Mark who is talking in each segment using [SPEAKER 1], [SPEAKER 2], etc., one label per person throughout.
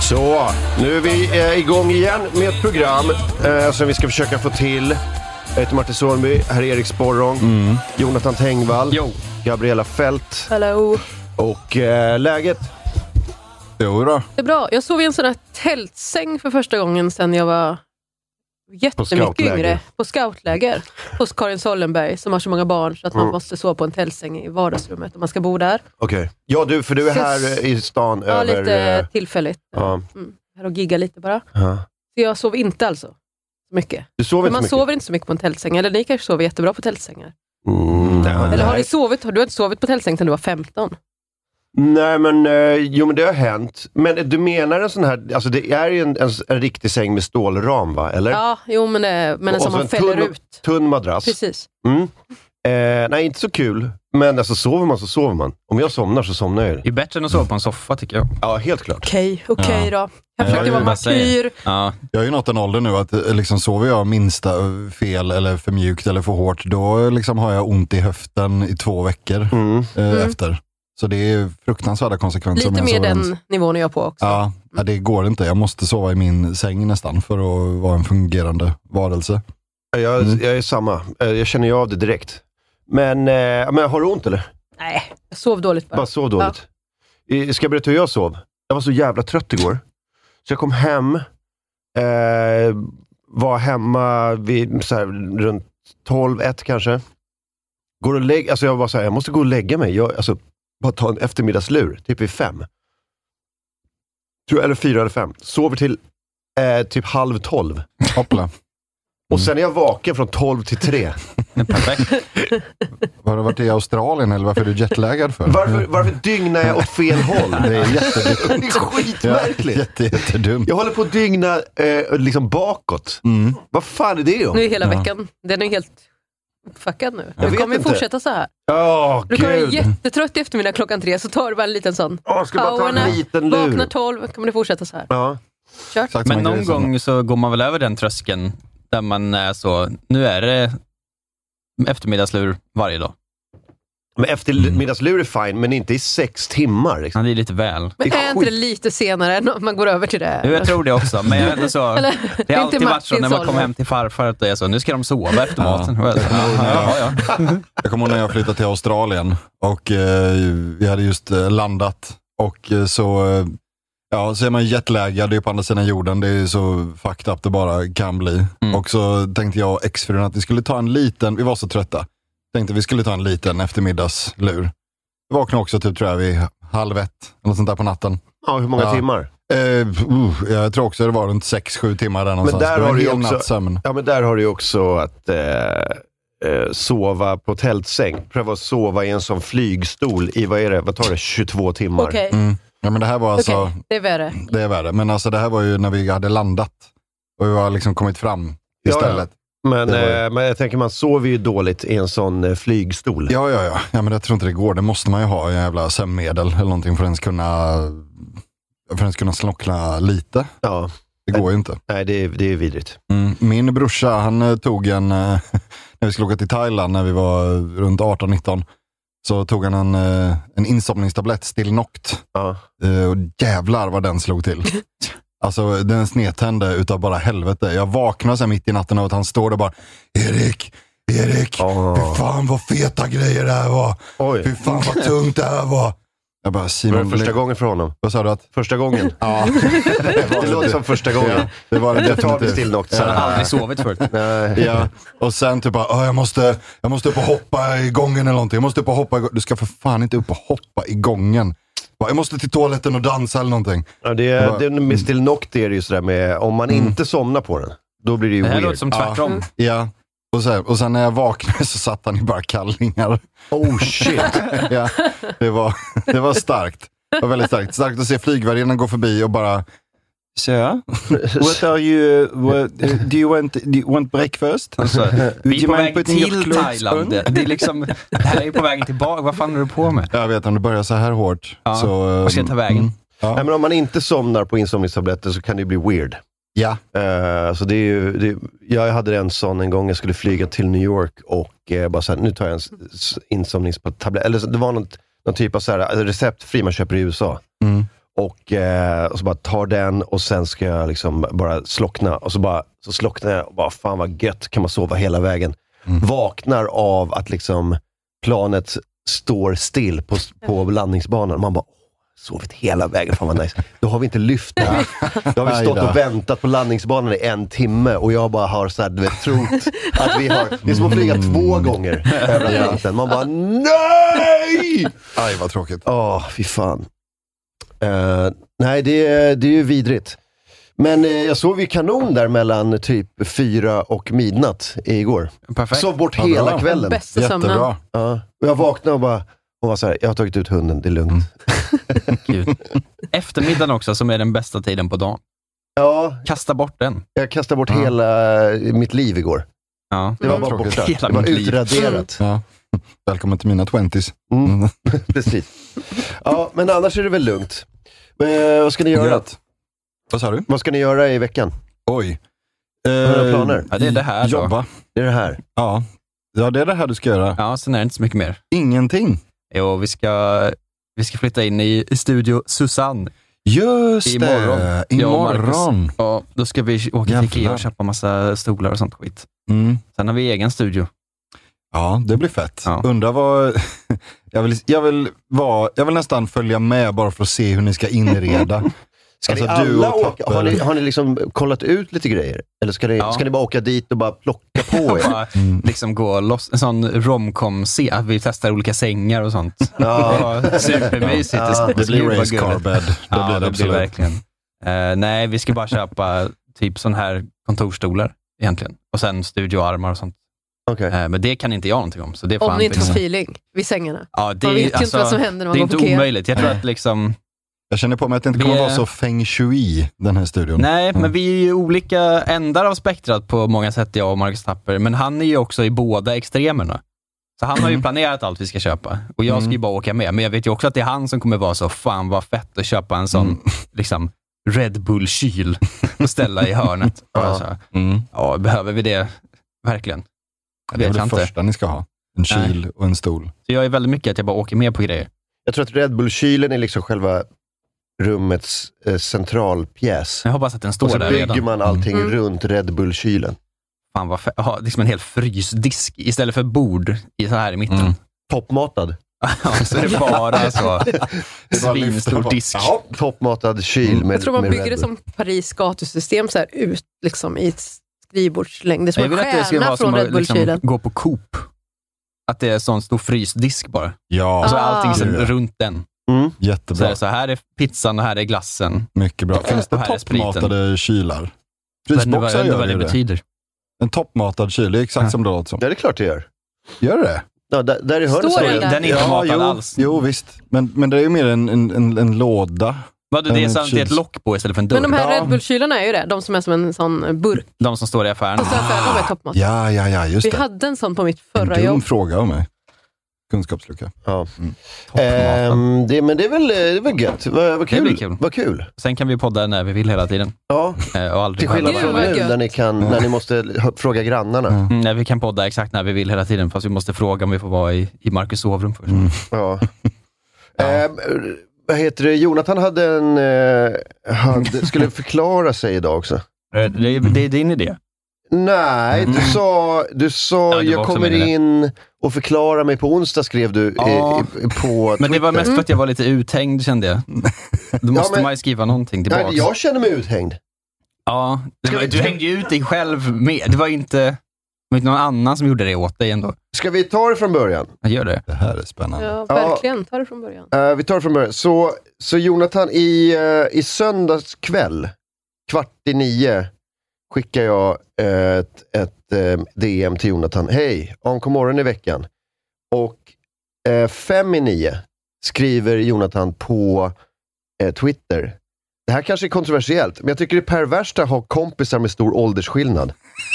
[SPEAKER 1] Så, nu är vi eh, igång igen med ett program eh, som vi ska försöka få till. Jag heter Martin Sornby, här är Erik Sporrong, Jonathan Tengvall, Gabriella Fält
[SPEAKER 2] Hallå.
[SPEAKER 1] och eh, läget?
[SPEAKER 3] Jo då.
[SPEAKER 2] Det är bra. Jag sov i en sån här tältsäng för första gången sedan jag var jättemycket
[SPEAKER 1] scoutläger.
[SPEAKER 2] yngre. På scoutläger. Hos Karin Sollenberg som har så många barn så att man
[SPEAKER 1] Mm.
[SPEAKER 2] måste sova på en tältsäng i vardagsrummet om man ska bo där.
[SPEAKER 1] Okej. Ja, du, för du är här eh, i stan
[SPEAKER 2] Ja,
[SPEAKER 1] över... eh,
[SPEAKER 2] lite tillfälligt.
[SPEAKER 1] ja,
[SPEAKER 2] Mm. Här och gigga lite bara.
[SPEAKER 1] ja.
[SPEAKER 2] Så jag sov inte alltså. så Mycket.
[SPEAKER 1] Du sover
[SPEAKER 2] Men
[SPEAKER 1] inte
[SPEAKER 2] man
[SPEAKER 1] så mycket?
[SPEAKER 2] sover inte så mycket på en tältsäng. Eller ni kanske sover jättebra på tältsängar.
[SPEAKER 1] Mm, nej,
[SPEAKER 2] Eller har ni
[SPEAKER 1] nej.
[SPEAKER 2] sovit? Har du inte sovit på tältsäng sedan du var 15?
[SPEAKER 1] nej, men eh, jo, men det har hänt. Men eh, du menar en sån här, alltså det är ju en, en, en riktig säng med stålram, va? Eller?
[SPEAKER 2] Ja, jo men, eh, men
[SPEAKER 1] Och
[SPEAKER 2] som
[SPEAKER 1] så
[SPEAKER 2] man
[SPEAKER 1] en
[SPEAKER 2] fäller
[SPEAKER 1] tunn-
[SPEAKER 2] ut.
[SPEAKER 1] Tunn madrass.
[SPEAKER 2] Precis.
[SPEAKER 1] Mm. Eh, nej, inte så kul. Men alltså sover man så sover man. Om jag somnar så somnar jag.
[SPEAKER 3] Det är bättre än att sova på en soffa tycker jag.
[SPEAKER 1] Ja, helt klart.
[SPEAKER 2] Okej, okej då. Jag
[SPEAKER 3] det
[SPEAKER 2] försökte
[SPEAKER 3] är
[SPEAKER 2] vara
[SPEAKER 3] det man säger.
[SPEAKER 2] martyr.
[SPEAKER 3] Ja.
[SPEAKER 4] Jag har ju nått en ålder nu att eh, liksom, sover jag minsta fel eller för mjukt eller för hårt, då eh, liksom, har jag ont i höften i två veckor
[SPEAKER 1] Mm.
[SPEAKER 4] eh,
[SPEAKER 2] Mm.
[SPEAKER 4] efter. Så det är fruktansvärda konsekvenser. om
[SPEAKER 2] Lite
[SPEAKER 4] jag
[SPEAKER 2] mer
[SPEAKER 4] sover ens.
[SPEAKER 2] den nivån är jag på också.
[SPEAKER 4] Ja, ja, det går inte. Jag måste sova i min säng nästan för att vara en fungerande varelse.
[SPEAKER 1] Jag,
[SPEAKER 4] Mm.
[SPEAKER 1] jag är samma. Eh, Jag känner ju av det direkt. Men, eh, men har du ont eller?
[SPEAKER 2] Nej, jag sov dåligt bara.
[SPEAKER 1] Bara sov dåligt. I- Ska jag berätta hur jag sov? Jag var så jävla trött igår. Så jag kom hem, eh, var hemma vid så här, runt 12-1 kanske. Går och lägg, alltså jag var så här, jag måste gå och lägga mig. Jag, alltså, bara ta en eftermiddagslur, typ vid fem. Tror jag, eller fyra eller fem. Sover till eh, typ halv tolv.
[SPEAKER 4] Hoppla.
[SPEAKER 1] Och
[SPEAKER 4] Mm.
[SPEAKER 1] sen är jag vaken från tolv till tre.
[SPEAKER 3] Perfekt.
[SPEAKER 4] Har du varit i Australien eller varför är du jetlaggad för?
[SPEAKER 1] Varför, varför dygnar jag åt fel håll?
[SPEAKER 4] Det är jättedumt.
[SPEAKER 1] Det är skitmärkligt.
[SPEAKER 4] Jätte, jättedumt.
[SPEAKER 1] Jag håller på att dygna eh, liksom bakåt.
[SPEAKER 4] Mm.
[SPEAKER 1] Vad fan är det om?
[SPEAKER 2] Nu är hela
[SPEAKER 4] Ja.
[SPEAKER 2] veckan, den är helt uppfuckad nu.
[SPEAKER 1] Jag
[SPEAKER 2] Du
[SPEAKER 1] vet
[SPEAKER 2] kommer ju
[SPEAKER 1] inte.
[SPEAKER 2] fortsätta så här.
[SPEAKER 1] Ja,
[SPEAKER 2] Du kommer vara
[SPEAKER 1] gud.
[SPEAKER 2] jättetrött i eftermiddag klockan tre, så tar du bara en liten sån.
[SPEAKER 1] Åh, jag ska bara ta en
[SPEAKER 2] Powerna,
[SPEAKER 1] liten
[SPEAKER 2] Vaknar
[SPEAKER 1] lur.
[SPEAKER 2] tolv, kommer du fortsätta så här.
[SPEAKER 1] Ja.
[SPEAKER 2] Kört.
[SPEAKER 4] Exakt
[SPEAKER 3] Men
[SPEAKER 4] samma
[SPEAKER 3] någon
[SPEAKER 4] grej som-
[SPEAKER 3] gång så går man väl över den tröskeln där man är så, nu är det eftermiddagslur varje dag.
[SPEAKER 1] Men eftermiddagslur är fine, men inte i sex timmar. Liksom.
[SPEAKER 3] Ja, Det är lite väl.
[SPEAKER 2] Men
[SPEAKER 1] det är
[SPEAKER 2] är inte det
[SPEAKER 1] skit.
[SPEAKER 2] lite senare än om man går över till
[SPEAKER 3] Jo,
[SPEAKER 2] det?
[SPEAKER 3] jag tror det också, men jag är ändå så, det
[SPEAKER 2] inte
[SPEAKER 3] har alltid varit så när
[SPEAKER 2] Martins
[SPEAKER 3] man kommer
[SPEAKER 2] ålder.
[SPEAKER 3] hem till farfar, att det är så, nu ska de sova efter maten. Och jag så,
[SPEAKER 4] Ja.
[SPEAKER 3] "Jaha, ja, ja.
[SPEAKER 4] Jag kommer ihåg när jag flyttade till Australien och eh, vi hade just eh, landat och eh, så, eh, ja, så är man jetlaggad, det är på andra sidan jorden, det är så fucked up det bara kan bli.
[SPEAKER 3] Mm.
[SPEAKER 4] Och så tänkte jag och exfrun att vi skulle ta en liten, vi var så trötta, tänkte vi skulle ta en liten eftermiddagslur. Vi vaknade också typ tror jag vid halv ett, eller något sånt där på natten.
[SPEAKER 1] Ja, hur många
[SPEAKER 4] Ja.
[SPEAKER 1] timmar?
[SPEAKER 4] Eh, uh, jag tror också det var runt sex sju timmar där någonstans.
[SPEAKER 1] där
[SPEAKER 4] Det var
[SPEAKER 1] har
[SPEAKER 4] en
[SPEAKER 1] du ju
[SPEAKER 4] hel
[SPEAKER 1] också-
[SPEAKER 4] natts sömn.
[SPEAKER 1] Ja, men där har du ju också att eh, eh, sova på tältsäng. Pröva att sova i en sån flygstol i, vad är det, vad tar det, 22 timmar?
[SPEAKER 2] Okej,
[SPEAKER 4] Mm. Ja, men det här var alltså,
[SPEAKER 2] okej, det är värre.
[SPEAKER 4] Det är värre. Men alltså det här var ju när vi hade landat och vi har liksom kommit fram
[SPEAKER 1] Ja,
[SPEAKER 4] istället.
[SPEAKER 1] Men,
[SPEAKER 4] Det var ju-
[SPEAKER 1] eh, men jag tänker, man sover ju dåligt i en sån eh, flygstol.
[SPEAKER 4] Ja, ja, ja. ja men jag tror inte det går. Det måste man ju ha en jävla sömnmedel eller någonting för att ens kunna, för att ens kunna snockla lite.
[SPEAKER 1] Ja.
[SPEAKER 4] Det går ju inte.
[SPEAKER 1] Nej, det är, det är vidrigt.
[SPEAKER 4] Mm. Min brorsa, han eh, tog en, eh, när vi skulle åka till Thailand när vi var runt 18-19, så tog han en, eh, en insomningstablett, Stilnoct.
[SPEAKER 1] Ja.
[SPEAKER 4] Eh, och jävlar vad den slog till. Alltså den snedtände utav bara helvete. Jag vaknar sen mitt i natten av att han står där bara Erik, Erik,
[SPEAKER 1] Ja.
[SPEAKER 4] fy fan vad feta grejer det här var.
[SPEAKER 1] Oj.
[SPEAKER 4] Fy fan vad tungt det här var. Jag bara,
[SPEAKER 1] Det
[SPEAKER 4] Simon,
[SPEAKER 1] var det första
[SPEAKER 4] lägg-
[SPEAKER 1] gången för honom.
[SPEAKER 4] Vad sa du? Att,
[SPEAKER 1] Första gången.
[SPEAKER 4] ja,
[SPEAKER 1] Det låter som första
[SPEAKER 4] ja,
[SPEAKER 1] gången.
[SPEAKER 4] det var det
[SPEAKER 1] Jag tar
[SPEAKER 4] definitivt.
[SPEAKER 1] det till något.
[SPEAKER 3] Så han har aldrig sovit förut.
[SPEAKER 1] Nej.
[SPEAKER 4] Ja, och sen typ bara, "Åh, jag måste, jag måste upp och hoppa i gången eller någonting. Jag måste upp och hoppa i gången. Du ska för fan inte upp och hoppa i gången. Bara, Jag måste till toaletten och dansa eller någonting.
[SPEAKER 1] Ja, Mm. det, är- det, är- med Still Noct är det ju sådär med, om man inte somnar på den, då blir det ju
[SPEAKER 3] Det här låter
[SPEAKER 1] weird.
[SPEAKER 3] som tvärtom.
[SPEAKER 4] Ja, och sen, och sen när jag vaknade så satt han i bara kallingar.
[SPEAKER 1] Oh shit!
[SPEAKER 4] Ja, det, var, det var starkt. Det var väldigt starkt. Starkt att se flygvärdinnan gå förbi och bara, Sir, what are you, what, do, you want, do you want breakfast?
[SPEAKER 3] Alltså, vi är
[SPEAKER 4] you
[SPEAKER 3] på
[SPEAKER 4] mind
[SPEAKER 3] väg
[SPEAKER 4] putting your
[SPEAKER 3] till
[SPEAKER 4] clothes
[SPEAKER 3] Thailand.
[SPEAKER 4] on?
[SPEAKER 3] Det, är liksom, det här är ju på vägen tillbaka. Vad fan håller du på med?
[SPEAKER 4] Jag vet, om det börjar så här hårt.
[SPEAKER 3] Ja,
[SPEAKER 4] Så,
[SPEAKER 3] vart ska jag ta vägen?
[SPEAKER 4] mm, Ja.
[SPEAKER 1] Nej, men om man inte somnar på insomningstabletter så kan det ju bli weird.
[SPEAKER 4] ja.
[SPEAKER 1] Eh, så det är ju, det, jag hade en sån en gång, jag skulle flyga till New York och eh, bara såhär, nu tar jag en s- s- insomningstablett. Eller så, det var något, någon typ av så här, alltså, receptfri man köper i USA.
[SPEAKER 4] Mm.
[SPEAKER 1] Och, eh, och så bara tar den och sen ska jag liksom bara slockna. Och så, bara, så slocknar jag och bara, fan vad gött, kan man sova hela vägen.
[SPEAKER 4] Mm.
[SPEAKER 1] Vaknar av att liksom planet står still på, på landningsbanan. Man bara, "Åh, sovit hela vägen, fan vad nice. Då har vi inte lyft det här. Då har vi
[SPEAKER 4] Aj
[SPEAKER 1] stått
[SPEAKER 4] då.
[SPEAKER 1] och väntat på landningsbanan i en timme och jag bara har så här, du vet, trott att vi har... Det är som att flyga
[SPEAKER 4] Mm.
[SPEAKER 1] två gånger över Atlanten. Man bara, nej!
[SPEAKER 4] Aj, vad tråkigt.
[SPEAKER 1] Ja, fy fan. Eh, nej, det, är- det är ju vidrigt. Men eh, jag sov ju kanon där mellan typ fyra och midnatt igår.
[SPEAKER 3] Perfekt.
[SPEAKER 1] Sov bort
[SPEAKER 4] Ja, bra.
[SPEAKER 1] hela kvällen.
[SPEAKER 2] Bästa sömnen.
[SPEAKER 4] Jättebra.
[SPEAKER 1] Ja. och jag vaknade och bara, hon var så här, jag har tagit ut hunden, det är lugnt.
[SPEAKER 4] Mm.
[SPEAKER 3] Gud. Eftermiddagen också, som är den bästa tiden på dagen.
[SPEAKER 1] Ja,
[SPEAKER 3] Kasta bort den.
[SPEAKER 1] jag kastade bort
[SPEAKER 4] Ja. Mm.
[SPEAKER 1] hela eh, mitt liv igår.
[SPEAKER 3] Ja.
[SPEAKER 1] Det var bara
[SPEAKER 4] Tråkigt.
[SPEAKER 1] borta.
[SPEAKER 3] Hela
[SPEAKER 1] det var
[SPEAKER 3] mitt liv.
[SPEAKER 1] utraderat.
[SPEAKER 4] Ja. Välkommen till mina 20s.
[SPEAKER 1] Mm,
[SPEAKER 4] Mm.
[SPEAKER 1] precis. Ja, men annars är det väl lugnt. Eh, vad ska ni göra?
[SPEAKER 4] Gött. Vad sa du? Eh,
[SPEAKER 1] Vad ska ni göra i veckan?
[SPEAKER 4] Oj.
[SPEAKER 1] några planer?
[SPEAKER 3] Ja, det är det här då.
[SPEAKER 4] Jobba.
[SPEAKER 1] Det är det här.
[SPEAKER 4] Ja. ja, det är det här du ska göra.
[SPEAKER 3] ja, sen är det inte så mycket mer.
[SPEAKER 4] Ingenting.
[SPEAKER 3] Jo, vi ska, vi ska flytta in i i studio Susanne.
[SPEAKER 4] Just
[SPEAKER 3] Imorgon.
[SPEAKER 4] det.
[SPEAKER 3] Jag och
[SPEAKER 4] Imorgon.
[SPEAKER 3] Marcus. Ja, då ska vi åka till Ikea
[SPEAKER 4] Jävlar.
[SPEAKER 3] och köpa massa stolar och sånt skit.
[SPEAKER 4] Mm.
[SPEAKER 3] Sen har vi egen studio.
[SPEAKER 4] Ja, det blir fett.
[SPEAKER 3] Ja.
[SPEAKER 4] Undrar vad... Jag vill, jag, vill vara, jag vill nästan följa med bara för att se hur ni ska inreda.
[SPEAKER 1] Ska ni
[SPEAKER 4] Alltså, du
[SPEAKER 1] alla
[SPEAKER 4] och
[SPEAKER 1] åka? Har ni,
[SPEAKER 4] Tapper.
[SPEAKER 1] har ni liksom kollat ut lite grejer? Eller ska ni,
[SPEAKER 3] Ja.
[SPEAKER 1] ska ni bara åka dit och bara plocka på
[SPEAKER 3] Och
[SPEAKER 1] er?
[SPEAKER 3] bara
[SPEAKER 4] Mm.
[SPEAKER 3] liksom gå loss. En sån romcom-se, att vi testar olika sängar och sånt.
[SPEAKER 1] Ja.
[SPEAKER 3] Ja, Supermysigt.
[SPEAKER 1] Ja,
[SPEAKER 4] Det
[SPEAKER 3] skulle
[SPEAKER 4] blir
[SPEAKER 3] vara
[SPEAKER 4] race car
[SPEAKER 3] gulligt.
[SPEAKER 4] bed. Det
[SPEAKER 3] Ja,
[SPEAKER 4] blir det, absolut.
[SPEAKER 3] verkligen. Eh, nej, vi ska bara köpa typ sån här kontorsstolar egentligen. Och sen studioarmar och sånt.
[SPEAKER 1] Okej.
[SPEAKER 3] Eh, men det kan inte jag någonting om. Så det är
[SPEAKER 2] Om
[SPEAKER 3] fan
[SPEAKER 2] ni inte får
[SPEAKER 3] liksom-
[SPEAKER 2] feeling vid sängarna.
[SPEAKER 3] ja, det,
[SPEAKER 2] Man
[SPEAKER 3] är-
[SPEAKER 2] vet ju inte
[SPEAKER 3] alltså,
[SPEAKER 2] vad som händer när
[SPEAKER 3] Det är
[SPEAKER 2] man
[SPEAKER 3] inte
[SPEAKER 2] går på Ikea.
[SPEAKER 3] omöjligt. Jag tror
[SPEAKER 4] Nej.
[SPEAKER 3] att liksom,
[SPEAKER 4] Jag känner på mig att det inte
[SPEAKER 3] Vi
[SPEAKER 4] kommer
[SPEAKER 3] är-
[SPEAKER 4] vara så feng shui, den här studion.
[SPEAKER 3] nej, men
[SPEAKER 4] Mm.
[SPEAKER 3] vi är ju olika ändar av spektrat på många sätt, jag och Marcus Tapper. Men han är ju också i båda extremerna. Så han har
[SPEAKER 1] Mm.
[SPEAKER 3] ju planerat allt vi ska köpa och jag ska ju
[SPEAKER 4] Mm.
[SPEAKER 3] bara åka med. Men jag vet ju också att det är han som kommer vara så, fan vad fett att köpa en
[SPEAKER 1] Mm.
[SPEAKER 4] Mm.
[SPEAKER 3] sån liksom, Red Bull-kyl och ställa i hörnet.
[SPEAKER 1] Ja.
[SPEAKER 3] Bara så här.
[SPEAKER 4] Mm.
[SPEAKER 3] Ja, behöver vi det verkligen? Jag
[SPEAKER 4] Det
[SPEAKER 3] vet
[SPEAKER 4] är väl det
[SPEAKER 3] jag inte.
[SPEAKER 4] första ni ska ha. En kyl och en stol.
[SPEAKER 3] Så jag är väldigt mycket att jag bara åker med på grejer.
[SPEAKER 1] Jag tror att Red Bull-kylen är liksom själva rummets eh, centralpjäs.
[SPEAKER 3] Jag hoppas att den
[SPEAKER 1] Och
[SPEAKER 3] står
[SPEAKER 1] så
[SPEAKER 3] där
[SPEAKER 1] bygger
[SPEAKER 3] redan.
[SPEAKER 1] man allting
[SPEAKER 2] Mm.
[SPEAKER 1] runt Red Bull-kylen.
[SPEAKER 3] Fan vad fe- ha, liksom en hel frysdisk istället för bord i, så här i mitten.
[SPEAKER 4] Mm.
[SPEAKER 1] Toppmatad.
[SPEAKER 3] Ja, så är det bara så.
[SPEAKER 4] Det är bara att lyfta
[SPEAKER 3] Svinstor
[SPEAKER 4] på.
[SPEAKER 3] disk.
[SPEAKER 4] Jaha.
[SPEAKER 1] Toppmatad kyl
[SPEAKER 3] Mm.
[SPEAKER 1] med
[SPEAKER 2] Jag tror man
[SPEAKER 1] med
[SPEAKER 2] bygger
[SPEAKER 1] Red
[SPEAKER 2] det
[SPEAKER 1] Bull.
[SPEAKER 2] som Paris gatusystem, så här, ut liksom, i ett skrivbordslängd. Det är som
[SPEAKER 3] Jag vill
[SPEAKER 2] en
[SPEAKER 3] att det ska
[SPEAKER 2] stjärna
[SPEAKER 3] vara
[SPEAKER 2] från
[SPEAKER 3] som
[SPEAKER 2] Red
[SPEAKER 3] att liksom,
[SPEAKER 2] Bull-kylen.
[SPEAKER 3] gå på Coop. Att det är en sån stor frysdisk bara.
[SPEAKER 4] Ja,
[SPEAKER 3] Och så är
[SPEAKER 2] Ah.
[SPEAKER 3] allting sen,
[SPEAKER 4] Gud, ja.
[SPEAKER 3] runt den.
[SPEAKER 1] Mm.
[SPEAKER 3] Alltså, Så, är det
[SPEAKER 4] jättebra.
[SPEAKER 3] så här är pizzan och här är glassen.
[SPEAKER 4] Mycket bra. Finns
[SPEAKER 3] Och
[SPEAKER 4] det
[SPEAKER 3] här är spriten.
[SPEAKER 4] toppmatade kylar?
[SPEAKER 3] Jag vet inte vad- jag
[SPEAKER 4] Frysboxar
[SPEAKER 3] vet inte
[SPEAKER 4] gör
[SPEAKER 3] vad det
[SPEAKER 4] ju det.
[SPEAKER 3] betyder.
[SPEAKER 4] En toppmatad kyl, det är exakt
[SPEAKER 3] Ja.
[SPEAKER 4] som det låter som.
[SPEAKER 1] Ja, det är klart det gör.
[SPEAKER 4] Gör det?
[SPEAKER 1] Ja, där, där i hörnet
[SPEAKER 2] Står
[SPEAKER 1] står det.
[SPEAKER 2] den där?
[SPEAKER 3] Den är inte matad
[SPEAKER 4] jo,
[SPEAKER 3] alls.
[SPEAKER 4] Jo, visst. Men, men det är ju mer en, en, en, en låda.
[SPEAKER 3] Vadå, det är,
[SPEAKER 4] En
[SPEAKER 3] så, det är ett
[SPEAKER 4] kyl.
[SPEAKER 3] lock på istället för en dörr.
[SPEAKER 2] Men de här
[SPEAKER 4] Ja.
[SPEAKER 2] Red Bull-kylarna är ju det. De som är som en sån burk.
[SPEAKER 3] De som står i affären.
[SPEAKER 2] Och så affären,
[SPEAKER 3] Ah,
[SPEAKER 2] de är toppmat.
[SPEAKER 4] Ja, ja, ja, just
[SPEAKER 2] Vi
[SPEAKER 4] det.
[SPEAKER 2] hade en sån på mitt
[SPEAKER 4] En
[SPEAKER 2] förra
[SPEAKER 4] dum
[SPEAKER 2] jobb.
[SPEAKER 4] fråga av mig. Kunskapslucka. Eh.
[SPEAKER 1] Ja.
[SPEAKER 3] Toppmatad.
[SPEAKER 1] Ehm, det, men det är väl, det är väl gött. Vad, vad
[SPEAKER 3] Det
[SPEAKER 1] kul.
[SPEAKER 3] blir kul.
[SPEAKER 1] Vad kul.
[SPEAKER 3] Sen kan vi podda när vi vill hela tiden.
[SPEAKER 1] Ja,
[SPEAKER 3] Eh, Och aldrig
[SPEAKER 1] till skillnad
[SPEAKER 3] själva.
[SPEAKER 2] Gud,
[SPEAKER 1] från
[SPEAKER 2] vad
[SPEAKER 1] nu
[SPEAKER 2] gött.
[SPEAKER 1] när ni, kan, när ni måste hö- fråga grannarna.
[SPEAKER 4] Mm.
[SPEAKER 3] Mm, nej, vi kan podda exakt när vi vill hela tiden, fast vi måste fråga om vi får vara i, i Marcus sovrum först.
[SPEAKER 4] Mm.
[SPEAKER 1] Ja. Ehm, vad heter det? Jonathan hade en, eh, hade, skulle förklara sig idag också.
[SPEAKER 3] Eh, Det, är- det är din idé.
[SPEAKER 1] Nej, du sa, du sa
[SPEAKER 3] Ja, det var
[SPEAKER 1] jag
[SPEAKER 3] också
[SPEAKER 1] kommer
[SPEAKER 3] meningen.
[SPEAKER 1] in och förklarar mig på onsdag, skrev du i-
[SPEAKER 3] Ja.
[SPEAKER 1] i, på
[SPEAKER 3] Men det var
[SPEAKER 1] Twitter.
[SPEAKER 3] mest för att jag var lite uthängd kände jag. Då måste
[SPEAKER 1] men-
[SPEAKER 3] man ju skriva någonting
[SPEAKER 1] Nej,
[SPEAKER 3] tillbaka.
[SPEAKER 1] jag känner mig uthängd.
[SPEAKER 3] Ja, det
[SPEAKER 1] Ska
[SPEAKER 3] var,
[SPEAKER 1] vi-
[SPEAKER 3] du hängde ju ut dig själv med. Det var ju inte, det var inte någon annan som gjorde det åt dig ändå.
[SPEAKER 1] Ska vi ta det från början?
[SPEAKER 3] Jag gör det.
[SPEAKER 4] Det här är spännande.
[SPEAKER 2] Ja,
[SPEAKER 1] Ja.
[SPEAKER 2] verkligen. Ta det från början.
[SPEAKER 1] Eh, vi tar det från början. Så, så Jonathan, i, eh, i söndags kväll, kvart i nio, skickar jag eh, ett, ett eh, DM till Jonathan. Hej, Ankomorron i veckan. Och eh, fem i nio skriver Jonathan på eh, Twitter. Det här kanske är kontroversiellt, men jag tycker det är perverst att ha kompisar med stor åldersskillnad.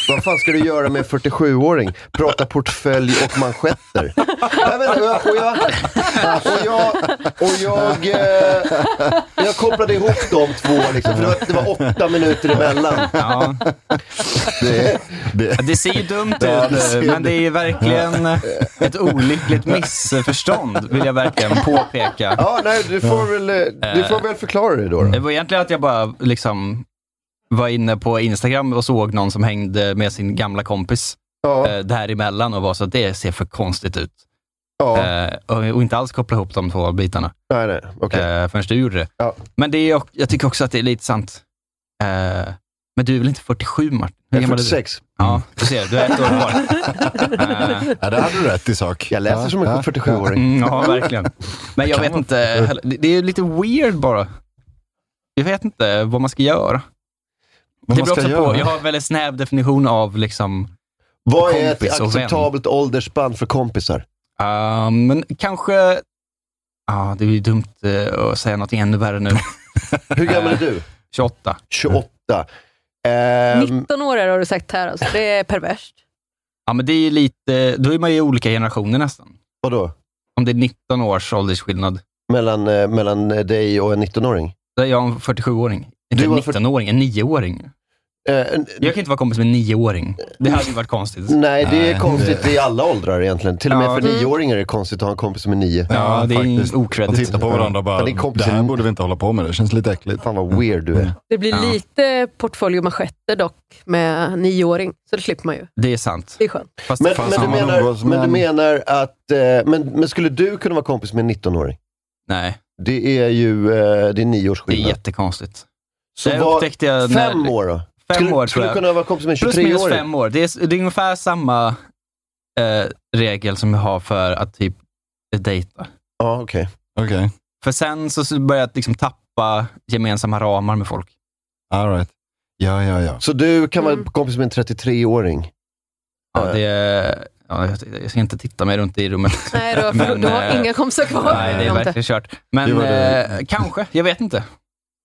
[SPEAKER 1] Vad fan ska du göra med en 47-åring? Prata portfölj och manschetter. Nej, men, och jag, och jag, och jag, och jag, eh, jag kopplade ihop de två, liksom, för det var, det var åtta minuter emellan.
[SPEAKER 3] Ja.
[SPEAKER 4] Det, det,
[SPEAKER 3] Det ser ju dumt ut,
[SPEAKER 4] Ja, det ser
[SPEAKER 3] men det är ju verkligen ett olyckligt missförstånd, vill jag verkligen påpeka.
[SPEAKER 1] Ja, nej, du får väl, eh, du får väl förklara det då.
[SPEAKER 3] Det
[SPEAKER 1] då.
[SPEAKER 3] var egentligen att jag bara liksom var inne på Instagram och såg någon som hängde med sin gamla kompis
[SPEAKER 1] Ja,
[SPEAKER 3] eh, däremellan och var så att det ser för konstigt ut.
[SPEAKER 1] ja,
[SPEAKER 3] Eh, och- och inte alls koppla ihop de två bitarna
[SPEAKER 1] nej, nej, okej.
[SPEAKER 3] eh, förrän du gjorde det.
[SPEAKER 1] Ja.
[SPEAKER 3] Men det är, ock- jag tycker också att det är lite sant. Eh, men du är väl inte 47 Martin? Hur
[SPEAKER 1] Jag är
[SPEAKER 3] gammal är du?
[SPEAKER 1] 46.
[SPEAKER 3] Ja, du ser, du är ett år kvar. Eh,
[SPEAKER 4] ja, det hade du rätt i sak.
[SPEAKER 1] Jag läser
[SPEAKER 4] Ja,
[SPEAKER 1] som en
[SPEAKER 4] ja,
[SPEAKER 1] 47-åring.
[SPEAKER 3] Mm, ja, verkligen. Men jag
[SPEAKER 4] Kan
[SPEAKER 3] vet
[SPEAKER 4] vara
[SPEAKER 3] inte,
[SPEAKER 4] fint.
[SPEAKER 3] heller- det det är ju lite weird bara. Jag vet inte vad man ska göra.
[SPEAKER 4] Vad
[SPEAKER 3] det
[SPEAKER 4] man
[SPEAKER 3] beror
[SPEAKER 4] ska
[SPEAKER 3] också
[SPEAKER 4] göra.
[SPEAKER 3] på, jag har en väldigt snäv definition av liksom,
[SPEAKER 1] Vad är ett
[SPEAKER 3] kompis och vän.
[SPEAKER 1] acceptabelt åldersspann för kompisar?
[SPEAKER 3] ah, men kanske, ah, det är ju dumt eh, att säga något ännu värre nu,
[SPEAKER 1] Hur gammal är du?
[SPEAKER 3] 28.
[SPEAKER 1] 28. Ehm,
[SPEAKER 2] 19 år är det, har du sagt här. Alltså. Det är perverst.
[SPEAKER 3] Ja, men det är ju lite, då är man ju i olika generationer nästan.
[SPEAKER 1] vadå?
[SPEAKER 3] Om det är 19 års åldersskillnad,
[SPEAKER 1] Mellan, eh, mellan eh, dig och en 19-åring?
[SPEAKER 3] då är jag en 47-åring. Inte
[SPEAKER 1] Du
[SPEAKER 3] en
[SPEAKER 1] var fyrt-
[SPEAKER 3] 19-åring, en 9-åring.
[SPEAKER 1] Eh, n-
[SPEAKER 3] Jag kan inte vara kompis med en 9-åring. Det hade ju varit konstigt.
[SPEAKER 1] nej, det är
[SPEAKER 4] Nej,
[SPEAKER 1] konstigt i alla åldrar egentligen. Till och med
[SPEAKER 3] Ja.
[SPEAKER 1] för nioåringar är det konstigt att ha en kompis som är nio.
[SPEAKER 3] Ja, det är ju
[SPEAKER 4] faktiskt. Man
[SPEAKER 3] okreddigt.
[SPEAKER 4] tittar på varandra och bara,
[SPEAKER 1] Ja, det är
[SPEAKER 4] det
[SPEAKER 1] kompisen.
[SPEAKER 4] här borde vi inte hålla på med, det känns lite äckligt.
[SPEAKER 1] Fan vad weird du
[SPEAKER 3] Mm.
[SPEAKER 1] är.
[SPEAKER 2] Det blir
[SPEAKER 3] Ja.
[SPEAKER 2] lite portfölj och manschetter dock med nioåring, så det slipper man ju.
[SPEAKER 3] Det är sant.
[SPEAKER 2] Det är skönt.
[SPEAKER 3] Fast
[SPEAKER 1] Men,
[SPEAKER 4] Fan,
[SPEAKER 1] men, du
[SPEAKER 4] samma
[SPEAKER 1] menar,
[SPEAKER 4] ungdom-
[SPEAKER 1] men du menar att, eh, men, men skulle du kunna vara kompis med en 19-åring?
[SPEAKER 3] Nej,
[SPEAKER 1] Det är ju, eh, det är nio års
[SPEAKER 3] det är
[SPEAKER 1] skillnad.
[SPEAKER 3] jättekonstigt.
[SPEAKER 1] Så
[SPEAKER 3] det
[SPEAKER 1] vad-
[SPEAKER 3] upptäckte jag när,
[SPEAKER 1] fem år då?
[SPEAKER 3] Fem
[SPEAKER 1] skulle,
[SPEAKER 3] år tror
[SPEAKER 1] skulle du
[SPEAKER 3] jag.
[SPEAKER 1] kunna vara kompis med en
[SPEAKER 3] Plus minus
[SPEAKER 1] 23-åring?
[SPEAKER 3] fem år. Det är, det är ungefär samma eh, regel som jag har för att typ dejta.
[SPEAKER 1] Ja, okej.
[SPEAKER 4] Okej,
[SPEAKER 3] För sen så så börjar jag liksom tappa gemensamma ramar med folk.
[SPEAKER 4] all right. Ja, ja, ja.
[SPEAKER 1] Så du kan vara
[SPEAKER 2] Mm.
[SPEAKER 1] kompis med en 33-åring?
[SPEAKER 3] Ja,
[SPEAKER 1] Eh.
[SPEAKER 3] det, ja, jag, jag ska inte titta mig runt i rummet.
[SPEAKER 2] Nej, du har,
[SPEAKER 3] Men,
[SPEAKER 2] du har
[SPEAKER 3] eh,
[SPEAKER 2] inga kompisar kvar.
[SPEAKER 3] Nej, det är
[SPEAKER 2] Jag inte.
[SPEAKER 3] verkligen kört.
[SPEAKER 4] Det
[SPEAKER 3] Men
[SPEAKER 4] var det.
[SPEAKER 3] eh, kanske, jag vet inte.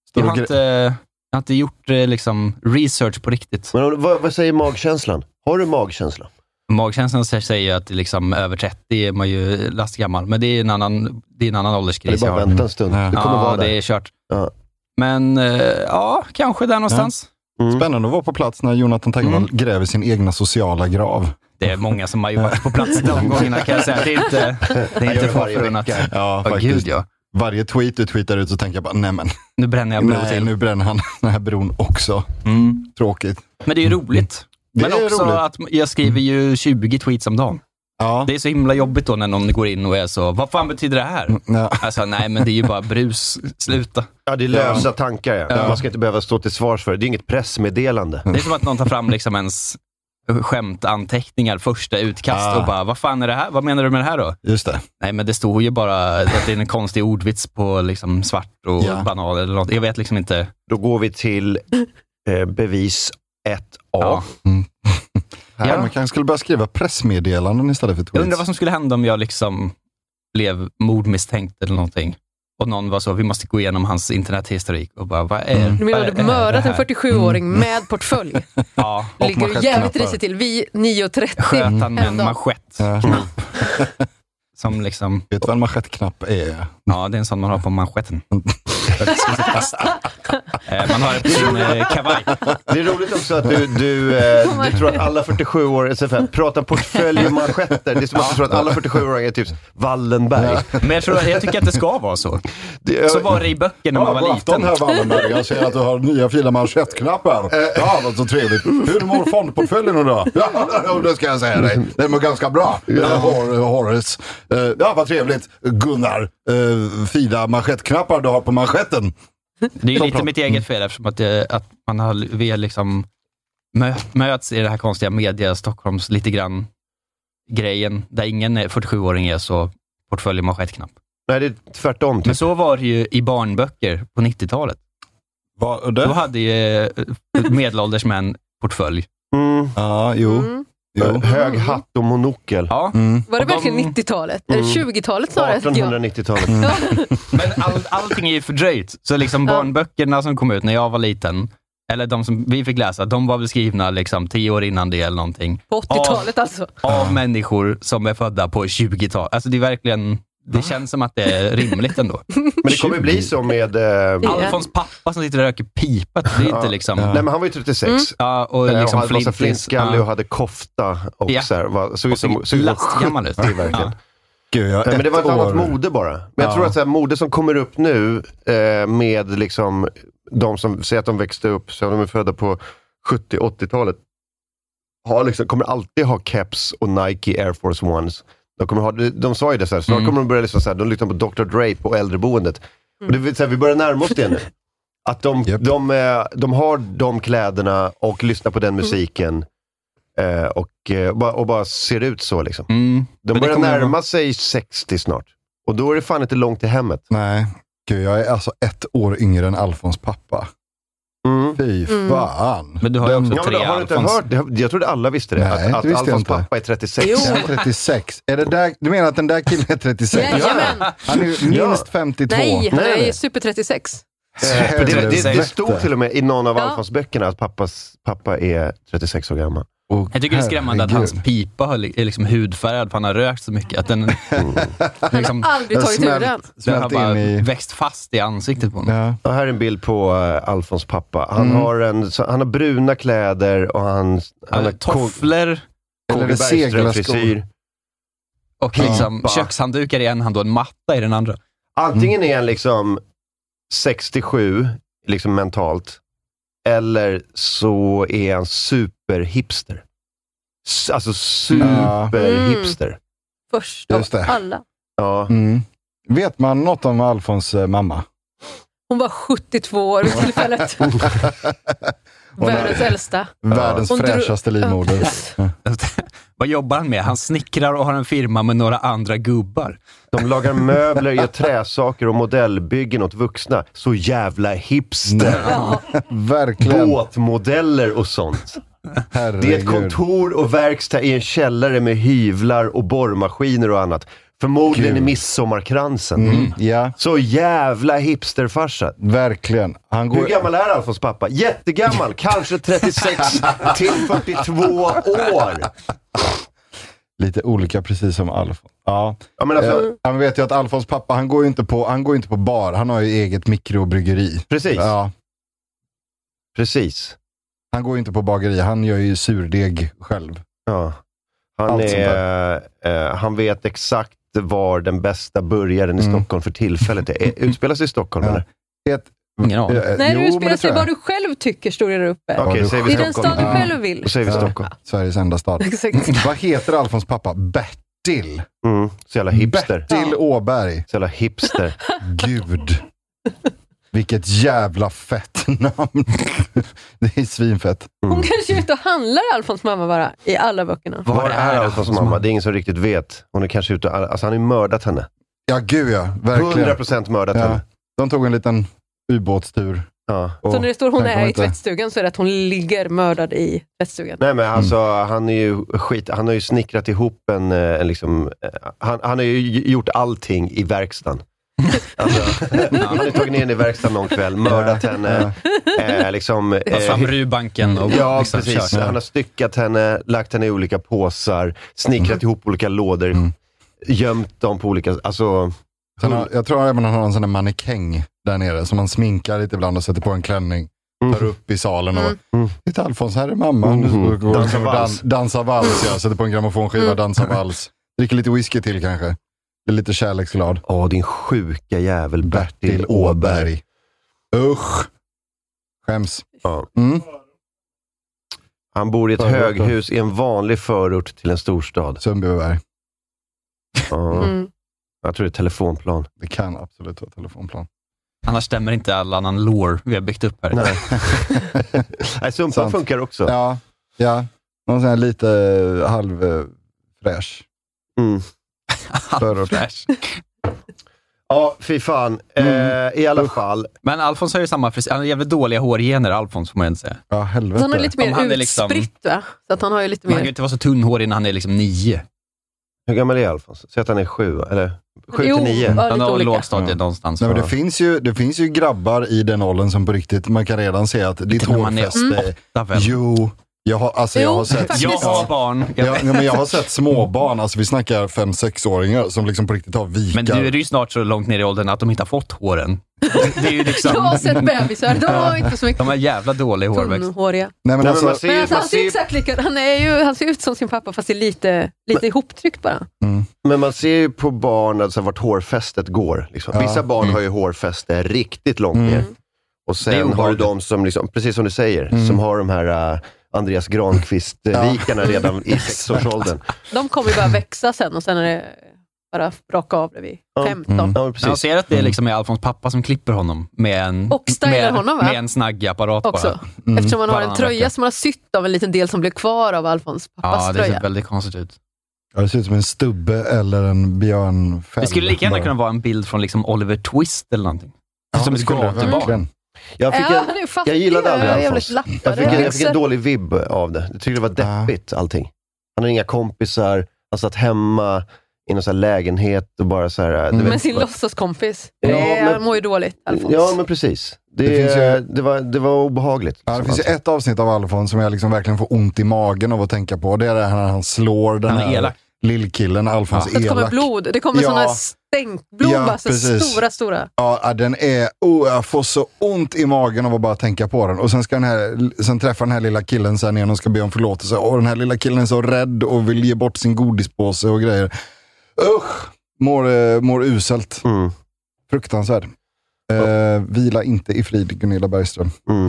[SPEAKER 4] Stor
[SPEAKER 3] Jag har
[SPEAKER 4] gre-
[SPEAKER 3] inte, jag har inte gjort eh, liksom, research på riktigt.
[SPEAKER 1] Men om, vad, vad säger magkänslan? Har du magkänsla?
[SPEAKER 3] Magkänslan sä- säger ju att det är liksom över 30 är man ju lastgammal, men det är en annan, det är en annan
[SPEAKER 1] Eller
[SPEAKER 3] ålderskris jag
[SPEAKER 1] bara
[SPEAKER 3] har.
[SPEAKER 1] vänta en stund?
[SPEAKER 4] Ja.
[SPEAKER 1] Du kommer
[SPEAKER 3] Mm. ja,
[SPEAKER 1] vara där.
[SPEAKER 3] det är kört.
[SPEAKER 1] Ja.
[SPEAKER 3] Men eh, ja, kanske där någonstans.
[SPEAKER 1] Mm.
[SPEAKER 4] Spännande att vara på plats när Jonathan Tengvall
[SPEAKER 3] Mm.
[SPEAKER 4] gräver sin egna sociala grav.
[SPEAKER 3] Det är många som har ju varit på plats de gångerna kan jag säga. Det är inte, det är inte
[SPEAKER 1] Jag gör det varje
[SPEAKER 3] förunnat.
[SPEAKER 1] vecka.
[SPEAKER 4] Ja,
[SPEAKER 3] Ja,
[SPEAKER 4] faktiskt.
[SPEAKER 3] gud ja.
[SPEAKER 4] Varje tweet du tweetar ut så tänker jag bara, nej men,
[SPEAKER 3] Nu bränner jag blod
[SPEAKER 4] nej,
[SPEAKER 3] till.
[SPEAKER 4] nu bränner han den här bron också.
[SPEAKER 3] Mm.
[SPEAKER 4] Tråkigt.
[SPEAKER 3] Men det är ju roligt.
[SPEAKER 4] Det
[SPEAKER 3] Men
[SPEAKER 4] är
[SPEAKER 3] också
[SPEAKER 4] roligt.
[SPEAKER 3] att jag skriver ju 20 tweets om dagen.
[SPEAKER 4] Ja.
[SPEAKER 3] Det är så himla jobbigt då när någon går in och är så, vad fan betyder det här?
[SPEAKER 4] ja.
[SPEAKER 3] Alltså nej, men det är ju bara brus. Sluta.
[SPEAKER 1] Ja, det är lösa tankar ja.
[SPEAKER 3] Ja.
[SPEAKER 1] Man ska inte behöva stå till svars för det. Det är inget pressmeddelande.
[SPEAKER 3] Det är som att någon tar fram liksom ens skämtanteckningar, första utkast
[SPEAKER 4] Ah.
[SPEAKER 3] och bara, vad fan är det här? Vad menar du med det här då?
[SPEAKER 4] Just det.
[SPEAKER 3] Nej, men det står ju bara att det är en konstig ordvits på liksom svart och
[SPEAKER 4] Ja.
[SPEAKER 3] banan eller något. Jag vet liksom inte.
[SPEAKER 1] Då går vi till eh, bevis 1A.
[SPEAKER 3] Ja.
[SPEAKER 1] Här.
[SPEAKER 4] Ja. Man kanske skulle börja skriva pressmeddelanden istället för tweets.
[SPEAKER 3] Jag undrar vad som skulle hända om jag liksom blev mordmisstänkt eller någonting. Och någon var så, vi måste gå igenom hans internethistorik och bara, vad är
[SPEAKER 4] Mm.
[SPEAKER 2] Du menar
[SPEAKER 3] vad
[SPEAKER 2] att du
[SPEAKER 3] är
[SPEAKER 2] mördat
[SPEAKER 3] det
[SPEAKER 2] en
[SPEAKER 3] här?
[SPEAKER 2] 47-åring med portfölj?
[SPEAKER 3] Ja,
[SPEAKER 4] Och
[SPEAKER 2] Ligger du jävligt
[SPEAKER 4] manschettknappar.
[SPEAKER 2] risigt till. Vi 9.30.
[SPEAKER 3] sköt han med en
[SPEAKER 2] Ändå.
[SPEAKER 3] manschett.
[SPEAKER 4] Ja. Mm.
[SPEAKER 3] Som liksom,
[SPEAKER 4] Vet du vad en manschettknapp är?
[SPEAKER 3] ja det är en sån man har på manschetten. För att det ska sitta fast. Eh, Man har det på sin eh, kavaj.
[SPEAKER 1] Det är roligt också att du, du, eh, du tror att alla 47 år SFF pratar portfölj och manschetter. Det är som att du tror att alla 47-åringar är typ Wallenberg.
[SPEAKER 3] Men jag, tror, jag tycker att det ska vara så.
[SPEAKER 1] Det,
[SPEAKER 3] Så var det i böcker när man
[SPEAKER 4] god
[SPEAKER 3] var
[SPEAKER 4] afton
[SPEAKER 3] liten.
[SPEAKER 4] herr Wallenberg. Jag ser att du har nya fina manschettknappar. Ja, vad så trevligt. Hur mår fondportföljen idag? Ja, det ska jag säga dig. Den mår ganska bra. Ja. Hor Horace. Eh, Ja, vad trevligt. Gunnar, eh, fina manschettknappar du har på manschetten.
[SPEAKER 3] Det är ju lite
[SPEAKER 4] prat.
[SPEAKER 3] mitt eget fel eftersom att, jag, att man har, vi har liksom mö, möts i det här konstiga media, Stockholms lite grann grejen, där ingen är- 47-åring är så portfölj och knapp.
[SPEAKER 1] nej, det är tvärtom.
[SPEAKER 3] Men
[SPEAKER 1] Typ.
[SPEAKER 3] så var det ju i barnböcker på 90-talet.
[SPEAKER 4] Vad,
[SPEAKER 3] Då hade ju eh, medelålders män portfölj.
[SPEAKER 1] Mm,
[SPEAKER 4] Ja, jo.
[SPEAKER 2] Mm.
[SPEAKER 3] Eh,
[SPEAKER 4] jo.
[SPEAKER 1] hög hatt och monokel.
[SPEAKER 3] Ja,
[SPEAKER 4] Mm.
[SPEAKER 2] Var det
[SPEAKER 3] Och de-
[SPEAKER 2] verkligen 90-talet?
[SPEAKER 1] Mm.
[SPEAKER 2] Eller 20-talet snarare? Ja.
[SPEAKER 1] 1890-talet.
[SPEAKER 3] men all, allting är ju fördröjt. Så liksom
[SPEAKER 2] Ja.
[SPEAKER 3] barnböckerna som kom ut när jag var liten, eller de som vi fick läsa, de var väl skrivna liksom tio år innan det eller någonting.
[SPEAKER 2] På 80-talet alltså.
[SPEAKER 3] av människor som är födda på 20-talet. Alltså det är verkligen, det känns som att det är rimligt ändå.
[SPEAKER 1] Men det kommer bli så med... Eh,
[SPEAKER 3] Alfons pappa som sitter och röker pipa, det är inte liksom...
[SPEAKER 1] Nej, men han var ju 36.
[SPEAKER 3] Ja, och
[SPEAKER 1] Eh,
[SPEAKER 3] liksom
[SPEAKER 1] och hade massa
[SPEAKER 3] flintis.
[SPEAKER 1] flintskallig och
[SPEAKER 3] Ja.
[SPEAKER 1] hade kofta. Och
[SPEAKER 3] Ja.
[SPEAKER 1] så här, var, såg ut
[SPEAKER 3] Och
[SPEAKER 1] som,
[SPEAKER 3] såg
[SPEAKER 1] såg ut som
[SPEAKER 3] lastgammal ut.
[SPEAKER 1] 70 verkligen.
[SPEAKER 3] Ja.
[SPEAKER 4] Gud, jag har
[SPEAKER 1] Nej, men det var ett
[SPEAKER 4] ett
[SPEAKER 1] annat
[SPEAKER 4] år.
[SPEAKER 1] mode bara. Men jag
[SPEAKER 4] Ja.
[SPEAKER 1] tror att så här, mode som kommer upp nu eh, med liksom de som säger att de växte upp, så de är födda på 70-80-talet, har liksom, kommer alltid ha caps och Nike Air Force Ones. De, kommer ha, de, de sa ju det, så här, snart
[SPEAKER 3] Mm.
[SPEAKER 1] kommer de börja lyssna så här, de lyssnar på Dr. Dre på äldreboendet. Och det, vill säga, vi börjar närma oss det nu. Att de,
[SPEAKER 4] Mm. Japp.
[SPEAKER 1] de, eh, de har de kläderna och lyssnar på
[SPEAKER 4] Mm.
[SPEAKER 1] den musiken. eh, Och, eh, bara- och bara ser ut så liksom.
[SPEAKER 3] Mm.
[SPEAKER 1] De
[SPEAKER 3] Men det
[SPEAKER 1] börjar
[SPEAKER 3] kommer-
[SPEAKER 1] närma sig 60 snart. Och då är det fan inte långt till hemmet.
[SPEAKER 4] Nej, Gud, jag är alltså ett år yngre än Alfons pappa.
[SPEAKER 1] Mm.
[SPEAKER 4] Fy
[SPEAKER 2] Mm.
[SPEAKER 4] fan.
[SPEAKER 3] Men du har ju
[SPEAKER 4] Den-
[SPEAKER 3] också
[SPEAKER 1] Ja, men
[SPEAKER 3] tre
[SPEAKER 1] då, har du inte
[SPEAKER 3] Alfons.
[SPEAKER 1] hört? det? Jag trodde alla visste det.
[SPEAKER 4] Nej, det
[SPEAKER 1] att att
[SPEAKER 4] visste jag
[SPEAKER 1] Alfons
[SPEAKER 4] inte.
[SPEAKER 1] pappa är 36.
[SPEAKER 2] Jo.
[SPEAKER 4] Jag är 36. Är det där, du menar att den där killen är 36?
[SPEAKER 2] Jajamän.
[SPEAKER 4] Han är ju
[SPEAKER 1] Ja.
[SPEAKER 4] minst 52.
[SPEAKER 2] Nej, han
[SPEAKER 1] Nej,
[SPEAKER 2] är
[SPEAKER 1] nej.
[SPEAKER 2] ju super 36.
[SPEAKER 1] Eh, för Det, det, det
[SPEAKER 4] Helvete.
[SPEAKER 1] stod till och med i någon av
[SPEAKER 2] Ja.
[SPEAKER 1] Alfons böckerna att pappas pappa är 36 år gammal.
[SPEAKER 4] Och
[SPEAKER 3] Jag tycker det är skrämmande att hans
[SPEAKER 4] herregud.
[SPEAKER 3] pipa har li- är liksom hudfärgad, för han har rökt så mycket att den, liksom,
[SPEAKER 2] Aldrig
[SPEAKER 4] Den
[SPEAKER 2] tagit ur
[SPEAKER 4] smält-
[SPEAKER 2] den.
[SPEAKER 3] den har
[SPEAKER 4] smält
[SPEAKER 3] bara
[SPEAKER 4] in i...
[SPEAKER 3] växt fast i ansiktet på honom.
[SPEAKER 4] Ja.
[SPEAKER 1] Och här är en bild på eh, Alfons pappa. Han, har en, så, han har bruna kläder och han, han har
[SPEAKER 3] Alltså, tofflor
[SPEAKER 4] Eller är det seglarskor?
[SPEAKER 1] Bergström-frisyr.
[SPEAKER 3] och liksom
[SPEAKER 1] Pipa.
[SPEAKER 3] kökshanddukar i en hand och en matta i den andra.
[SPEAKER 1] Antingen är han liksom 67, liksom mentalt, eller så är han superhipster. S- Alltså superhipster.
[SPEAKER 4] Mm.
[SPEAKER 2] Först av
[SPEAKER 4] Just det.
[SPEAKER 2] alla.
[SPEAKER 1] Ja.
[SPEAKER 4] Mm. Vet man något om Alfons eh, mamma?
[SPEAKER 2] Hon var 72 år vid tillfället.
[SPEAKER 4] Hon är
[SPEAKER 2] Världens äldsta.
[SPEAKER 4] Världens
[SPEAKER 2] Hon drog-
[SPEAKER 4] fräschaste livmoder.
[SPEAKER 3] Alltså, Vad jobbar han med? Han snickrar och har en firma med några andra gubbar.
[SPEAKER 1] De lagar möbler, gör träsaker och modellbyggen åt vuxna. Så jävla hipster.
[SPEAKER 2] Ja.
[SPEAKER 4] Verkligen.
[SPEAKER 1] Båtmodeller och sånt. Det är ett
[SPEAKER 4] Herregud.
[SPEAKER 1] kontor och verkstad i en källare med hyvlar och borrmaskiner och annat. Förmodligen i
[SPEAKER 4] Kul.
[SPEAKER 1] midsommarkransen.
[SPEAKER 4] Mm. Ja,
[SPEAKER 1] Så jävla hipsterfarsa.
[SPEAKER 4] verkligen. Han
[SPEAKER 1] Hur
[SPEAKER 4] går...
[SPEAKER 1] gammal är Alfons pappa? Jättegammal, kanske 36 till 42 år.
[SPEAKER 4] Lite olika precis som Alfons. Ja.
[SPEAKER 1] Ja, men alltså,
[SPEAKER 4] Eh, Han vet ju att Alfons pappa, han går ju inte på, han går ju inte på bar. Han har ju eget mikrobryggeri.
[SPEAKER 1] Precis,
[SPEAKER 4] Ja,
[SPEAKER 1] precis.
[SPEAKER 4] han går ju inte på bageri. Han gör ju surdeg själv.
[SPEAKER 1] Ja. Han,
[SPEAKER 4] Allt sånt
[SPEAKER 1] är, eh, han vet exakt var den bästa burgaren i
[SPEAKER 4] Mm.
[SPEAKER 1] Stockholm för tillfället är. Eh, Utspelar sig i Stockholm
[SPEAKER 4] Ja.
[SPEAKER 1] eller?
[SPEAKER 4] Vet,
[SPEAKER 3] Ingen aning.
[SPEAKER 4] eh,
[SPEAKER 2] Nej,
[SPEAKER 4] jo,
[SPEAKER 2] nu
[SPEAKER 4] men
[SPEAKER 2] utspelar
[SPEAKER 4] det
[SPEAKER 2] sig
[SPEAKER 4] tror jag.
[SPEAKER 2] vad du själv tycker, står det där uppe.
[SPEAKER 1] Okej,
[SPEAKER 4] du-
[SPEAKER 1] säger
[SPEAKER 2] I
[SPEAKER 1] vi
[SPEAKER 2] den
[SPEAKER 1] Stockholm. Mm.
[SPEAKER 2] stad du
[SPEAKER 4] Ja.
[SPEAKER 2] själv vill.
[SPEAKER 1] Då säger vi
[SPEAKER 4] Ja.
[SPEAKER 1] Stockholm.
[SPEAKER 4] Sveriges enda stad.
[SPEAKER 2] Exakt.
[SPEAKER 4] Vad heter Alfons pappa? Bertil.
[SPEAKER 1] Mm. Så jävla hipster.
[SPEAKER 4] Bertil Åberg.
[SPEAKER 1] Så jävla hipster.
[SPEAKER 4] Gud. Vilket jävla fett namn. Det är svinfett.
[SPEAKER 2] Hon kanske är ute och handlar Alfons mamma bara, i alla böckerna.
[SPEAKER 1] Mm. Var är Alfons mamma? Det är ingen som riktigt vet. Hon är kanske ute och, alltså han har ju mördat henne.
[SPEAKER 4] Ja, gud ja. Verkligen.
[SPEAKER 1] 100% mördat
[SPEAKER 4] Ja.
[SPEAKER 1] henne.
[SPEAKER 4] De tog en liten ubåtstur.
[SPEAKER 1] Ja.
[SPEAKER 4] och
[SPEAKER 2] Så när det står hon
[SPEAKER 4] sen kom
[SPEAKER 2] är i
[SPEAKER 4] inte-
[SPEAKER 2] tvättstugan så är det att hon ligger mördad i tvättstugan.
[SPEAKER 1] Nej
[SPEAKER 3] Mm.
[SPEAKER 1] men alltså, han är ju skit. Han har ju snickrat ihop en, eh, en liksom, eh, han, han har ju gjort allting i verkstaden. Alltså, han har ju tagit ner henne i verkstaden någon kväll, mördat henne, eh, liksom...
[SPEAKER 3] Tagit
[SPEAKER 1] Eh,
[SPEAKER 3] fram rubanken och
[SPEAKER 1] Ja,
[SPEAKER 3] liksom
[SPEAKER 1] precis.
[SPEAKER 3] kört.
[SPEAKER 1] Han har styckat henne, lagt henne i olika
[SPEAKER 3] Mm.
[SPEAKER 1] påsar, snickrat ihop olika lådor, gömt dem på olika... Alltså,
[SPEAKER 4] Sen har, jag tror även han har en sån där mannekäng där nere som man sminkar lite ibland och sätter på en klänning. Tar upp i salen och
[SPEAKER 2] Mm.
[SPEAKER 4] mm. Titta Alfons, här är mamma. Nu
[SPEAKER 1] Mm.
[SPEAKER 4] går
[SPEAKER 1] Dansar
[SPEAKER 4] och liksom
[SPEAKER 1] vals.
[SPEAKER 4] Dan, dansar vals, ja. Sätter på en grammofonskiva,
[SPEAKER 2] Mm.
[SPEAKER 4] dansar vals. Dricker lite whisky till kanske. Blir lite kärleksglad.
[SPEAKER 1] Ja, din sjuka jävel Bertil
[SPEAKER 4] Till
[SPEAKER 1] Åberg.
[SPEAKER 4] Åberg. Usch. Skäms.
[SPEAKER 1] Ja.
[SPEAKER 4] Mm.
[SPEAKER 1] Han bor i ett
[SPEAKER 4] Förort,
[SPEAKER 1] höghus i en vanlig förort till en storstad.
[SPEAKER 4] Sundbyberg.
[SPEAKER 1] Ja,
[SPEAKER 2] Mm.
[SPEAKER 1] Jag tror det är telefonplan.
[SPEAKER 4] Det kan absolut vara telefonplan.
[SPEAKER 3] Annars stämmer inte all annan lore vi har byggt upp här.
[SPEAKER 1] Nej, Nej Sumpan
[SPEAKER 4] Sant.
[SPEAKER 1] funkar också.
[SPEAKER 4] ja, ja. Någon sån här lite eh, halv eh, fräsch.
[SPEAKER 1] Mm.
[SPEAKER 4] förort.
[SPEAKER 3] Flash.
[SPEAKER 1] Ja, fy fan. Eh, I alla fall.
[SPEAKER 3] Men Alfons har ju samma frisyr. Han har jävligt dåliga hårgener, Alfons, får man inte säga.
[SPEAKER 4] Ja,
[SPEAKER 2] Så han är
[SPEAKER 4] helvete.
[SPEAKER 2] lite mer
[SPEAKER 3] Om han är liksom-
[SPEAKER 2] utspritt va? Så att han har ju lite
[SPEAKER 3] Man kan ju
[SPEAKER 2] mer...
[SPEAKER 3] inte vara så tunnhårig innan han är liksom nio.
[SPEAKER 1] Hur gammal är Alfons? Säg att han är sju, eller? Sju
[SPEAKER 2] Jo, Mm.
[SPEAKER 1] till nio.
[SPEAKER 2] ja,
[SPEAKER 3] Han
[SPEAKER 2] lite
[SPEAKER 3] har
[SPEAKER 2] olika.
[SPEAKER 3] lågstadiet
[SPEAKER 4] Ja.
[SPEAKER 3] någonstans.
[SPEAKER 4] Nej, men det,
[SPEAKER 1] Ja.
[SPEAKER 4] finns ju, det finns ju grabbar i den åldern som på riktigt, man kan redan se att ditt
[SPEAKER 3] Till och med man är
[SPEAKER 4] hårfäste...
[SPEAKER 3] Där väl.
[SPEAKER 4] Jo, jag har, alltså, jag
[SPEAKER 2] Jo,
[SPEAKER 4] har sett...
[SPEAKER 2] faktiskt.
[SPEAKER 3] Jag har barn. Jag
[SPEAKER 4] Jag,
[SPEAKER 3] vet.
[SPEAKER 4] nej, men jag har sett småbarn, alltså vi snackar fem sexåringar som liksom på riktigt har vikar.
[SPEAKER 3] Men du är ju snart så långt ner i åldern att de inte har fått håren. Det är ju liksom,
[SPEAKER 2] Jag har sett bebisar, de har inte så mycket
[SPEAKER 3] de har jävla dålig hårväxt.
[SPEAKER 2] tonhåriga.
[SPEAKER 4] Nej, men
[SPEAKER 1] Nej, men
[SPEAKER 4] alltså,
[SPEAKER 1] man ser,
[SPEAKER 2] Men alltså,
[SPEAKER 1] man
[SPEAKER 2] han ser ju
[SPEAKER 1] ser,
[SPEAKER 2] exakt likadan han, är ju, han ser ut som sin pappa fast det är lite, lite ihoptryckt bara.
[SPEAKER 1] men man ser ju på barn alltså, vart hårfästet går. Liksom.
[SPEAKER 4] Ja.
[SPEAKER 1] Vissa barn
[SPEAKER 4] Mm.
[SPEAKER 1] har ju hårfäste riktigt långt
[SPEAKER 4] Mm.
[SPEAKER 1] ner. Och
[SPEAKER 3] Det är
[SPEAKER 1] sen har du
[SPEAKER 3] obehagligt.
[SPEAKER 1] de som, liksom, precis som du säger,
[SPEAKER 4] Mm.
[SPEAKER 1] som har de här äh, Andreas Granqvist-vikarna redan i sexårsåldern.
[SPEAKER 2] De kommer ju bara
[SPEAKER 1] Mm.
[SPEAKER 2] växa sen och sen är det bara raka av det vid
[SPEAKER 1] Ja.
[SPEAKER 2] 15.
[SPEAKER 4] Mm.
[SPEAKER 1] Ja, men
[SPEAKER 3] Men jag
[SPEAKER 1] precis.
[SPEAKER 3] ser att det är liksom är Alfons pappa som klipper honom med en,
[SPEAKER 2] Och stylar
[SPEAKER 3] med,
[SPEAKER 2] honom, va?
[SPEAKER 3] med en snaggapparat
[SPEAKER 2] Också.
[SPEAKER 3] bara.
[SPEAKER 4] mm.
[SPEAKER 2] Eftersom man har en
[SPEAKER 3] Varannan
[SPEAKER 2] tröja
[SPEAKER 3] vecka.
[SPEAKER 2] som man har sytt av en liten del som blev kvar av Alfons pappas
[SPEAKER 3] Ja, det
[SPEAKER 2] tröja.
[SPEAKER 3] ser väldigt konstigt ut.
[SPEAKER 4] Ja, det ser ut som en stubbe eller en björnfäll.
[SPEAKER 3] Det skulle lika gärna
[SPEAKER 4] Bara.
[SPEAKER 3] kunna vara en bild från liksom Oliver Twist eller någonting. Alltså,
[SPEAKER 4] Ja,
[SPEAKER 3] som
[SPEAKER 4] det
[SPEAKER 3] ett
[SPEAKER 4] skulle det
[SPEAKER 3] gatubarn.
[SPEAKER 4] verkligen.
[SPEAKER 1] Jag fick en,
[SPEAKER 2] ja, det är fattiga,
[SPEAKER 1] jag gillade aldrig
[SPEAKER 2] jävligt
[SPEAKER 1] Alfons.
[SPEAKER 2] lappade
[SPEAKER 1] Jag fick, en, jag fick
[SPEAKER 2] växer.
[SPEAKER 1] en dålig vibb av det. Jag tyckte det var deppigt allting. Han har inga kompisar, han satt hemma i någon sån här lägenhet och bara så här... du
[SPEAKER 4] Mm.
[SPEAKER 1] vet,
[SPEAKER 2] Med sin
[SPEAKER 1] bara-
[SPEAKER 2] låtsaskompis.
[SPEAKER 1] Ja,
[SPEAKER 2] Det är-
[SPEAKER 1] men-
[SPEAKER 2] Han mår ju dåligt, Alfons.
[SPEAKER 1] Ja, men precis. Det,
[SPEAKER 4] Det finns ju-
[SPEAKER 1] det, var, det var obehagligt.
[SPEAKER 4] Ja, det
[SPEAKER 1] liksom,
[SPEAKER 4] finns ju
[SPEAKER 1] allting.
[SPEAKER 4] ett avsnitt av Alfons som jag liksom verkligen får ont i magen av att tänka på. Det är det här när han slår den
[SPEAKER 3] Han är
[SPEAKER 4] här
[SPEAKER 3] elak.
[SPEAKER 4] lillkillen, Alfons
[SPEAKER 2] Så att det kommer
[SPEAKER 4] elak.
[SPEAKER 2] blod. Det kommer
[SPEAKER 4] Ja.
[SPEAKER 2] sådana stänkblod,
[SPEAKER 4] Ja,
[SPEAKER 2] bara så
[SPEAKER 4] precis.
[SPEAKER 2] stora, stora.
[SPEAKER 4] Ja, ja, den är, oh, jag får så ont i magen av att bara tänka på den. Och sen, ska den här, sen träffar den här lilla killen sen igen och ska be om förlåtelse. Och den här lilla killen är så rädd och vill ge bort sin godispåse och grejer. Usch! Mår, eh, mår uselt.
[SPEAKER 1] Mm,
[SPEAKER 4] Fruktansvärd. Eh, vila inte i frid, Gunilla Bergström.
[SPEAKER 1] mm.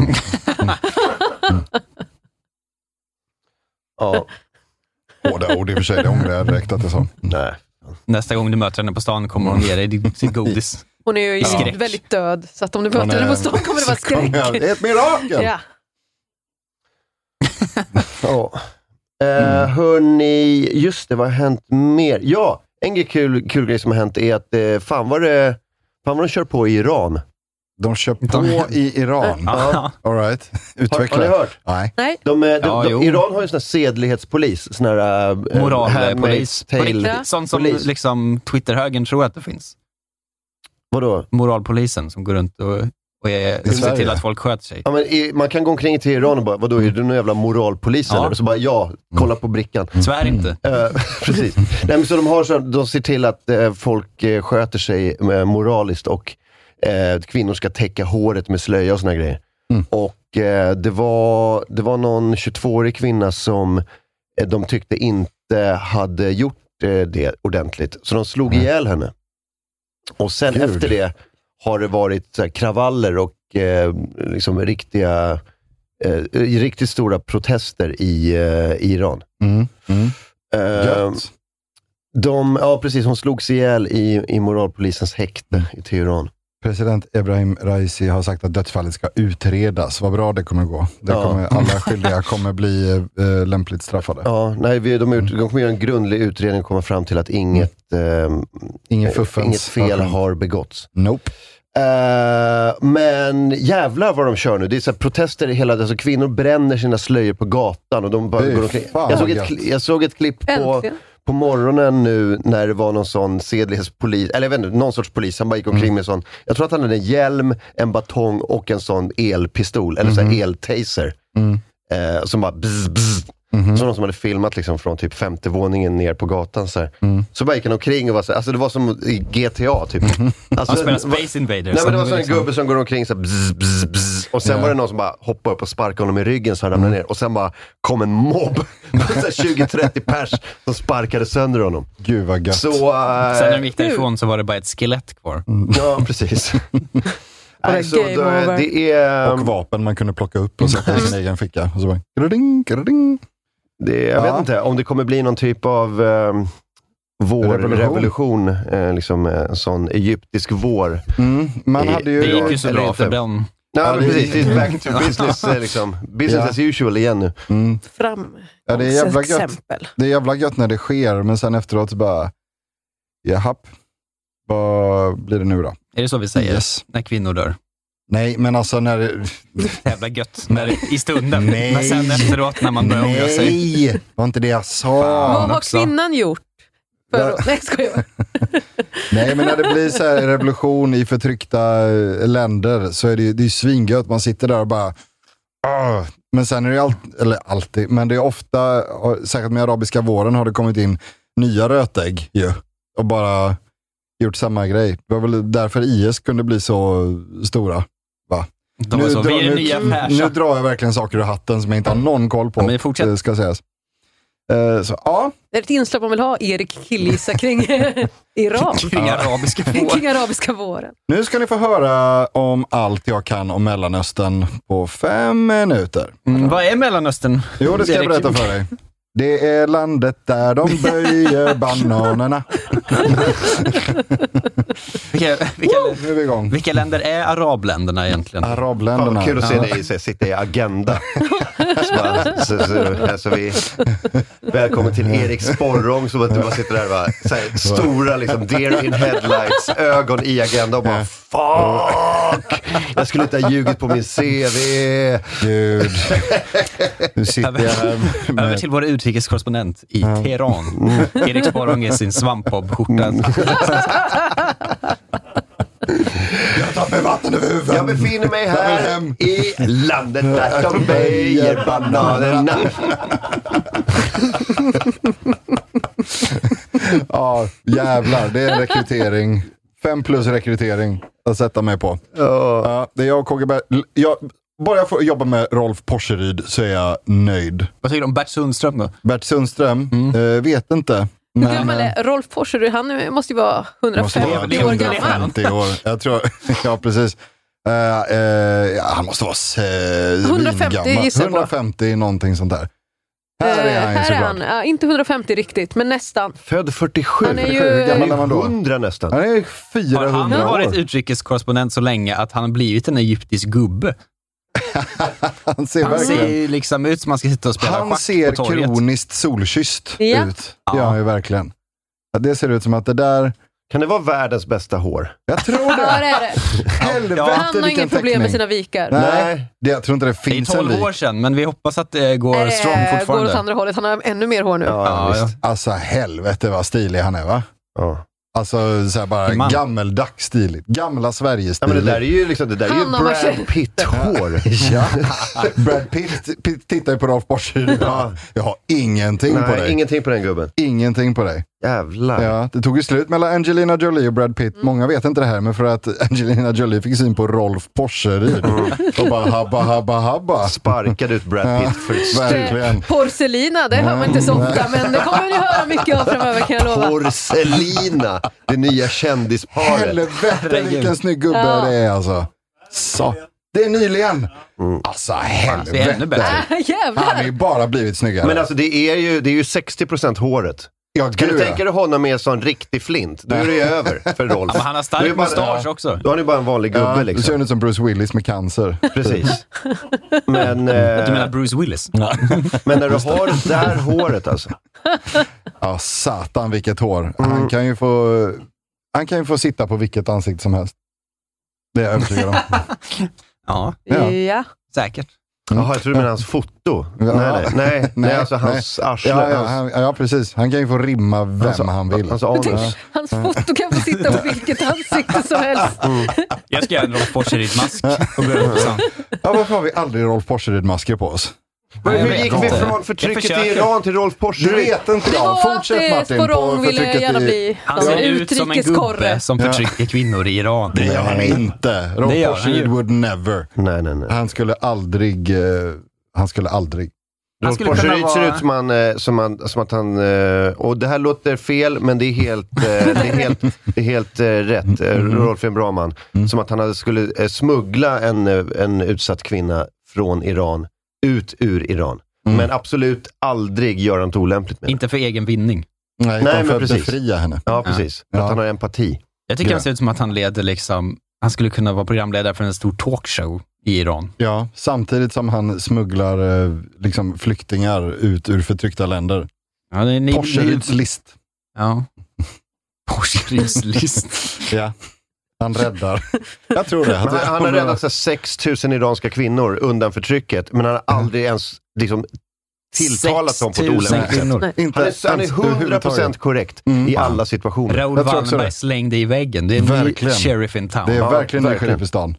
[SPEAKER 4] Mm.
[SPEAKER 1] Ja,
[SPEAKER 4] Hårda ord i och för sig, det ångrar jag direkt att jag sa.
[SPEAKER 1] nej.
[SPEAKER 3] Nästa gång du möter henne på stan kommer hon ge dig ditt- sitt godis.
[SPEAKER 2] Hon är ju
[SPEAKER 3] Ja. Skräck.
[SPEAKER 2] väldigt död, så att om du
[SPEAKER 4] Ja,
[SPEAKER 2] möter
[SPEAKER 4] nej.
[SPEAKER 2] henne på stan kommer det vara
[SPEAKER 4] eh, Så kommer jag-
[SPEAKER 2] skräck.
[SPEAKER 4] Det är ett mirakel!
[SPEAKER 2] Ja.
[SPEAKER 1] Ja.
[SPEAKER 4] Mm.
[SPEAKER 1] Eh, hörni, just det, vad har hänt mer? Ja, en kul, kul grej som har hänt är att eh, fan vad det... Fan vad de kör på i Iran.
[SPEAKER 4] De kör på
[SPEAKER 3] De-
[SPEAKER 4] i Iran.
[SPEAKER 3] Ja.
[SPEAKER 4] All right.
[SPEAKER 1] Har,
[SPEAKER 4] Utveckla.
[SPEAKER 1] har ni hört?
[SPEAKER 4] Nej.
[SPEAKER 1] De, eh, de,
[SPEAKER 3] Ja,
[SPEAKER 1] de,
[SPEAKER 3] jo.
[SPEAKER 1] Iran har ju sån här sedlighetspolis. Sån här... eh,
[SPEAKER 3] Moralpolis.
[SPEAKER 1] Handmaid's
[SPEAKER 3] På
[SPEAKER 1] Tale.
[SPEAKER 3] riktigt, Sånt som
[SPEAKER 1] Polis.
[SPEAKER 3] liksom Twitterhögern tror att det finns.
[SPEAKER 1] Vadå?
[SPEAKER 3] Moralpolisen som går runt och, och är, ser
[SPEAKER 4] Sverige.
[SPEAKER 3] till att folk sköter sig.
[SPEAKER 1] Ja, men i, man kan gå omkring till Iran och bara, vadå, är du någon jävla moralpolis
[SPEAKER 3] Ja.
[SPEAKER 1] eller? Och så bara, ja, kolla på brickan.
[SPEAKER 3] Svär inte.
[SPEAKER 1] Eh, precis. Nej, men så de, har så, de ser till att eh, folk eh, sköter sig eh, moraliskt och eh, kvinnor ska täcka håret med slöja och såna grejer.
[SPEAKER 4] Mm.
[SPEAKER 1] Och eh, det, var, det var någon 22-årig kvinna som eh, de tyckte inte hade gjort eh, det ordentligt. Så de slog ihjäl henne. Och sen
[SPEAKER 4] Mm. Gud.
[SPEAKER 1] efter det har det varit så här, kravaller och eh, liksom riktiga, eh, riktigt stora protester i, eh, i Iran.
[SPEAKER 4] Mm. Mm.
[SPEAKER 1] Eh,
[SPEAKER 4] Gött.
[SPEAKER 1] de, ja, precis. Hon slogs ihjäl i, i moralpolisens häkte i Teheran.
[SPEAKER 4] President Ebrahim Raisi har sagt att dödsfallet ska utredas. Vad bra det kommer gå. Det
[SPEAKER 1] Ja.
[SPEAKER 4] kommer, alla skyldiga kommer bli eh, lämpligt straffade.
[SPEAKER 1] Ja, nej, vi, de, ut, de kommer göra en grundlig utredning och komma fram till att inget, ehm,
[SPEAKER 4] Mm. Inget fuffens.
[SPEAKER 1] inget fel
[SPEAKER 4] Okej.
[SPEAKER 1] har begåtts.
[SPEAKER 4] Nope.
[SPEAKER 1] Eh, men jävlar vad de kör nu. Det är så här protester i hela... Alltså, kvinnor bränner sina slöjor på gatan och de bara
[SPEAKER 4] Fy
[SPEAKER 1] går omkring.
[SPEAKER 4] fan, alltså.
[SPEAKER 1] Jag såg, ett,
[SPEAKER 4] gött.
[SPEAKER 1] kli- jag såg ett klipp på...
[SPEAKER 2] Äntligen.
[SPEAKER 1] på morgonen nu när det var någon sån sedlighetspolis, eller jag vet inte, någon sorts polis. Han bara gick
[SPEAKER 4] Mm.
[SPEAKER 1] omkring med sån, jag tror att han hade en hjälm, en batong
[SPEAKER 4] Mm-hmm. Mm.
[SPEAKER 1] och en sån elpistol, eller sån här eltaser. Eh, som bara bzz, bzz.
[SPEAKER 4] Mhm.
[SPEAKER 1] Så någon som hade filmat liksom från typ femte våningen ner på gatan. Så, här.
[SPEAKER 4] Mm.
[SPEAKER 1] så bara gick han omkring och var så här, alltså det var som i GTA typ.
[SPEAKER 4] Mm-hmm.
[SPEAKER 1] Alltså,
[SPEAKER 3] Han spelar
[SPEAKER 1] va-
[SPEAKER 3] Space Invaders.
[SPEAKER 1] Nej, men det var
[SPEAKER 3] Han
[SPEAKER 1] så en
[SPEAKER 3] liksom-
[SPEAKER 1] gubbe som går omkring så här, bzz, bzz, bzz, och sen
[SPEAKER 4] Ja. Mm.
[SPEAKER 1] var det någon som bara hoppade upp och sparkade honom i ryggen så han ramlade ner. Och sen bara kom en mobb, Så här 20-30 pers, som sparkade sönder honom.
[SPEAKER 4] Gud vad gött.
[SPEAKER 1] Så, eh,
[SPEAKER 3] Sen när de gick därifrån så var det bara ett skelett kvar.
[SPEAKER 4] Mm.
[SPEAKER 1] ja precis. Nej, så,
[SPEAKER 2] game
[SPEAKER 1] då,
[SPEAKER 2] over.
[SPEAKER 1] det är... ehm,
[SPEAKER 4] Och vapen man kunde plocka upp och sätta i
[SPEAKER 1] Mm.
[SPEAKER 4] sin egen ficka. Och så bara, grading, grading.
[SPEAKER 1] Det, jag
[SPEAKER 4] Ja.
[SPEAKER 1] vet inte om det kommer bli någon typ av eh, vårrevolution.
[SPEAKER 4] Revolution.
[SPEAKER 1] Revolution, eh, liksom, eh, en sån egyptisk vår.
[SPEAKER 4] Mm, man
[SPEAKER 1] Det-
[SPEAKER 4] hade
[SPEAKER 3] Det
[SPEAKER 4] ju...
[SPEAKER 3] gick ju så
[SPEAKER 1] eller
[SPEAKER 3] bra
[SPEAKER 1] inte.
[SPEAKER 3] för den.
[SPEAKER 1] Nej,
[SPEAKER 4] Ja,
[SPEAKER 1] men
[SPEAKER 4] det-
[SPEAKER 1] precis. Det är back to business. eh, Liksom. Business
[SPEAKER 4] Ja.
[SPEAKER 1] as usual igen nu.
[SPEAKER 4] Mm,
[SPEAKER 2] Fram.
[SPEAKER 4] Ja, det är jävla gött.
[SPEAKER 2] exempel.
[SPEAKER 4] det är jävla gött när det sker, men sen efteråt så bara, jahapp, vad blir det nu då?
[SPEAKER 3] Är det så vi säger?
[SPEAKER 4] Yes.
[SPEAKER 3] När kvinnor dör.
[SPEAKER 4] Nej, men alltså när det...
[SPEAKER 3] Jävla gött när, i stunden.
[SPEAKER 4] Nej.
[SPEAKER 3] Men sen efteråt när man börjar ångra sig.
[SPEAKER 4] Nej, det var inte det jag sa.
[SPEAKER 3] Fan.
[SPEAKER 2] Vad har
[SPEAKER 3] också.
[SPEAKER 2] kvinnan gjort? För
[SPEAKER 4] Ja.
[SPEAKER 2] att, nej, jag skojar.
[SPEAKER 4] Nej, men när det blir så här revolution i förtryckta eh, länder så är det ju det är ju svingött. Man sitter där och bara... "Ah." Men sen är det ju allt, eller alltid, men det är ofta, och särskilt med arabiska våren, har det kommit in nya rötägg ju. Och bara gjort samma grej. Det var väl därför IS kunde bli så stora.
[SPEAKER 3] De var så,
[SPEAKER 4] drar-
[SPEAKER 3] vi är den nya
[SPEAKER 4] nu
[SPEAKER 3] Persson.
[SPEAKER 4] drar jag verkligen saker ur hatten som jag inte har någon koll på.
[SPEAKER 3] Ja, men fortsätt.
[SPEAKER 4] eh, Ska sägas. Eh, Så, ja,
[SPEAKER 2] Det är ett inslag man vill ha, Erik killgissa kring Iran.
[SPEAKER 3] Kring arabiska vår.
[SPEAKER 2] Kring arabiska våren.
[SPEAKER 4] Nu ska ni få höra om allt jag kan om Mellanöstern på fem minuter.
[SPEAKER 3] Mm, vad är Mellanöstern?
[SPEAKER 4] Jo, det ska jag
[SPEAKER 3] Direkt-
[SPEAKER 4] berätta för dig. Det är landet där de böjer bananerna.
[SPEAKER 3] Vilka, vilka,
[SPEAKER 4] Nu är vi igång.
[SPEAKER 3] vilka länder är arabländerna egentligen?
[SPEAKER 4] Ah,
[SPEAKER 1] Fan,
[SPEAKER 4] Arabländerna.
[SPEAKER 1] vad kul att se
[SPEAKER 3] Ja.
[SPEAKER 1] dig så här, sitta i Agenda. så bara, så, så, alltså, vi, välkommen till Erik Sporrong som att du bara sitter där och bara, så här, stora liksom, deer in headlights, ögon i Agenda och bara fuck! Jag skulle inte ha ljugit på min CV.
[SPEAKER 4] Gud. Nu sitter jag här med-
[SPEAKER 3] Över till vår utrikeskorrespondent i Teheran. Erik Sparrong i sin svampbob-skjorta.
[SPEAKER 4] Mm. Jag tappar vatten över huvudet.
[SPEAKER 1] Jag befinner mig
[SPEAKER 4] Jag vill hem.
[SPEAKER 1] här i landet där de böjer bananerna.
[SPEAKER 4] Ja, jävlar. Det är en rekrytering. Fem plus rekrytering att sätta mig på. Ja, det är jag och KG Ber- L- jag, Bara jag får jobba med Rolf Porseryd så är jag nöjd.
[SPEAKER 3] Vad tycker du om Bert Sundström då?
[SPEAKER 4] Bert Sundström,
[SPEAKER 3] Mm.
[SPEAKER 4] eh, vet inte.
[SPEAKER 2] Hur
[SPEAKER 4] Men,
[SPEAKER 2] gammal är Rolf Porserud? Han är- måste ju vara 150
[SPEAKER 3] vara- det är
[SPEAKER 2] år
[SPEAKER 3] hundra-
[SPEAKER 2] gammal.
[SPEAKER 4] 150 år. Jag tror, ja, precis. Eh, eh, ja, han måste vara eh,
[SPEAKER 2] 150
[SPEAKER 4] vingammal.
[SPEAKER 2] gissar jag på.
[SPEAKER 4] 150, någonting sånt där. Här är
[SPEAKER 2] Eh,
[SPEAKER 4] han ju
[SPEAKER 2] här är
[SPEAKER 4] såklart.
[SPEAKER 2] han. Ja, inte 150 riktigt, men nästan.
[SPEAKER 1] Född 47.
[SPEAKER 2] Han är ju-
[SPEAKER 1] Hur gammal
[SPEAKER 4] är man då?
[SPEAKER 1] 100 nästan.
[SPEAKER 4] Han är
[SPEAKER 3] Har
[SPEAKER 4] 400
[SPEAKER 3] han varit
[SPEAKER 4] år.
[SPEAKER 3] utrikeskorrespondent så länge att han har blivit en egyptisk gubbe?
[SPEAKER 4] Han ser,
[SPEAKER 3] Han
[SPEAKER 4] verkligen-
[SPEAKER 3] ser ju liksom ut som man ska sitta och spela
[SPEAKER 4] Han
[SPEAKER 3] schack
[SPEAKER 4] ser
[SPEAKER 3] på torget.
[SPEAKER 4] kroniskt solkysst
[SPEAKER 2] Ja.
[SPEAKER 4] ut. Det gör han ju verkligen. Ja, Det ser ut som att det där...
[SPEAKER 1] Kan det vara världens bästa hår?
[SPEAKER 4] Jag tror
[SPEAKER 2] Ja, det
[SPEAKER 4] det.
[SPEAKER 2] är det.
[SPEAKER 4] Helvete
[SPEAKER 3] Ja.
[SPEAKER 2] Han har
[SPEAKER 4] vilken
[SPEAKER 2] inget problem
[SPEAKER 4] teckning.
[SPEAKER 2] med sina vikar.
[SPEAKER 4] Nej, det, jag tror inte det
[SPEAKER 3] Det är
[SPEAKER 4] finns en
[SPEAKER 3] 12
[SPEAKER 4] lik.
[SPEAKER 3] år sedan, men vi hoppas att det går
[SPEAKER 2] Eh,
[SPEAKER 3] strong
[SPEAKER 2] går
[SPEAKER 3] fortfarande.
[SPEAKER 2] åt andra hållet. Han har ännu mer hår nu.
[SPEAKER 3] Ja, ja.
[SPEAKER 4] Alltså helvete vad stilig han är va?
[SPEAKER 1] Ja.
[SPEAKER 4] Alltså så här bara
[SPEAKER 3] Man.
[SPEAKER 4] gammeldags stilig. Gamla
[SPEAKER 1] Ja, men det
[SPEAKER 4] Sverige-stilig.
[SPEAKER 1] där är ju, liksom, det där är ju
[SPEAKER 2] Han har varit-
[SPEAKER 1] Brad Pitt-hår.
[SPEAKER 4] Ja. Brad Pitt, Pitt tittar ju på Rolf Borseryd ja. Jag har ingenting på
[SPEAKER 1] Nej,
[SPEAKER 4] dig.
[SPEAKER 1] ingenting på den gubben.
[SPEAKER 4] Ingenting på dig.
[SPEAKER 1] Jävlar.
[SPEAKER 4] Ja, det tog ju slut mellan Angelina Jolie och Brad
[SPEAKER 1] Mm.
[SPEAKER 4] Pitt. Många vet inte det här, men för att Angelina Jolie fick syn på Rolf Porseryd
[SPEAKER 1] Mm.
[SPEAKER 4] och bara habba, habba, habba.
[SPEAKER 1] Sparkade ut Brad Pitt för
[SPEAKER 4] Verkligen.
[SPEAKER 2] Porcelina, det hör man inte
[SPEAKER 4] Mm.
[SPEAKER 2] så ofta, men det kommer ni höra mycket av framöver kan jag lova.
[SPEAKER 1] Porcelina, det nya kändisparet.
[SPEAKER 4] Helvete vilken snygg gubbe
[SPEAKER 2] Ja.
[SPEAKER 4] det är alltså. Så. Det är nyligen.
[SPEAKER 1] Mm.
[SPEAKER 4] Alltså
[SPEAKER 3] Det är ännu
[SPEAKER 4] helvete.
[SPEAKER 3] bättre.
[SPEAKER 2] Ah,
[SPEAKER 4] Han har
[SPEAKER 2] jävlar!
[SPEAKER 4] ju bara blivit snyggare.
[SPEAKER 1] Men alltså det är ju, det är ju 60% håret.
[SPEAKER 4] ja,
[SPEAKER 1] Kan
[SPEAKER 4] gud,
[SPEAKER 1] du tänka dig honom med en sån riktig flint? Då är det ju över för Rolf.
[SPEAKER 3] Men han har
[SPEAKER 1] Då är
[SPEAKER 3] stark
[SPEAKER 1] bara-
[SPEAKER 3] mustasch också.
[SPEAKER 1] Då har ni bara en vanlig
[SPEAKER 4] ja.
[SPEAKER 1] gubbe
[SPEAKER 4] Ja, Du ser
[SPEAKER 1] liksom.
[SPEAKER 4] ut som Bruce Willis med cancer.
[SPEAKER 1] Precis. Men, eh,
[SPEAKER 3] Du menar Bruce Willis?
[SPEAKER 1] men när du har det där håret alltså.
[SPEAKER 4] Ja, satan vilket hår. Han, kan ju få, han kan ju få sitta på vilket ansikte som helst. Det är jag övertygad om.
[SPEAKER 3] Ja,
[SPEAKER 4] Ja.
[SPEAKER 2] Ja.
[SPEAKER 3] säkert.
[SPEAKER 4] Mm.
[SPEAKER 1] Jaha, jag trodde du menade hans foto. Nej, nej, nej, nej alltså hans arsle.
[SPEAKER 4] ja, ja,
[SPEAKER 1] hans-
[SPEAKER 4] han, ja, precis. Han kan ju få rimma vem han vill.
[SPEAKER 1] Hans anus.
[SPEAKER 2] Hans foto kan få sitta på vilket ansikte som helst.
[SPEAKER 3] Jag ska göra en Rolf Porseryd-mask och gå runt och så.
[SPEAKER 4] Ja, varför har vi aldrig Rolf Porseryd-masker på oss?
[SPEAKER 1] Men hur
[SPEAKER 3] jag
[SPEAKER 1] gick
[SPEAKER 3] vet
[SPEAKER 1] vi
[SPEAKER 3] inte.
[SPEAKER 1] från
[SPEAKER 3] Jag
[SPEAKER 1] förtrycket i
[SPEAKER 3] försöker.
[SPEAKER 1] Iran till Rolf Porsche?
[SPEAKER 5] Du vet inte
[SPEAKER 2] Det
[SPEAKER 5] jag.
[SPEAKER 2] var
[SPEAKER 5] Fortsätt
[SPEAKER 2] att eh,
[SPEAKER 5] Martin på
[SPEAKER 2] Sporrong ville
[SPEAKER 5] förtrycket
[SPEAKER 2] gärna
[SPEAKER 5] i...
[SPEAKER 2] bli
[SPEAKER 3] Han ser ut som en gubbe
[SPEAKER 2] utrikeskorre.
[SPEAKER 3] som förtrycker kvinnor i Iran.
[SPEAKER 4] Det gör han inte. Rolf
[SPEAKER 3] Det gör han
[SPEAKER 4] Porseryd
[SPEAKER 3] ju.
[SPEAKER 4] would never.
[SPEAKER 1] Nej, nej, nej.
[SPEAKER 4] Han skulle aldrig, eh, han skulle aldrig.
[SPEAKER 3] Han
[SPEAKER 1] Rolf
[SPEAKER 3] skulle kunna
[SPEAKER 1] Porseryd ser
[SPEAKER 3] vara-
[SPEAKER 1] ut som, han, eh, som, han, som att han... eh, Och det här låter fel, men det är helt, eh, det är helt, det är helt eh, rätt. Eh, Rolf är en bra man. Som att han hade- skulle eh, smuggla en, eh, en utsatt kvinna från Iran, ut ur Iran.
[SPEAKER 4] Mm.
[SPEAKER 1] Men absolut aldrig göra något olämpligt med henne.
[SPEAKER 3] Inte för egen vinning.
[SPEAKER 4] Nej, utan
[SPEAKER 1] men
[SPEAKER 4] för att
[SPEAKER 1] precis.
[SPEAKER 4] befria henne.
[SPEAKER 1] Ja, precis. För
[SPEAKER 4] Ja.
[SPEAKER 1] att han har empati.
[SPEAKER 3] Jag tycker
[SPEAKER 4] Ja.
[SPEAKER 3] han ser ut som att han leder liksom, han skulle kunna vara programledare för en stor talkshow i Iran.
[SPEAKER 4] Ja, samtidigt som han smugglar eh, liksom, flyktingar ut ur förtryckta länder.
[SPEAKER 3] Ja, det är ni,
[SPEAKER 4] Porseryds list.
[SPEAKER 3] Ja. Porscheryds list.
[SPEAKER 4] Ja. Han räddar. Jag tror det.
[SPEAKER 1] Men han, han har räddat så här 6 000 iranska kvinnor undan förtrycket, men han har aldrig ens liksom, tilltalat dem på ett
[SPEAKER 3] 6 000
[SPEAKER 1] olämpligt sätt.
[SPEAKER 3] kvinnor.
[SPEAKER 4] Inte
[SPEAKER 1] Han är, han är
[SPEAKER 4] ens överhuvudtaget.
[SPEAKER 1] 100% korrekt
[SPEAKER 4] Mm.
[SPEAKER 1] i alla situationer.
[SPEAKER 3] Raoul
[SPEAKER 4] Jag tror också
[SPEAKER 3] Wallenberg
[SPEAKER 4] det.
[SPEAKER 3] slängde i väggen. Det är en ny
[SPEAKER 4] Verkligen.
[SPEAKER 3] sheriff in town.
[SPEAKER 4] Det är
[SPEAKER 1] Ja,
[SPEAKER 4] verkligen en
[SPEAKER 1] verkligen.
[SPEAKER 4] sheriff i stan.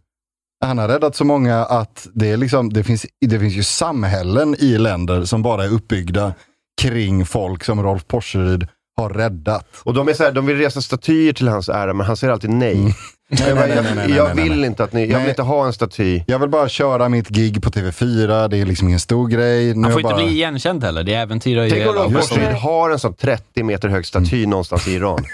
[SPEAKER 4] Han har räddat så många att det, är liksom, det, finns, det finns ju samhällen i länder som bara är uppbyggda kring folk som Rolf Porseryd har räddat.
[SPEAKER 1] Och de, är så här, de vill resa statyer till hans ära, men han säger alltid nej.
[SPEAKER 4] Nej,
[SPEAKER 1] Jag,
[SPEAKER 4] Mm. nej,
[SPEAKER 1] bara,
[SPEAKER 4] nej, nej, nej,
[SPEAKER 1] jag, jag
[SPEAKER 4] nej, nej.
[SPEAKER 1] vill inte att ni, jag vill
[SPEAKER 4] Nej.
[SPEAKER 1] inte ha en staty.
[SPEAKER 4] Jag vill bara köra mitt gig på TV4, det är liksom ingen stor grej. Nu
[SPEAKER 3] Han får
[SPEAKER 4] har
[SPEAKER 3] inte
[SPEAKER 4] bara...
[SPEAKER 3] bli igenkänd heller. Det äventyrar ju
[SPEAKER 1] Tänk om
[SPEAKER 3] hela...
[SPEAKER 1] Rolf
[SPEAKER 4] just det. Mm.
[SPEAKER 1] Forsryd har en sån 30 meter hög staty någonstans i Iran.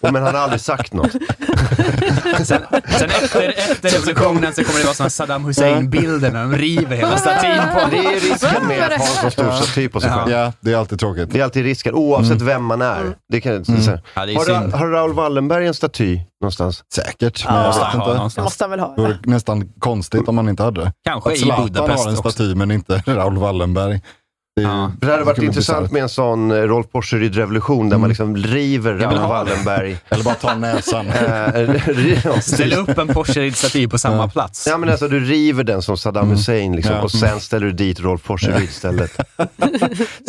[SPEAKER 1] Och, men han har aldrig sagt något.
[SPEAKER 3] Sen, sen efter, efter revolutionen så kommer det vara såna Saddam Hussein-bilder när de river hela statyn på honom.
[SPEAKER 1] Det är risken med att ha en sån stor staty på sig själv.
[SPEAKER 4] Ja, Mm. det är alltid tråkigt.
[SPEAKER 1] Det är alltid risken, oavsett vem man är. Det kan,
[SPEAKER 4] Mm.
[SPEAKER 1] så, så. här.
[SPEAKER 3] Ja, det är
[SPEAKER 1] Har, Ra-
[SPEAKER 3] synd.
[SPEAKER 1] har Raoul Wallenberg en staty någonstans?
[SPEAKER 4] Säkert, men jag vet
[SPEAKER 3] Ja,
[SPEAKER 4] inte.
[SPEAKER 2] Det
[SPEAKER 3] någonstans.
[SPEAKER 2] måste han väl ha?
[SPEAKER 4] Det vore nästan konstigt om man inte hade det.
[SPEAKER 3] Kanske
[SPEAKER 4] Att
[SPEAKER 3] i
[SPEAKER 4] Zlatan
[SPEAKER 3] Budapest
[SPEAKER 4] har en
[SPEAKER 3] också.
[SPEAKER 4] staty men inte Raoul Wallenberg. Det är ju-
[SPEAKER 3] Ja.
[SPEAKER 1] För det hade
[SPEAKER 4] skulle
[SPEAKER 1] varit
[SPEAKER 4] bli Mm.
[SPEAKER 1] intressant
[SPEAKER 4] bisarrt.
[SPEAKER 1] med en sån eh, Rolf Porseryd-revolution där man liksom river
[SPEAKER 3] Jag vill
[SPEAKER 1] Raoul
[SPEAKER 3] ha
[SPEAKER 1] Wallenberg.
[SPEAKER 4] Eller bara ta näsan.
[SPEAKER 1] Eh,
[SPEAKER 3] Ställ upp en Porsche-staty på samma plats.
[SPEAKER 1] Ja men alltså du river den som Saddam Hussein
[SPEAKER 4] Mm. Ja.
[SPEAKER 1] liksom,
[SPEAKER 4] Mm.
[SPEAKER 1] och sen ställer du dit Rolf Porseryd istället.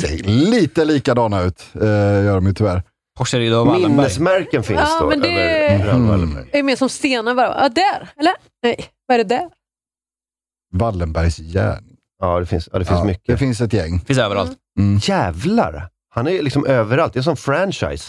[SPEAKER 4] Ser lite likadana ut, eh, gör de ju tyvärr.
[SPEAKER 3] Porscherid och Wallenberg.
[SPEAKER 1] Minnesmärken finns
[SPEAKER 2] Ja,
[SPEAKER 1] då.
[SPEAKER 2] men det-
[SPEAKER 1] över Eh. Raoul
[SPEAKER 4] Mm.
[SPEAKER 1] Wallenberg.
[SPEAKER 2] Jag är mer som stenar bara. Ah, där! Eller? Nej, vad är det där?
[SPEAKER 4] Wallenbergs järn.
[SPEAKER 1] Ja, det finns, ja, det finns
[SPEAKER 4] Ja,
[SPEAKER 1] mycket.
[SPEAKER 4] Det finns ett gäng.
[SPEAKER 3] Finns överallt.
[SPEAKER 4] Mm.
[SPEAKER 1] Jävlar! Han är liksom överallt. Det är som franchise.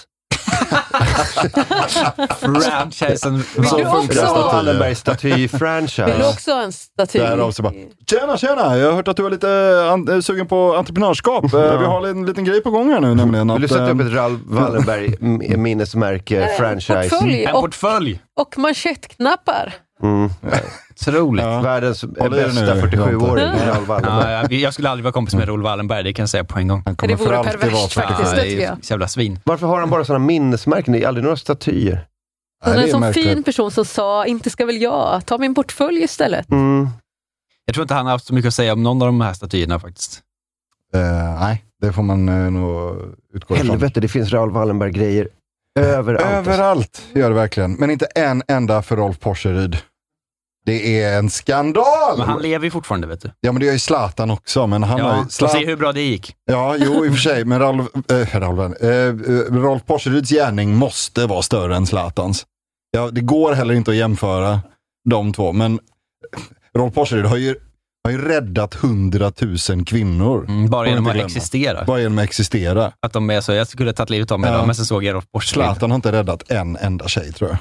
[SPEAKER 3] Franchisen.
[SPEAKER 2] Vill du också
[SPEAKER 1] Raoul
[SPEAKER 2] ha?
[SPEAKER 1] Wallenberg
[SPEAKER 2] Vill du
[SPEAKER 1] staty-franchise.
[SPEAKER 2] också ha en staty?
[SPEAKER 4] Därav så bara, tjena, tjena! Jag har hört att du är lite eh, an- eh, sugen på entreprenörskap. Eh,
[SPEAKER 1] Ja.
[SPEAKER 4] Vi har en liten grej på gång här nu nämligen.
[SPEAKER 1] Vill du
[SPEAKER 4] att,
[SPEAKER 1] sätta upp
[SPEAKER 4] eh,
[SPEAKER 1] ett Raoul Wallenberg m- minnesmärke,
[SPEAKER 2] Eh,
[SPEAKER 1] franchise?
[SPEAKER 2] Portfölj
[SPEAKER 3] En
[SPEAKER 2] och,
[SPEAKER 3] portfölj.
[SPEAKER 2] och manschettknappar.
[SPEAKER 1] Mm.
[SPEAKER 3] Otroligt.
[SPEAKER 4] ja.
[SPEAKER 1] Världens
[SPEAKER 4] i dig
[SPEAKER 1] bästa
[SPEAKER 4] nu,
[SPEAKER 1] 47-åring,
[SPEAKER 4] Jonte.
[SPEAKER 1] Raoul Wallenberg.
[SPEAKER 3] Ja, jag, jag skulle aldrig vara kompis med Raoul Wallenberg, det kan jag säga på en gång.
[SPEAKER 4] Han kommer
[SPEAKER 2] Det vore
[SPEAKER 4] för alltid
[SPEAKER 2] perverst
[SPEAKER 4] vara för-
[SPEAKER 2] faktiskt.
[SPEAKER 3] Ja,
[SPEAKER 2] det
[SPEAKER 3] det
[SPEAKER 2] tycker
[SPEAKER 3] är
[SPEAKER 2] jag.
[SPEAKER 3] ett jävla svin.
[SPEAKER 1] Varför har han bara sådana minnesmärken? Det är aldrig några statyer.
[SPEAKER 4] Nej,
[SPEAKER 2] Han är en
[SPEAKER 4] det är
[SPEAKER 2] sån
[SPEAKER 4] märkligt.
[SPEAKER 2] fin person som sa, inte ska väl jag, ta min portfölj istället.
[SPEAKER 1] Mm.
[SPEAKER 3] Jag tror inte han har haft så mycket att säga om någon av de här statyerna faktiskt.
[SPEAKER 4] Eh, nej, det får man eh, nog utgå ifrån.
[SPEAKER 1] Helvete, det finns Raoul Wallenberg-grejer överallt. alltså.
[SPEAKER 4] Överallt gör det verkligen, men inte en enda för Rolf Porseryd. Det är en skandal!
[SPEAKER 3] Men han lever ju fortfarande, vet du.
[SPEAKER 4] Ja, men det gör ju Zlatan också. Men han har
[SPEAKER 3] Ja,
[SPEAKER 4] ju...
[SPEAKER 3] så se
[SPEAKER 4] Zlatan...
[SPEAKER 3] hur bra det gick.
[SPEAKER 4] Ja, jo, i och för sig. Men Ralf, äh, Ralf, eh, eh, Rolf Porseryds gärning måste vara större än Zlatans. Ja, det går heller inte att jämföra de två, men Rolf Porseryd har ju, har ju räddat hundratusen kvinnor.
[SPEAKER 3] Mm, bara
[SPEAKER 4] Får
[SPEAKER 3] genom
[SPEAKER 4] inte
[SPEAKER 3] att
[SPEAKER 4] glömma.
[SPEAKER 3] existera.
[SPEAKER 4] Bara genom att existera.
[SPEAKER 3] Att de är så, jag skulle tagit livet av mig
[SPEAKER 4] Ja.
[SPEAKER 3] idag, men sen såg jag Rolf Porslid.
[SPEAKER 4] Zlatan har inte räddat en enda tjej, tror jag.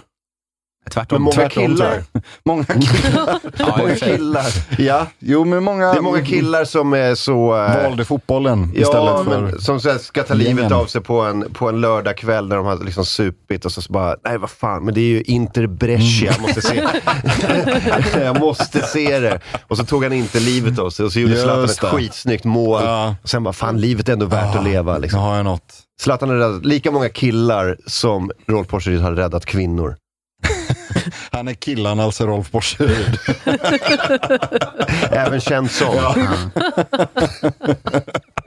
[SPEAKER 1] Men
[SPEAKER 3] Tvärtom.
[SPEAKER 1] många
[SPEAKER 4] Tvärtom, tror jag. Många killar.
[SPEAKER 3] Ja, i
[SPEAKER 1] Många
[SPEAKER 3] och för sig.
[SPEAKER 1] killar.
[SPEAKER 4] Ja, jo, men många,
[SPEAKER 1] Det är många killar som är så... eh,
[SPEAKER 4] valde fotbollen
[SPEAKER 1] Ja,
[SPEAKER 4] istället för...
[SPEAKER 1] men som så här ska ta livet
[SPEAKER 4] Gängen.
[SPEAKER 1] av sig på en, på en lördagkväll när de har liksom supit och så, så bara, nej vad fan, men det är ju Inter Brescia,
[SPEAKER 4] Mm.
[SPEAKER 1] jag måste se Jag måste se det. Och så tog han inte livet av sig och så gjorde
[SPEAKER 4] Just
[SPEAKER 1] Zlatan ett
[SPEAKER 4] det.
[SPEAKER 1] skitsnyggt mål.
[SPEAKER 4] Ja. Ah.
[SPEAKER 1] Och sen bara, fan livet är ändå värt att leva.
[SPEAKER 4] Nu
[SPEAKER 1] Liksom.
[SPEAKER 4] har jag något.
[SPEAKER 1] Zlatan har räddat lika många killar som Rolf Porseryd har räddat kvinnor.
[SPEAKER 4] Han är killan, alltså Rolf Porseryd.
[SPEAKER 1] Även känd som.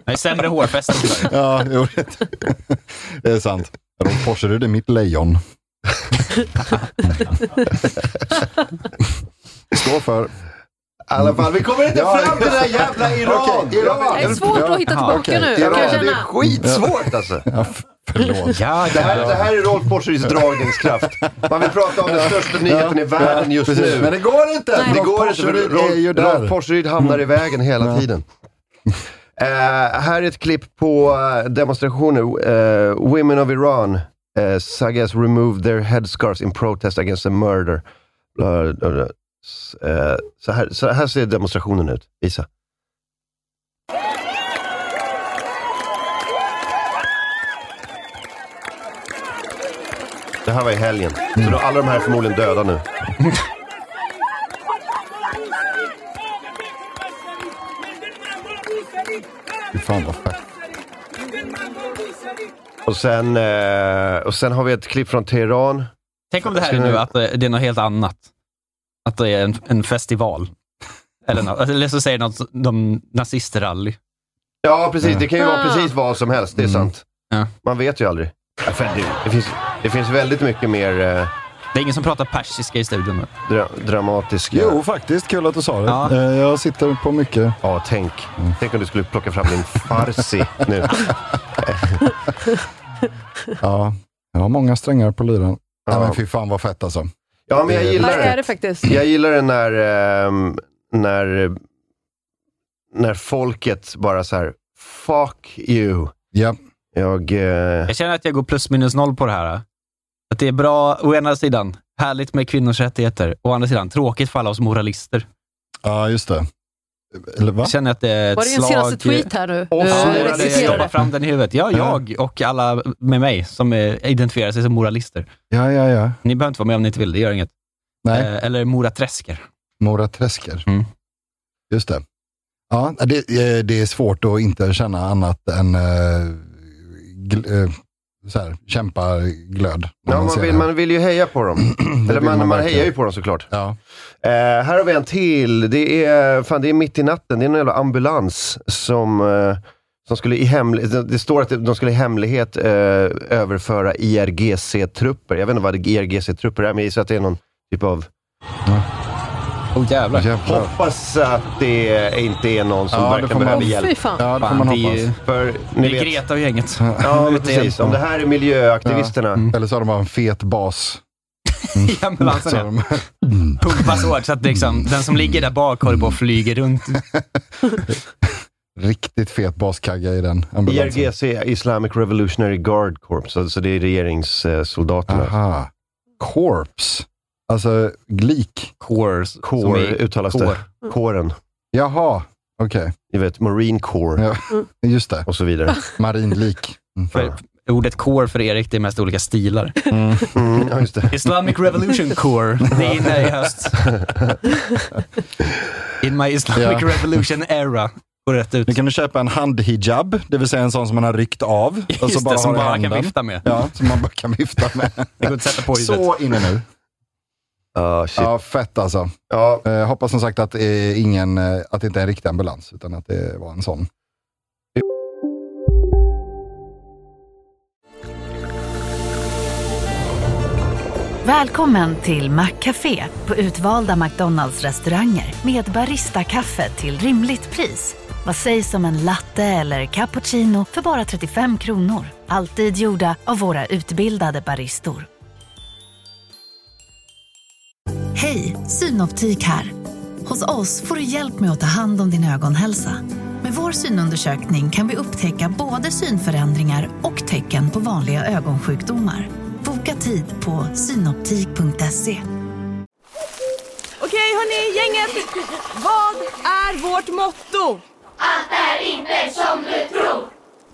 [SPEAKER 3] Nej, sämre hårfäste. tyvärr.
[SPEAKER 4] Ja, jo, det- det är sant. Rolf Porseryd är mitt lejon. Står för.
[SPEAKER 1] I alla fall, vi kommer inte
[SPEAKER 4] Ja,
[SPEAKER 1] fram till det där jävla Iran!
[SPEAKER 4] Okej, Iran.
[SPEAKER 1] Jag
[SPEAKER 2] Det
[SPEAKER 1] vill-
[SPEAKER 2] är svårt att hitta tillbaka
[SPEAKER 4] okej.
[SPEAKER 2] nu,
[SPEAKER 4] Ja,
[SPEAKER 2] kan jag
[SPEAKER 1] Iran, det är
[SPEAKER 2] känna.
[SPEAKER 1] skitsvårt alltså.
[SPEAKER 4] Ja, förlåt.
[SPEAKER 3] Ja,
[SPEAKER 1] Det här, det här är Rolf Porseryds dragningskraft. Man vill prata om den största nyheten i världen just
[SPEAKER 4] Precis,
[SPEAKER 1] nu.
[SPEAKER 4] Men det går inte.
[SPEAKER 1] det
[SPEAKER 4] Rolf
[SPEAKER 1] går inte, för
[SPEAKER 4] Porseryd är ju
[SPEAKER 1] Rolf, Rolf
[SPEAKER 4] där.
[SPEAKER 1] Porseryd hamnar i vägen hela tiden. Eh, här är ett klipp på eh, demonstrationer. Eh, Women of Iran. Uh, Sagas removed their headscarves in protest against a murder. Bla, bla, bla. S- eh, så, här, så här ser demonstrationen ut. Visa. Det här var i helgen. Så då är alla de här förmodligen döda nu.
[SPEAKER 4] Fy fan vad fett.
[SPEAKER 1] Och sen, eh, och sen har vi ett klipp från Teheran.
[SPEAKER 3] Tänk om det här är nu att eh, det är något helt annat. Att det är en, en festival. Eller, något, eller så säger något, de nazistrally.
[SPEAKER 1] Ja, precis. Det kan ju vara precis vad som helst. Det är
[SPEAKER 4] Mm.
[SPEAKER 1] sant.
[SPEAKER 3] Ja.
[SPEAKER 1] Man vet ju aldrig. Ja, för det, det, finns, det finns väldigt mycket mer eh,
[SPEAKER 3] Det är ingen som pratar persiska i studion nu.
[SPEAKER 1] dra, eh, dramatiska...
[SPEAKER 4] Jo, faktiskt. Kul att du sa det.
[SPEAKER 3] Ja.
[SPEAKER 4] Eh, Jag sitter på mycket.
[SPEAKER 1] Ja, tänk. Tänk om du skulle plocka fram din farsi nu.
[SPEAKER 4] Ja, jag har många strängar på lyran. Nej,
[SPEAKER 1] Ja.
[SPEAKER 4] men fy fan vad fett alltså.
[SPEAKER 1] Ja, men jag
[SPEAKER 2] Nej,
[SPEAKER 1] gillar
[SPEAKER 2] det är
[SPEAKER 1] det.
[SPEAKER 2] det faktiskt.
[SPEAKER 1] Jag gillar det när, ehm, när, när folket bara så här, fuck you.
[SPEAKER 4] Ja,
[SPEAKER 1] Jag... Eh,
[SPEAKER 3] Jag känner att jag går plus minus noll på det här. Att det är bra, å ena sidan, härligt med kvinnors rättigheter. Å andra sidan, tråkigt för alla oss moralister.
[SPEAKER 4] ja just det. Eller va?
[SPEAKER 3] Jag känner att det är ett
[SPEAKER 2] Var det din
[SPEAKER 3] slag...
[SPEAKER 2] senaste tweet här nu?
[SPEAKER 1] Och
[SPEAKER 2] Du
[SPEAKER 1] så
[SPEAKER 3] Ja,
[SPEAKER 1] är det-
[SPEAKER 3] jag
[SPEAKER 2] reciterar.
[SPEAKER 3] stoppar fram den i huvudet. Ja, jag och alla med mig som eh, identifierar sig som moralister.
[SPEAKER 4] Ja, ja, ja.
[SPEAKER 3] Ni behöver inte vara med om ni inte vill, det gör inget.
[SPEAKER 4] Nej,
[SPEAKER 3] Eh, Eller moraträsker.
[SPEAKER 4] Mora Träsker.
[SPEAKER 3] Mm.
[SPEAKER 4] Just det. Ja, det, eh, det är svårt att inte känna annat än eh, gl, eh, så här, kämpaglöd. när
[SPEAKER 1] ja, man,
[SPEAKER 4] ser
[SPEAKER 1] vill,
[SPEAKER 4] det.
[SPEAKER 1] man vill ju heja på dem.
[SPEAKER 4] Det
[SPEAKER 1] Eller
[SPEAKER 4] vill
[SPEAKER 1] man, man
[SPEAKER 4] verkligen.
[SPEAKER 1] hejar ju på dem såklart.
[SPEAKER 4] Ja.
[SPEAKER 1] Eh, här har vi en till. Det är, fan, det är mitt i natten. Det är en jävla ambulans som, eh, som skulle i hemlighet, det står att de skulle i hemlighet eh, överföra IRGC-trupper. Jag vet inte vad IRGC-trupper är, men jag gissar att det är någon typ av...
[SPEAKER 3] Åh jävlar.
[SPEAKER 4] Jävlar.
[SPEAKER 1] Hoppas att det inte är någon som
[SPEAKER 4] Ja, det får
[SPEAKER 1] verkligen
[SPEAKER 4] man-
[SPEAKER 1] behöver
[SPEAKER 2] Åh, fy
[SPEAKER 1] hjälp.
[SPEAKER 2] fan.
[SPEAKER 4] Ja, det får
[SPEAKER 3] Fan,
[SPEAKER 4] man
[SPEAKER 3] det är
[SPEAKER 4] hoppas.
[SPEAKER 3] ju
[SPEAKER 1] För ni
[SPEAKER 3] det är
[SPEAKER 1] vet...
[SPEAKER 3] Greta och gänget.
[SPEAKER 1] Ja, men
[SPEAKER 3] Ute igen.
[SPEAKER 1] precis. Mm. Om det här är miljöaktivisterna.
[SPEAKER 4] Eller så har de bara en fet bas.
[SPEAKER 3] I ambulansen,
[SPEAKER 4] Så
[SPEAKER 3] ja.
[SPEAKER 4] de-
[SPEAKER 3] Pumpas hårt så att liksom, den som ligger där bak håller på och flyger runt.
[SPEAKER 4] Riktigt fet baskagga i den ambulansen.
[SPEAKER 1] IRGC, Islamic Revolutionary Guard Corps. Alltså det är regeringssoldaterna.
[SPEAKER 4] Aha. Corpse. Alltså glik.
[SPEAKER 3] Cores.
[SPEAKER 1] Kår uttalas
[SPEAKER 3] kår.
[SPEAKER 1] det. Kåren.
[SPEAKER 4] Jaha, okej.
[SPEAKER 1] Ni vet, Marine Corps
[SPEAKER 4] Ja. Just det.
[SPEAKER 1] och så vidare.
[SPEAKER 4] Marinlik. Mm.
[SPEAKER 3] För, ordet core för Erik, det är mest olika stilar.
[SPEAKER 4] Mm.
[SPEAKER 1] Mm, ja, just det.
[SPEAKER 3] Islamic Revolution Core, det är inne i höst. In my Islamic
[SPEAKER 4] Ja.
[SPEAKER 3] Revolution era. Går rätt ut.
[SPEAKER 4] Nu kan du köpa en handhijab, det vill säga en sån som man har ryckt av. Och så
[SPEAKER 3] Just
[SPEAKER 4] bara
[SPEAKER 3] det, som
[SPEAKER 4] har i
[SPEAKER 3] bara
[SPEAKER 4] handen.
[SPEAKER 3] kan vifta med.
[SPEAKER 4] Ja, som man bara kan vifta med.
[SPEAKER 3] Det går inte att sätta på ljudet.
[SPEAKER 4] Så inne nu.
[SPEAKER 1] Ja, Ah, shit.
[SPEAKER 4] Ja, fett alltså.
[SPEAKER 1] Ja,
[SPEAKER 4] Eh, hoppas som sagt att, eh, ingen, eh, att det inte är en riktig ambulans, utan att det var en sån.
[SPEAKER 6] Välkommen till Maccafé på utvalda McDonalds restauranger med Baristakaffe till rimligt pris. Vad sägs om en latte eller cappuccino för bara 35 kronor? Alltid gjorda av våra utbildade baristor. Hej, Synoptik här. Hos oss får du hjälp med att ta hand om din ögonhälsa. Med vår synundersökning kan vi upptäcka både synförändringar och tecken på vanliga ögonsjukdomar. Boka tid på synoptik.se.
[SPEAKER 5] Okej hörni, gänget! Vad är vårt motto?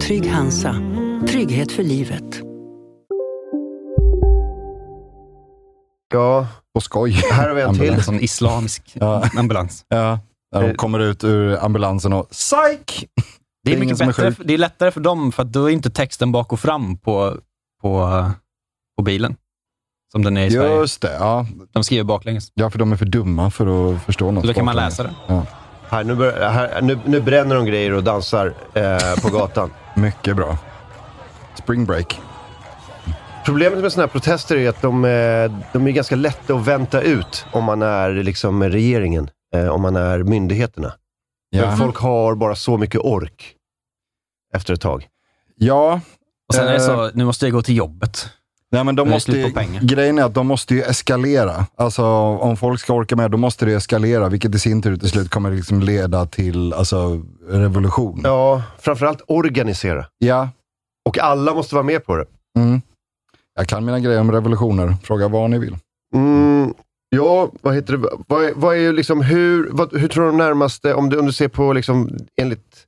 [SPEAKER 7] Trygg Hansa. Trygghet för livet.
[SPEAKER 1] ja,
[SPEAKER 4] På skoj.
[SPEAKER 1] här har vi en till.
[SPEAKER 3] En sån islamisk
[SPEAKER 4] Ja.
[SPEAKER 3] ambulans.
[SPEAKER 4] Ja, när de kommer ut ur ambulansen och psyk!
[SPEAKER 3] Eh. Det
[SPEAKER 4] Det
[SPEAKER 3] är,
[SPEAKER 4] är ingen
[SPEAKER 3] mycket
[SPEAKER 4] som är
[SPEAKER 3] bättre,
[SPEAKER 4] sjuk.
[SPEAKER 3] det är lättare för dem, för att då är inte texten bak och fram på, på, på bilen. Som den är i Sverige.
[SPEAKER 4] Just det, ja.
[SPEAKER 3] De skriver baklänges.
[SPEAKER 4] ja, för de är för dumma för att förstå något.
[SPEAKER 3] Så då kan man
[SPEAKER 4] baklänges.
[SPEAKER 3] läsa det.
[SPEAKER 4] Ja.
[SPEAKER 1] Här, nu, börjar, här, nu, nu bränner de grejer och dansar eh, på gatan.
[SPEAKER 4] Mycket bra. Spring break.
[SPEAKER 1] Problemet med sådana här protester är att de, eh, de är ganska lätta att vänta ut om man är liksom regeringen, eh, om man är myndigheterna.
[SPEAKER 4] Ja.
[SPEAKER 1] Men folk har bara så mycket ork efter ett tag.
[SPEAKER 4] Ja.
[SPEAKER 3] Och sen är det så, nu måste jag gå till jobbet.
[SPEAKER 4] Nej, men de
[SPEAKER 3] Nu är det
[SPEAKER 4] måste
[SPEAKER 3] slut
[SPEAKER 4] ju,
[SPEAKER 3] på pengar.
[SPEAKER 4] grejen är att de måste ju eskalera. Alltså, om folk ska orka med, då måste det eskalera, vilket i sin tur till slut kommer liksom leda till alltså, revolution.
[SPEAKER 1] Ja, framförallt organisera.
[SPEAKER 4] Ja.
[SPEAKER 1] Och alla måste vara med på det.
[SPEAKER 4] Mm. Jag kan mina grejer om revolutioner. Fråga vad ni vill.
[SPEAKER 1] Mm, ja, vad heter det? Vad, är- vad är ju liksom, hur, vad, hur tror du de närmaste, om du, om du ser på liksom, enligt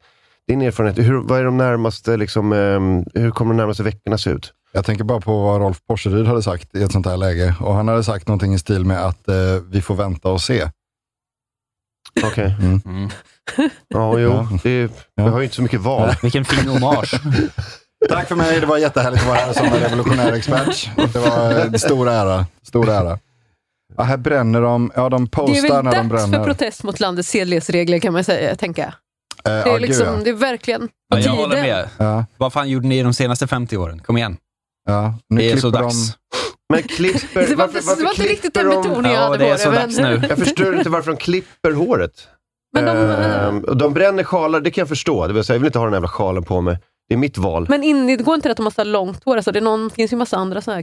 [SPEAKER 1] din erfarenhet, hur, vad är de närmaste, liksom, ehm, hur kommer de närmaste veckorna se ut?
[SPEAKER 4] Jag tänker bara på vad Rolf Porseryd hade sagt i ett sånt här läge. Och han hade sagt någonting i stil med att eh, vi får vänta och se.
[SPEAKER 1] Okej.
[SPEAKER 4] Mm.
[SPEAKER 1] Ja, jo. Det, är- vi har ju inte så mycket val.
[SPEAKER 3] Vilken fin hommage.
[SPEAKER 4] Tack för mig, det var jättehärligt att vara här som en revolutionär expert. Det var eh, stor ära. Stor ära. Ja, här bränner de. Ja, de
[SPEAKER 2] Det är
[SPEAKER 4] postar
[SPEAKER 2] väl
[SPEAKER 4] när de
[SPEAKER 2] dags
[SPEAKER 4] bränner.
[SPEAKER 2] för protest mot landets sedlighetsregler kan man säga, tänka.
[SPEAKER 4] Eh,
[SPEAKER 2] Det
[SPEAKER 4] ja,
[SPEAKER 2] är,
[SPEAKER 4] gud,
[SPEAKER 2] liksom,
[SPEAKER 4] ja.
[SPEAKER 2] det är verkligen på
[SPEAKER 3] Ja, jag håller
[SPEAKER 2] tiden.
[SPEAKER 3] med.
[SPEAKER 4] Ja,
[SPEAKER 3] Vad fan gjorde ni de senaste 50 åren? Kom igen.
[SPEAKER 4] ja. Nu
[SPEAKER 3] det är så
[SPEAKER 4] klipper de-
[SPEAKER 3] dags.
[SPEAKER 1] Men klipper...
[SPEAKER 2] Det var, inte- det var inte riktigt den
[SPEAKER 1] klipper de-
[SPEAKER 2] betoningen jag
[SPEAKER 3] Ja,
[SPEAKER 2] hade
[SPEAKER 3] det är
[SPEAKER 2] på
[SPEAKER 3] så dags nu.
[SPEAKER 1] Jag förstår inte varför de klipper håret.
[SPEAKER 2] Men de, eh,
[SPEAKER 1] Ehm, och de bränner sjalar, det kan jag förstå. Det vill säga, jag vill inte ha den jävla sjalen på mig. Det är mitt val.
[SPEAKER 2] Men in, det går inte det att de måste ha långt hår? Alltså, det är någon, finns ju massa andra såna här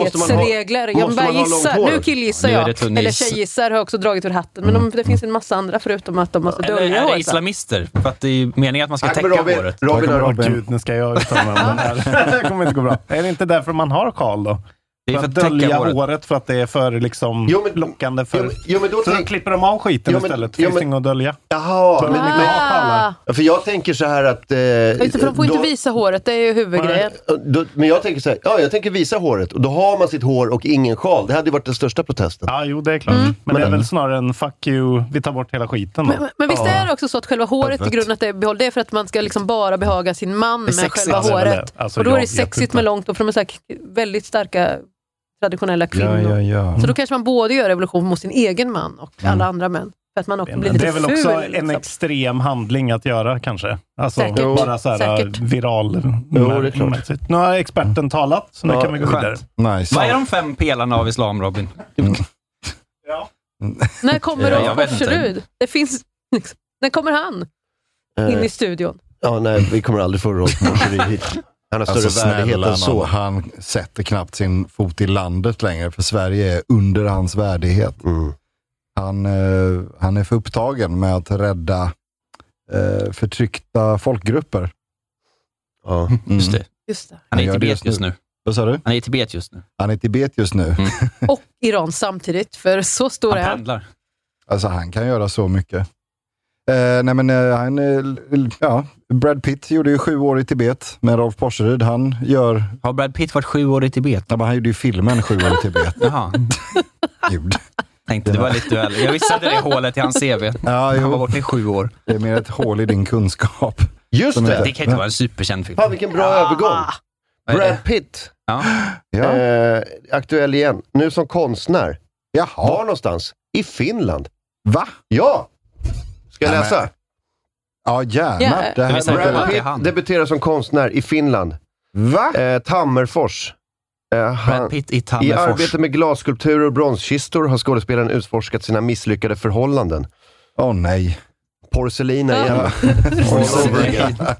[SPEAKER 2] kvinnlighetsregler.
[SPEAKER 1] måste
[SPEAKER 2] Jag bara
[SPEAKER 1] man ha långt
[SPEAKER 2] gissar.
[SPEAKER 1] hår?
[SPEAKER 2] Nu killgissar
[SPEAKER 3] Nu är
[SPEAKER 2] jag.
[SPEAKER 3] det tunnis.
[SPEAKER 2] Eller tjejgissar har jag också dragit ur hatten. Men de, det finns en massa andra förutom att de måste
[SPEAKER 3] Eller
[SPEAKER 2] dölja
[SPEAKER 3] är det
[SPEAKER 2] håret. va?
[SPEAKER 3] islamister? För att det är ju meningen att man ska
[SPEAKER 1] Nej,
[SPEAKER 3] täcka
[SPEAKER 1] men Robin,
[SPEAKER 3] håret.
[SPEAKER 1] Robin
[SPEAKER 4] Tack,
[SPEAKER 1] har
[SPEAKER 4] Robin.
[SPEAKER 8] Gud, nu ska jag uttala mig om den här. Det här kommer inte gå bra. Är det inte därför man har sjal då?
[SPEAKER 3] Det är
[SPEAKER 8] För
[SPEAKER 3] för
[SPEAKER 8] att
[SPEAKER 3] att täcka
[SPEAKER 8] dölja
[SPEAKER 3] håret.
[SPEAKER 8] håret. för att det är för liksom
[SPEAKER 1] Jo, men-
[SPEAKER 8] lockande
[SPEAKER 1] Jo,
[SPEAKER 8] för...
[SPEAKER 1] men- Jo, men då
[SPEAKER 8] så då
[SPEAKER 1] tänker...
[SPEAKER 8] klipper de av skiten
[SPEAKER 1] Jo, men-
[SPEAKER 8] istället.
[SPEAKER 1] jo,
[SPEAKER 8] Finns
[SPEAKER 1] men-
[SPEAKER 8] det inget att dölja.
[SPEAKER 1] Jaha, men,
[SPEAKER 8] inte ha
[SPEAKER 2] Ah,
[SPEAKER 8] pallar.
[SPEAKER 1] för jag tänker så här att... Eh,
[SPEAKER 2] just det, för de får
[SPEAKER 1] då- eh,
[SPEAKER 2] inte visa håret, det är ju huvudgrejen.
[SPEAKER 1] Då, men jag tänker så här, ja jag tänker visa håret och då har man sitt hår och ingen sjal. Det hade ju varit den största protesten.
[SPEAKER 8] Ja, jo det är klart.
[SPEAKER 2] Mm.
[SPEAKER 8] Men det är väl snarare en fuck you, vi tar bort hela skiten då.
[SPEAKER 2] Men, men visst är det också så att själva håret i
[SPEAKER 4] Helvete.
[SPEAKER 2] grunden att det är behåll, det är för att man ska liksom bara behaga sin man
[SPEAKER 8] Det är
[SPEAKER 2] med
[SPEAKER 8] sexigt.
[SPEAKER 2] själva
[SPEAKER 8] Ja, det är väl
[SPEAKER 2] håret.
[SPEAKER 8] det. Alltså,
[SPEAKER 2] och då är
[SPEAKER 8] jag
[SPEAKER 2] det
[SPEAKER 8] vet
[SPEAKER 2] sexigt
[SPEAKER 8] inte.
[SPEAKER 2] med långt och för de är så här k- väldigt starka traditionella kvinnor.
[SPEAKER 4] Ja, ja, ja.
[SPEAKER 2] Så då kanske man både gör revolution mot sin egen man och alla andra män. För att man också blir lite
[SPEAKER 8] Mm. det är väl
[SPEAKER 2] ful.
[SPEAKER 8] också en
[SPEAKER 2] liksom.
[SPEAKER 8] extrem handling att göra kanske. Alltså
[SPEAKER 2] Säkert.
[SPEAKER 8] bara så här
[SPEAKER 2] Säkert.
[SPEAKER 8] viral.
[SPEAKER 1] Jo, det är klart.
[SPEAKER 8] mässigt. Nu har experten talat, så nu
[SPEAKER 1] Ja,
[SPEAKER 8] kan vi gå
[SPEAKER 3] skönt.
[SPEAKER 8] vidare.
[SPEAKER 4] Nice.
[SPEAKER 3] Vad är de fem pelarna av islam, Robin?
[SPEAKER 2] När kommer
[SPEAKER 3] Ja,
[SPEAKER 2] Rolf
[SPEAKER 3] jag vet inte.
[SPEAKER 2] Orserud? Det finns... Liksom, när kommer han in
[SPEAKER 1] Eh,
[SPEAKER 2] i studion?
[SPEAKER 1] ja, nej, vi kommer aldrig få Rolf Morserid hit. Han har större
[SPEAKER 4] Alltså
[SPEAKER 1] värdighet
[SPEAKER 4] snälla
[SPEAKER 1] än så.
[SPEAKER 4] nån, han sätter knappt sin fot i landet längre, för Sverige är under hans värdighet.
[SPEAKER 1] Mm.
[SPEAKER 4] Han, eh, han är för upptagen med att rädda eh, förtryckta folkgrupper.
[SPEAKER 1] Ja.
[SPEAKER 4] Mm.
[SPEAKER 3] Just det.
[SPEAKER 2] Just det.
[SPEAKER 3] Han är i
[SPEAKER 4] Jag gör det
[SPEAKER 3] Tibet
[SPEAKER 4] just
[SPEAKER 3] just
[SPEAKER 4] nu.
[SPEAKER 3] nu.
[SPEAKER 4] Vad sa du?
[SPEAKER 3] Han är i Tibet just nu.
[SPEAKER 4] Han är i Tibet just nu.
[SPEAKER 2] Och Iran samtidigt, för så stor
[SPEAKER 3] Han
[SPEAKER 2] är han.
[SPEAKER 3] pendlar.
[SPEAKER 4] Alltså han kan göra så mycket. Eh, nej men eh, han, eh, l- ja, Brad Pitt gjorde ju sju år i Tibet med Rolf Porseryd. Han, gör,
[SPEAKER 3] Har Brad Pitt varit sju år i Tibet?
[SPEAKER 4] ja, men han gjorde ju filmen sju år i Tibet.
[SPEAKER 3] Jaha,
[SPEAKER 4] Gud.
[SPEAKER 3] tänkte det var lite duell. Jag visste att det är hålet i hans CV.
[SPEAKER 4] Ja,
[SPEAKER 3] Han var
[SPEAKER 4] jo,
[SPEAKER 3] borta i sju år.
[SPEAKER 4] det är mer ett hål i din kunskap.
[SPEAKER 1] Just
[SPEAKER 4] Som
[SPEAKER 1] det!
[SPEAKER 4] heter-
[SPEAKER 3] Det kan inte vara en superkänd film.
[SPEAKER 1] Fan vilken bra övergång! Brad Pitt,
[SPEAKER 3] Ja.
[SPEAKER 4] Ja.
[SPEAKER 1] eh, aktuell igen. Nu som konstnär. Var
[SPEAKER 4] Jaha,
[SPEAKER 1] någonstans? I Finland.
[SPEAKER 4] va?
[SPEAKER 1] Ja! Ska jag
[SPEAKER 4] Nej,
[SPEAKER 1] läsa?
[SPEAKER 4] Ja, gärna.
[SPEAKER 2] Ja.
[SPEAKER 4] Det
[SPEAKER 3] Det
[SPEAKER 4] här
[SPEAKER 3] vill säga-
[SPEAKER 4] verkar-
[SPEAKER 1] Brad
[SPEAKER 3] det är
[SPEAKER 1] Pitt
[SPEAKER 3] han.
[SPEAKER 1] debuterar som konstnär i Finland.
[SPEAKER 4] Va?
[SPEAKER 1] Eh, Tammerfors. Eh, han-
[SPEAKER 3] Brad Pitt i
[SPEAKER 1] I
[SPEAKER 3] Tammerfors.
[SPEAKER 1] arbete med glasskulpturer och bronskistor har skådespelaren utforskat sina misslyckade förhållanden.
[SPEAKER 4] Åh nej.
[SPEAKER 1] Porcelin är
[SPEAKER 2] Ja.
[SPEAKER 1] igen. All over again.
[SPEAKER 4] När Rolf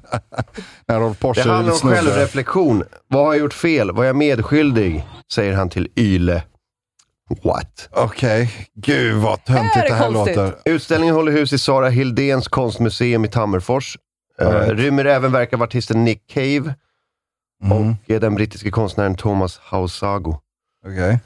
[SPEAKER 1] Det handlar
[SPEAKER 4] Porseryd
[SPEAKER 1] om
[SPEAKER 4] snubbar.
[SPEAKER 1] självreflektion. Vad har jag gjort fel? Var jag medskyldig? Säger han till Yle. What?
[SPEAKER 4] Okej, gud vad töntigt
[SPEAKER 2] Här är
[SPEAKER 4] det här
[SPEAKER 2] konstigt.
[SPEAKER 4] låter.
[SPEAKER 1] Utställningen håller hus i Sara Hildéns konstmuseum i Tammerfors. Eh,
[SPEAKER 4] All right.
[SPEAKER 1] Rymmer även verk av artisten Nick Cave
[SPEAKER 4] Mm,
[SPEAKER 1] och eh, den brittiske konstnären Thomas Hausago.
[SPEAKER 4] Okej.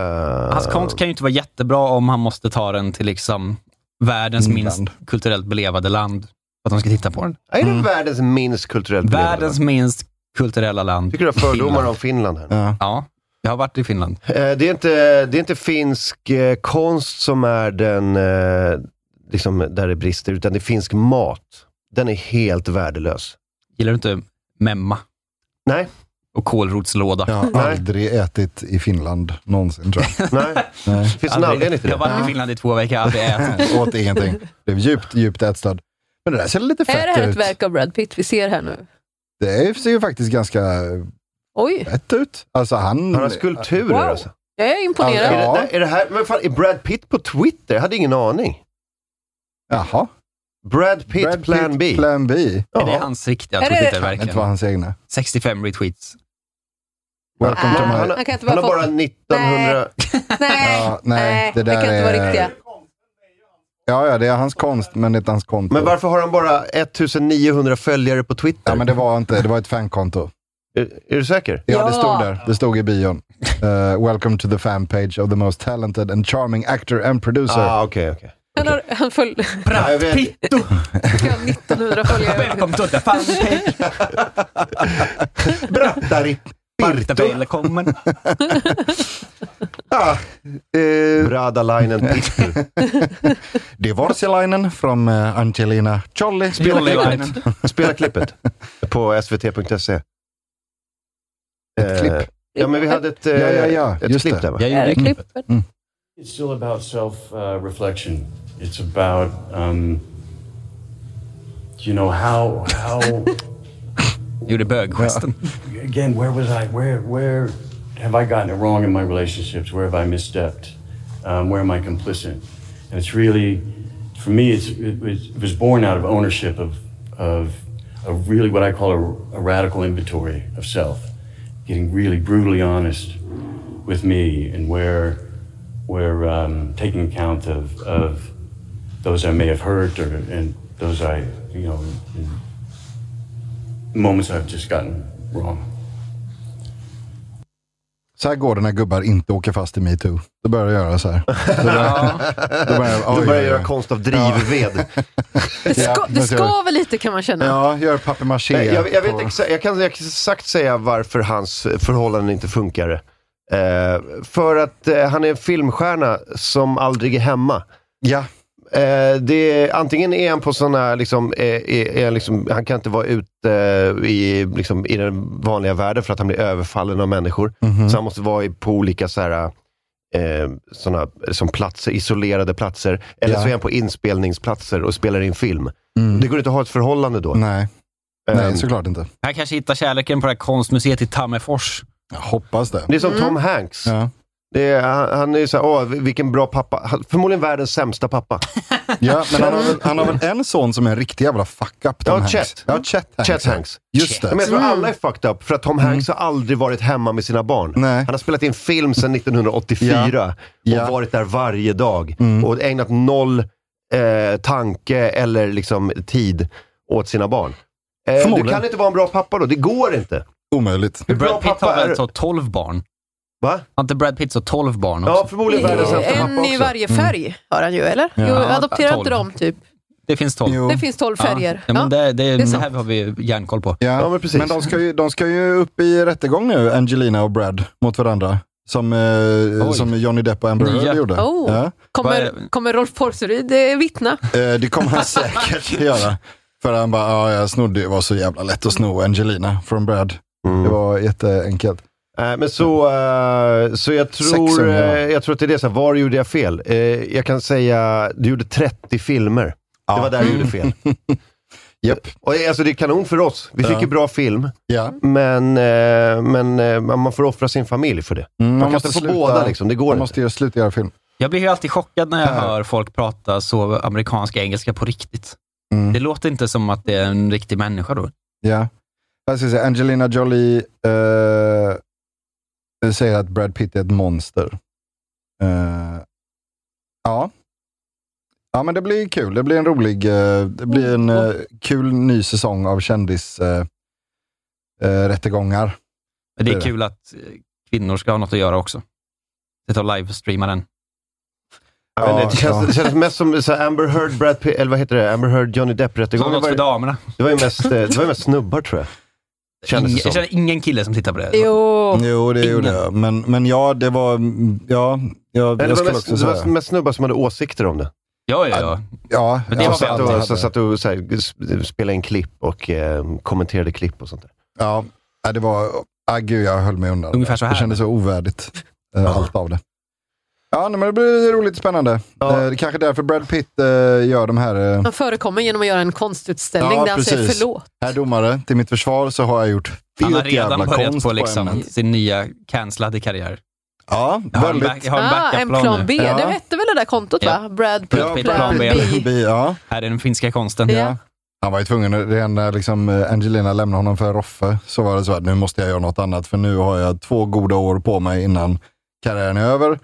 [SPEAKER 1] Eh,
[SPEAKER 3] Hans konst kan ju inte vara jättebra om han måste ta den till liksom världens
[SPEAKER 4] Finland.
[SPEAKER 3] minst kulturellt belevade land. för Att de ska titta på den.
[SPEAKER 1] Är det världens minst kulturellt
[SPEAKER 3] Världens minst kulturella land.
[SPEAKER 1] Tycker du har fördomar
[SPEAKER 3] Finland.
[SPEAKER 1] om Finland här?
[SPEAKER 4] Ja.
[SPEAKER 3] Ja, jag har varit i Finland.
[SPEAKER 1] Eh, Det är inte, det är inte finsk eh, konst som är den, eh, liksom, där det brister, utan det är finsk mat. Den är helt värdelös.
[SPEAKER 3] Gillar du inte memma?
[SPEAKER 1] Nej,
[SPEAKER 3] Och kålrotslåda.
[SPEAKER 4] Jag har aldrig ätit i Finland någonsin tror jag.
[SPEAKER 1] Nej.
[SPEAKER 4] Nej.
[SPEAKER 1] Finns det en anledning till det?
[SPEAKER 3] Jag har varit i Finland i två veckor, jag har aldrig ätit.
[SPEAKER 4] Åt ingenting. Blev djupt, djupt ätstörd. Men det där ser lite fett
[SPEAKER 2] Är det här ett
[SPEAKER 4] ut.
[SPEAKER 2] verk av Brad Pitt vi ser här nu?
[SPEAKER 4] Det ser ju faktiskt ganska
[SPEAKER 2] Oj,
[SPEAKER 4] fett ut. Alltså han...
[SPEAKER 1] Han har skulpturer
[SPEAKER 2] Wow.
[SPEAKER 1] alltså.
[SPEAKER 2] jag är imponerad.
[SPEAKER 1] Är, det, där- är det här, men fan, är Brad Pitt på Twitter? Jag hade ingen aning.
[SPEAKER 4] Jaha.
[SPEAKER 1] Brad Pitt,
[SPEAKER 4] Brad
[SPEAKER 1] Plan
[SPEAKER 4] Pitt,
[SPEAKER 1] B.
[SPEAKER 4] Plan B.
[SPEAKER 3] Är det
[SPEAKER 1] Ja.
[SPEAKER 3] hans riktiga
[SPEAKER 2] Är det-
[SPEAKER 4] Det var
[SPEAKER 3] Twitterverken?
[SPEAKER 4] hans egna.
[SPEAKER 3] 65 retweets.
[SPEAKER 4] Welcome to
[SPEAKER 2] Ah.
[SPEAKER 4] my...
[SPEAKER 1] Han,
[SPEAKER 2] Man kan inte
[SPEAKER 1] han har
[SPEAKER 2] bara få-
[SPEAKER 1] bara 1900...
[SPEAKER 2] Nej,
[SPEAKER 4] Ja, nej, det
[SPEAKER 2] det,
[SPEAKER 4] där
[SPEAKER 2] kan inte vara
[SPEAKER 4] är-
[SPEAKER 2] riktiga.
[SPEAKER 4] Ja, ja, det är hans konst, men det är inte hans konto.
[SPEAKER 1] Men varför har han bara 1900 följare på Twitter?
[SPEAKER 4] Ja, men det var inte, det var ett fankonto.
[SPEAKER 1] är, är du säker?
[SPEAKER 4] Ja,
[SPEAKER 2] Ja.
[SPEAKER 4] det stod där. Det stod i bion. Eh, welcome to the fan page of the most talented and charming actor and producer.
[SPEAKER 1] Ah, okej, okej.
[SPEAKER 2] Han, har, han följde
[SPEAKER 1] Ja, jag vet.
[SPEAKER 3] Pitto!
[SPEAKER 2] 1900 följare.
[SPEAKER 3] Välkommen till Fanpage!
[SPEAKER 1] Brattari. Pirto.
[SPEAKER 3] Välkommen!
[SPEAKER 1] Ah, Bradalainen Pittu.
[SPEAKER 4] Eh, Det var Selainen från eh, Angelina Jolie.
[SPEAKER 1] Spela
[SPEAKER 3] Jollelainen.
[SPEAKER 1] klippet. Spela klippet på svt.se.
[SPEAKER 4] Ett klipp.
[SPEAKER 1] E. Eh, Ja, men vi hade ett, eh,
[SPEAKER 4] Ja, ja, ja,
[SPEAKER 1] ett
[SPEAKER 4] just
[SPEAKER 1] klipp
[SPEAKER 4] det.
[SPEAKER 1] där va?
[SPEAKER 3] Jag
[SPEAKER 2] Är
[SPEAKER 3] gjorde
[SPEAKER 2] det
[SPEAKER 3] klipp.
[SPEAKER 2] klippet?
[SPEAKER 9] It's still about self uh, reflection. It's about, um, you know, how, how,
[SPEAKER 3] Gjorde böggesten.
[SPEAKER 9] again, where was I? Where, where have I gotten it wrong in my relationships? Where have I misstepped? Um, where am I complicit? And it's really, for me, it's, it, was, it was born out of ownership of, of, of really what I call a, a radical inventory of self, getting really brutally honest with me and where, where um, taking account of, of those I may have hurt or and those I, you know, moments I've just gotten wrong.
[SPEAKER 4] Så här går det när gubbar inte åker fast i metoo. Då börjar jag göra så här. Då börjar, då börjar, jag-
[SPEAKER 1] Du
[SPEAKER 4] oj,
[SPEAKER 1] börjar
[SPEAKER 4] oj, oj.
[SPEAKER 1] göra konst av drivved.
[SPEAKER 2] Det, ska, det
[SPEAKER 4] men så-
[SPEAKER 2] skaver lite kan man känna.
[SPEAKER 4] Ja, gör papier-maché.
[SPEAKER 1] Nej, jag, jag, vet
[SPEAKER 4] på-
[SPEAKER 1] exa- jag kan exakt säga varför hans förhållanden inte funkar. Eh, för att eh, han är en filmstjärna som aldrig är hemma.
[SPEAKER 4] Ja,
[SPEAKER 1] Eh, det är, antingen är han på sådana här, liksom, eh, är, är, liksom, han kan inte vara ute eh, i, liksom, i den vanliga världen för att han blir överfallen av människor.
[SPEAKER 4] Mhm.
[SPEAKER 1] Så han måste vara i, på olika så här, eh, såna, som platser, isolerade platser. Eller
[SPEAKER 4] Ja. Mm.
[SPEAKER 1] så är han på inspelningsplatser och spelar in film. Det går inte att ha ett förhållande då.
[SPEAKER 4] nej.
[SPEAKER 1] Ehm,
[SPEAKER 4] Nej, såklart inte.
[SPEAKER 3] Han kanske hittar kärleken på det här konstmuseet i Tammerfors.
[SPEAKER 4] Jag hoppas det.
[SPEAKER 1] Det är som Tom Hanks.
[SPEAKER 4] Ja,
[SPEAKER 1] Det är, han, han är ju såhär, åh vilken bra pappa. Han, förmodligen världens sämsta pappa.
[SPEAKER 4] ja men han har, väl, han har väl en son som är en riktig jävla fuck-up, Tom
[SPEAKER 1] Ja,
[SPEAKER 4] Hanks.
[SPEAKER 1] Chet.
[SPEAKER 4] Ja, Chet Hanks.
[SPEAKER 1] Chet Hanks.
[SPEAKER 4] Just det.
[SPEAKER 1] Men jag tror
[SPEAKER 3] Mm.
[SPEAKER 1] alla är fucked up, för att Tom Hanks har aldrig varit hemma med sina barn.
[SPEAKER 4] Nej.
[SPEAKER 1] Han har spelat in film sedan 1984 och
[SPEAKER 4] Ja. Mm.
[SPEAKER 1] varit där varje dag. Och ägnat noll eh, tanke eller liksom, tid åt sina barn. Eh, du
[SPEAKER 4] Förmodligen.
[SPEAKER 1] kan inte vara en bra pappa då, det går inte.
[SPEAKER 4] Omöjligt.
[SPEAKER 1] Hur bra
[SPEAKER 3] Brad Pitt
[SPEAKER 1] pappa
[SPEAKER 3] har väl
[SPEAKER 1] är
[SPEAKER 3] så 12 barn?
[SPEAKER 1] Va?
[SPEAKER 3] Har inte Brad Pitt så 12 barn också?
[SPEAKER 1] Ja, förmodligen världens sämsta pappa
[SPEAKER 2] En i
[SPEAKER 1] också.
[SPEAKER 2] varje färg har han ju, eller?
[SPEAKER 4] Ja.
[SPEAKER 2] Jo, adopterar
[SPEAKER 3] Mm. Tolv.
[SPEAKER 2] inte de typ?
[SPEAKER 3] Det finns 12.
[SPEAKER 4] Jo.
[SPEAKER 2] Det finns tolv färger.
[SPEAKER 3] Ja, men det, det, det,
[SPEAKER 2] sant.
[SPEAKER 3] här har vi järnkoll på.
[SPEAKER 4] Ja,
[SPEAKER 1] Ja, men
[SPEAKER 4] men,
[SPEAKER 1] precis.
[SPEAKER 4] de, ska ju, de ska ju upp i rättegång nu, Angelina och Brad, mot varandra. Som, eh,
[SPEAKER 3] Oj.
[SPEAKER 4] som Johnny Depp och Amber
[SPEAKER 3] Nya.
[SPEAKER 4] Heard gjorde.
[SPEAKER 2] Oh.
[SPEAKER 4] Ja.
[SPEAKER 3] Vad är
[SPEAKER 2] Kommer,
[SPEAKER 3] det?
[SPEAKER 2] kommer Rolf Porseryd eh, vittna?
[SPEAKER 4] Eh, det kommer han säkert göra. För han bara, ja, jag snodde, det var så jävla lätt att sno Angelina från Brad. Det var jätteenkelt.
[SPEAKER 1] Nej, men så, eh, så jag, tror,
[SPEAKER 4] Sexen, ja.
[SPEAKER 1] eh, jag tror att det är det. Så här, var gjorde jag fel? Eh, jag kan säga, du gjorde 30 filmer. Det var där du gjorde fel.
[SPEAKER 4] Japp.
[SPEAKER 1] Och, eh, alltså, det är kanon för oss. Vi fick
[SPEAKER 4] Ja.
[SPEAKER 1] ju bra film,
[SPEAKER 4] Ja.
[SPEAKER 1] men, eh, men eh, man får offra sin familj för det.
[SPEAKER 4] Mm,
[SPEAKER 1] Man kan inte få båda, liksom. det går
[SPEAKER 4] Man
[SPEAKER 1] inte.
[SPEAKER 4] måste ju sluta göra film.
[SPEAKER 3] Jag blir ju alltid chockad när jag
[SPEAKER 4] Ja.
[SPEAKER 3] hör folk prata så amerikanska engelska på riktigt.
[SPEAKER 4] Mm.
[SPEAKER 3] Det låter inte som att det är en riktig människa då.
[SPEAKER 4] Ja. Jag ska säga, Angelina Jolie eh, säger att Brad Pitt är ett monster. Eh, ja. Ja, men det blir kul. Det blir en rolig, eh, det blir en eh, kul ny säsong av kändis eh, eh, rättegångar.
[SPEAKER 3] Men det
[SPEAKER 4] Det
[SPEAKER 3] är
[SPEAKER 4] är
[SPEAKER 3] kul att eh, kvinnor ska ha något att göra också. Sitta och livestreama den.
[SPEAKER 1] Jag vet inte,
[SPEAKER 4] Ja,
[SPEAKER 1] det, känns,
[SPEAKER 4] ja.
[SPEAKER 1] det känns mest som så här, Amber Heard, Brad Pitt, eller vad heter det? Amber Heard, Johnny
[SPEAKER 3] Så
[SPEAKER 1] Depp-rättegången.
[SPEAKER 3] något för
[SPEAKER 1] var-
[SPEAKER 3] damerna.
[SPEAKER 1] Det var ju mest, eh, det var ju mest snubbar tror jag. Kändes
[SPEAKER 3] Ingen,
[SPEAKER 1] det
[SPEAKER 3] jag
[SPEAKER 1] som.
[SPEAKER 3] känner ingen kille som tittar på det. Mm.
[SPEAKER 2] Jo,
[SPEAKER 4] Jo, det
[SPEAKER 3] Ingen.
[SPEAKER 4] gjorde jag. Men, men ja, det var... mm, Ja, ja
[SPEAKER 1] Nej, det
[SPEAKER 4] jag
[SPEAKER 1] var
[SPEAKER 4] skulle
[SPEAKER 1] mest,
[SPEAKER 4] också
[SPEAKER 1] det var
[SPEAKER 4] säga.
[SPEAKER 1] mest snubbar som hade åsikter om det.
[SPEAKER 3] Ja, ja, ja.
[SPEAKER 4] Ja,
[SPEAKER 3] Men det
[SPEAKER 4] ja,
[SPEAKER 3] var
[SPEAKER 1] Som satt
[SPEAKER 3] alltid
[SPEAKER 1] och,
[SPEAKER 4] hade-
[SPEAKER 1] som satt och så här, s- spelade in klipp och eh, kommenterade klipp och sånt där.
[SPEAKER 4] Ja, nej, det var Ah, gud, jag höll mig undan.
[SPEAKER 3] Ungefär så här.
[SPEAKER 4] Det kändes så ovärdigt, eh, allt av det. Ja, nej, men det blir roligt och spännande. Ja. Eh, det kanske är därför Brad Pitt eh, gör de här... Eh,
[SPEAKER 2] Han förekommer genom att göra en konstutställning där han säger förlåt.
[SPEAKER 4] Herr domare, till mitt försvar så har jag gjort
[SPEAKER 3] Han har
[SPEAKER 4] fet jävla
[SPEAKER 3] redan börjat
[SPEAKER 4] konst
[SPEAKER 3] på liksom,
[SPEAKER 4] ämnet.
[SPEAKER 3] sin nya cancellade karriär.
[SPEAKER 4] Ja,
[SPEAKER 3] jag har en
[SPEAKER 4] väldigt-
[SPEAKER 3] back- jag har en
[SPEAKER 2] ah, en
[SPEAKER 3] backup-plan
[SPEAKER 2] plan
[SPEAKER 3] nu.
[SPEAKER 2] B. Det hette väl det där kontot va? Brad Pitt,
[SPEAKER 3] Brad Pitt, plan B. Här är den finska konsten.
[SPEAKER 2] Ja.
[SPEAKER 4] Han var ju tvungen, att- redan när liksom eh, Angelina lämnade honom för Roffe så var det så att nu måste jag göra något annat för nu har jag två goda år på mig innan karriären är över.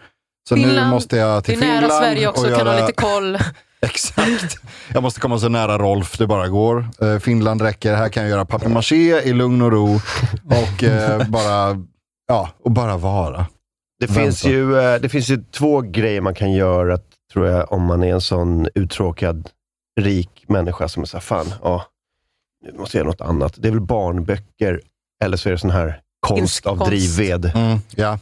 [SPEAKER 4] Så nu
[SPEAKER 2] Finland,
[SPEAKER 4] måste jag till
[SPEAKER 2] det är nära
[SPEAKER 4] Finland
[SPEAKER 2] Sverige också,
[SPEAKER 4] och
[SPEAKER 2] kan ha
[SPEAKER 4] göra-
[SPEAKER 2] lite koll.
[SPEAKER 4] Exakt. Jag måste komma så nära Rolf det bara går. Eh, Finland räcker, här kan jag göra papier-maché i lugn och ro och, eh, bara, ja, och bara vara.
[SPEAKER 1] Det finns,
[SPEAKER 4] Vänta.
[SPEAKER 1] ju, eh, det finns ju två grejer man kan göra, tror jag, om man är en sån uttråkad, rik människa som är såhär, fan, ja, nu måste jag göra något annat. Det är väl barnböcker, eller så är det sån här konst av
[SPEAKER 4] konst.
[SPEAKER 1] drivved.
[SPEAKER 4] Mm, ja.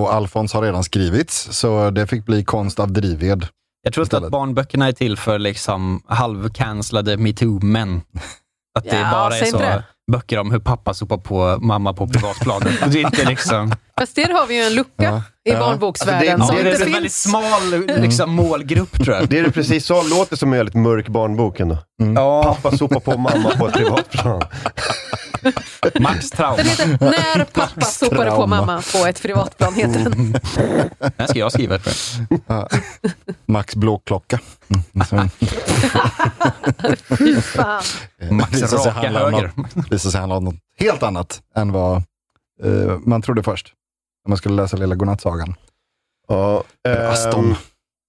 [SPEAKER 4] Och Alfons har redan skrivits, så det fick bli konst av drivved.
[SPEAKER 3] Jag tror inte att barnböckerna är till för liksom halvcancellade metoo-män. Att det
[SPEAKER 2] Ja,
[SPEAKER 3] bara är
[SPEAKER 2] säg
[SPEAKER 3] så
[SPEAKER 2] inte det.
[SPEAKER 3] böcker om hur pappa sopar på mamma på privatplanet. Det är inte liksom...
[SPEAKER 2] Fast där har vi ju en lucka i
[SPEAKER 3] Ja.
[SPEAKER 2] barnboksvärlden
[SPEAKER 3] Alltså, det-
[SPEAKER 2] som
[SPEAKER 3] det är
[SPEAKER 2] inte
[SPEAKER 3] en väldigt
[SPEAKER 2] finns.
[SPEAKER 3] smal liksom, målgrupp tror jag.
[SPEAKER 1] Det är det precis så, låter som en väldigt mörk barnbok ändå. Pappa sopar på mamma på ett privatplan.
[SPEAKER 3] Max trauma.
[SPEAKER 2] Den heter När pappa sopade på
[SPEAKER 1] trauma.
[SPEAKER 2] mamma på ett privatplan. Heter den.
[SPEAKER 3] Den ska jag skriva.
[SPEAKER 4] Ja. Max blåklocka. Mm,
[SPEAKER 2] Fy fan.
[SPEAKER 4] Max visar sig
[SPEAKER 3] raka
[SPEAKER 4] handla om
[SPEAKER 3] höger.
[SPEAKER 4] något- visar sig handla om något helt annat än vad eh, man trodde först. När man skulle läsa Lilla godnattsagan.
[SPEAKER 1] Ja,
[SPEAKER 4] Eller Aston.
[SPEAKER 1] ehm,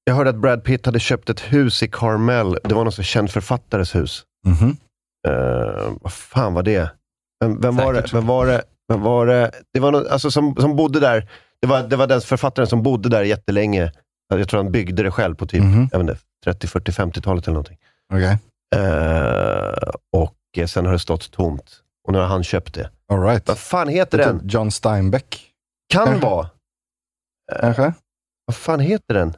[SPEAKER 1] jag hörde att Brad Pitt hade köpt ett hus i Carmel. Det var någon så känd författares hus.
[SPEAKER 4] Mhm.
[SPEAKER 1] Eh, vad fan var det? Vem, vem, var, det? vem var det? Vem var det? Det var någon, alltså, som, som bodde där. Det var, det var den författaren som bodde där jättelänge. Jag tror han byggde det själv på typ
[SPEAKER 4] Mm.
[SPEAKER 1] jag vet inte, 30, 40, 50-talet eller någonting.
[SPEAKER 4] mhm, Okej.
[SPEAKER 1] Eh, och eh, sen har det stått tomt. Och nu har han köpt det.
[SPEAKER 4] All right.
[SPEAKER 1] Vad fan heter
[SPEAKER 4] Heter
[SPEAKER 1] den?
[SPEAKER 4] John Steinbeck.
[SPEAKER 1] Kan
[SPEAKER 4] Kanske.
[SPEAKER 1] vara.
[SPEAKER 4] Kanske.
[SPEAKER 1] Vad fan heter den?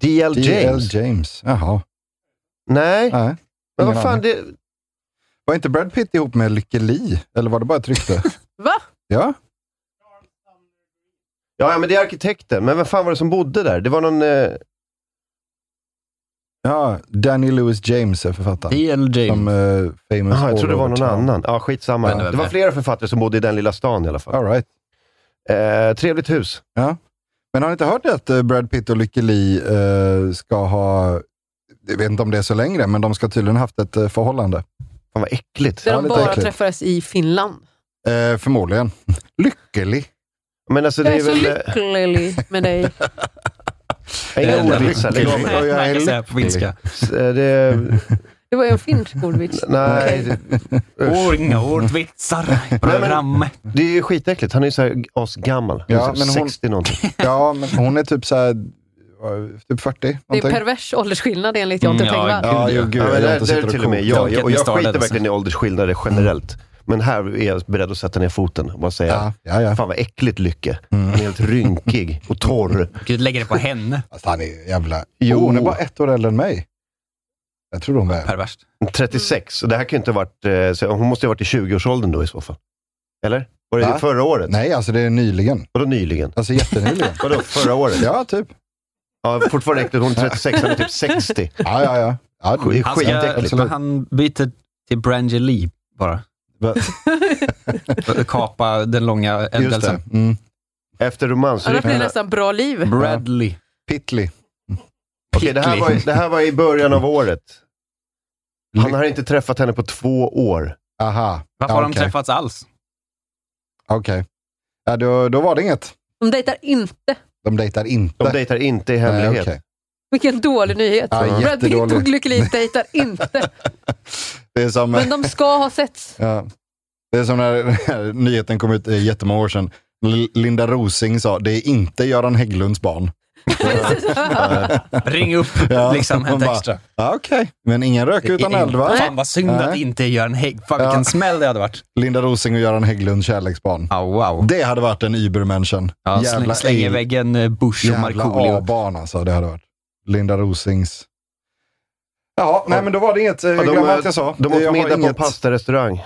[SPEAKER 1] DL James.
[SPEAKER 4] D.L. James. Jaha. Nej.
[SPEAKER 1] Nej. Men
[SPEAKER 4] ingen
[SPEAKER 1] vad fan,
[SPEAKER 4] aning.
[SPEAKER 1] det...
[SPEAKER 4] Var inte Brad Pitt ihop med Lykke Li? Eller var det bara ett rykte?
[SPEAKER 2] Va?
[SPEAKER 4] ja.
[SPEAKER 1] Ja, ja, men det är arkitekten. Men vem fan var det som bodde där? Det var någon... Eh...
[SPEAKER 4] ja, Danny Lewis James är författaren.
[SPEAKER 3] D.L. James.
[SPEAKER 4] Som, eh, famous
[SPEAKER 1] Aha, jag trodde det var
[SPEAKER 4] all
[SPEAKER 1] någon
[SPEAKER 4] over town.
[SPEAKER 1] annan. Ja, skitsamma.
[SPEAKER 4] Men det var
[SPEAKER 1] det var
[SPEAKER 4] väl-
[SPEAKER 1] flera författare som bodde i den lilla stan i alla fall.
[SPEAKER 4] All right.
[SPEAKER 1] Eh, trevligt hus.
[SPEAKER 4] Ja. Men har ni inte hört det att eh, Brad Pitt och Lykke Li eh, ska ha, jag vet inte om det är så längre, men de ska tydligen haft ett eh, förhållande.
[SPEAKER 1] Fan vad äckligt.
[SPEAKER 2] Där de bara träffades i Finland.
[SPEAKER 4] Eh, förmodligen. Lycklig.
[SPEAKER 1] Men alltså,
[SPEAKER 2] Jag är så lycklig med dig.
[SPEAKER 1] Inga
[SPEAKER 3] enda
[SPEAKER 1] ordvitsar.
[SPEAKER 3] lycklig.
[SPEAKER 1] Lägg av.
[SPEAKER 3] Jag kan säga på finska.
[SPEAKER 1] S- liksom. eh, Det...
[SPEAKER 2] Det var ju en finsk ordvits.
[SPEAKER 1] Nej.
[SPEAKER 2] Okej.
[SPEAKER 1] det-
[SPEAKER 4] Oh.
[SPEAKER 1] usch.
[SPEAKER 3] Åh, inga ordvitsar i
[SPEAKER 1] Nej,
[SPEAKER 3] programmet.
[SPEAKER 1] men, det är ju skitäckligt. Han är ju såhär asgammal. Han är
[SPEAKER 4] Ja,
[SPEAKER 1] så här
[SPEAKER 4] men hon-
[SPEAKER 1] 60 någonting.
[SPEAKER 4] Ja, men hon är typ så här, eh, typ 40.
[SPEAKER 2] Det är
[SPEAKER 4] någonting.
[SPEAKER 2] pervers åldersskillnad enligt Jonte Tengvall.
[SPEAKER 4] Ja, jo, gud,
[SPEAKER 1] Ja,
[SPEAKER 4] jag
[SPEAKER 1] men
[SPEAKER 4] har
[SPEAKER 1] där,
[SPEAKER 4] inte
[SPEAKER 1] där
[SPEAKER 4] suttit och
[SPEAKER 1] till och med
[SPEAKER 4] kokat.
[SPEAKER 1] jag.
[SPEAKER 4] Tolkat
[SPEAKER 1] Och
[SPEAKER 4] med
[SPEAKER 1] jag
[SPEAKER 4] staden,
[SPEAKER 1] skiter
[SPEAKER 4] alltså.
[SPEAKER 1] verkligen i åldersskillnader generellt. Men här är jag beredd att sätta ner foten och bara säga,
[SPEAKER 4] Ja, Mm. ja, ja.
[SPEAKER 1] fan vad äckligt Lycke. Han är helt rynkig och torr.
[SPEAKER 3] Gud, lägger det på henne.
[SPEAKER 4] Fast han är jävla...
[SPEAKER 1] Jo.
[SPEAKER 4] Oh, hon är bara ett år äldre än mig. Jag tror hon var...
[SPEAKER 3] Perverst.
[SPEAKER 1] 36, så det här kan ju inte ha varit... eh, så Hon måste ju ha varit i 20-årsåldern då i så fall. Eller? Var det
[SPEAKER 4] Va?
[SPEAKER 1] förra året?
[SPEAKER 4] Nej, alltså det är nyligen.
[SPEAKER 1] Vadå nyligen?
[SPEAKER 4] Alltså jättenyligen.
[SPEAKER 1] Vadå förra året?
[SPEAKER 4] ja, typ.
[SPEAKER 1] Ja, fortfarande äckligt. Hon är 36, han är typ 60.
[SPEAKER 4] Ja, ja, ja. ja
[SPEAKER 1] Det är
[SPEAKER 3] Han, ska, men
[SPEAKER 1] skitäckligt.
[SPEAKER 3] han byter till Brangelie bara.
[SPEAKER 4] Va?
[SPEAKER 3] För att Kapa den långa
[SPEAKER 4] Just det.
[SPEAKER 3] ändelsen.
[SPEAKER 4] Mm.
[SPEAKER 1] Efter romans.
[SPEAKER 2] Annars blir det
[SPEAKER 1] Okej,
[SPEAKER 2] nästan bra liv.
[SPEAKER 3] Bradley.
[SPEAKER 4] Pitley.
[SPEAKER 1] det, här var, det här var i början av året. Han har inte träffat henne på två år.
[SPEAKER 4] Aha.
[SPEAKER 3] Varför
[SPEAKER 4] ja,
[SPEAKER 3] har de
[SPEAKER 4] okej.
[SPEAKER 3] träffats alls?
[SPEAKER 4] Okej. Ja, då, då var det inget.
[SPEAKER 2] De dejtar inte.
[SPEAKER 4] De dejtar inte.
[SPEAKER 1] De dejtar inte i
[SPEAKER 4] Nej,
[SPEAKER 1] hemlighet.
[SPEAKER 4] okej.
[SPEAKER 2] Vilken dålig nyhet.
[SPEAKER 4] Ja,
[SPEAKER 2] Brad Pitt
[SPEAKER 4] jättedålig.
[SPEAKER 2] och Lykke Li dejtar inte.
[SPEAKER 4] Det är som...
[SPEAKER 2] Men de ska ha sett.
[SPEAKER 4] Ja. Det är som när, när nyheten kom ut eh, jättemånga år sedan. L- Linda Rosing sa, det är inte Göran Hägglunds barn.
[SPEAKER 3] Ring upp
[SPEAKER 4] Ja,
[SPEAKER 3] liksom,
[SPEAKER 4] hon
[SPEAKER 3] hämta
[SPEAKER 4] bara,
[SPEAKER 3] extra.
[SPEAKER 4] Ja, Okej, men ingen rök utan
[SPEAKER 3] I- i-
[SPEAKER 4] eld va?
[SPEAKER 3] Fan vad synd att
[SPEAKER 4] Nej.
[SPEAKER 3] det inte gör en hägg. Fan
[SPEAKER 4] Ja.
[SPEAKER 3] vilken smäll det hade varit.
[SPEAKER 4] Linda Rosing och Göran Hägglund kärleksbarn.
[SPEAKER 3] Ja, wow.
[SPEAKER 4] Det hade varit en Übermenschen.
[SPEAKER 3] Ja, släng, släng i
[SPEAKER 4] A-
[SPEAKER 3] väggen eh, Bush och
[SPEAKER 4] jävla
[SPEAKER 3] Markoolio.
[SPEAKER 4] A-barn alltså, det hade varit. Linda Rosings... Ja, nej men då var det inget eh,
[SPEAKER 1] Ja,
[SPEAKER 4] jag glömde allt jag sa.
[SPEAKER 1] de
[SPEAKER 4] Jag
[SPEAKER 1] åt
[SPEAKER 4] har
[SPEAKER 1] middag på en
[SPEAKER 4] inget-
[SPEAKER 1] pastarestaurang.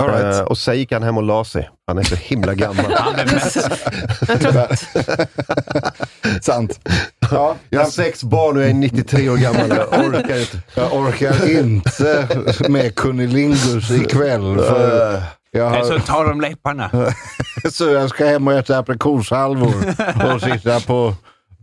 [SPEAKER 4] All right.
[SPEAKER 1] Eh, och sen gick han hem och la sig. Han är så himla gammal.
[SPEAKER 4] Han är
[SPEAKER 3] Alltså,
[SPEAKER 4] mätt. Sant. Ja,
[SPEAKER 1] jag har sex barn och jag är 93 år gammal. Jag orkar inte.
[SPEAKER 4] Jag orkar inte med kunnilingus ikväll. För jag
[SPEAKER 3] Nej, så
[SPEAKER 4] har...
[SPEAKER 3] tar de läpparna.
[SPEAKER 4] så jag ska hem och äta aprikoshalvor och sitta på...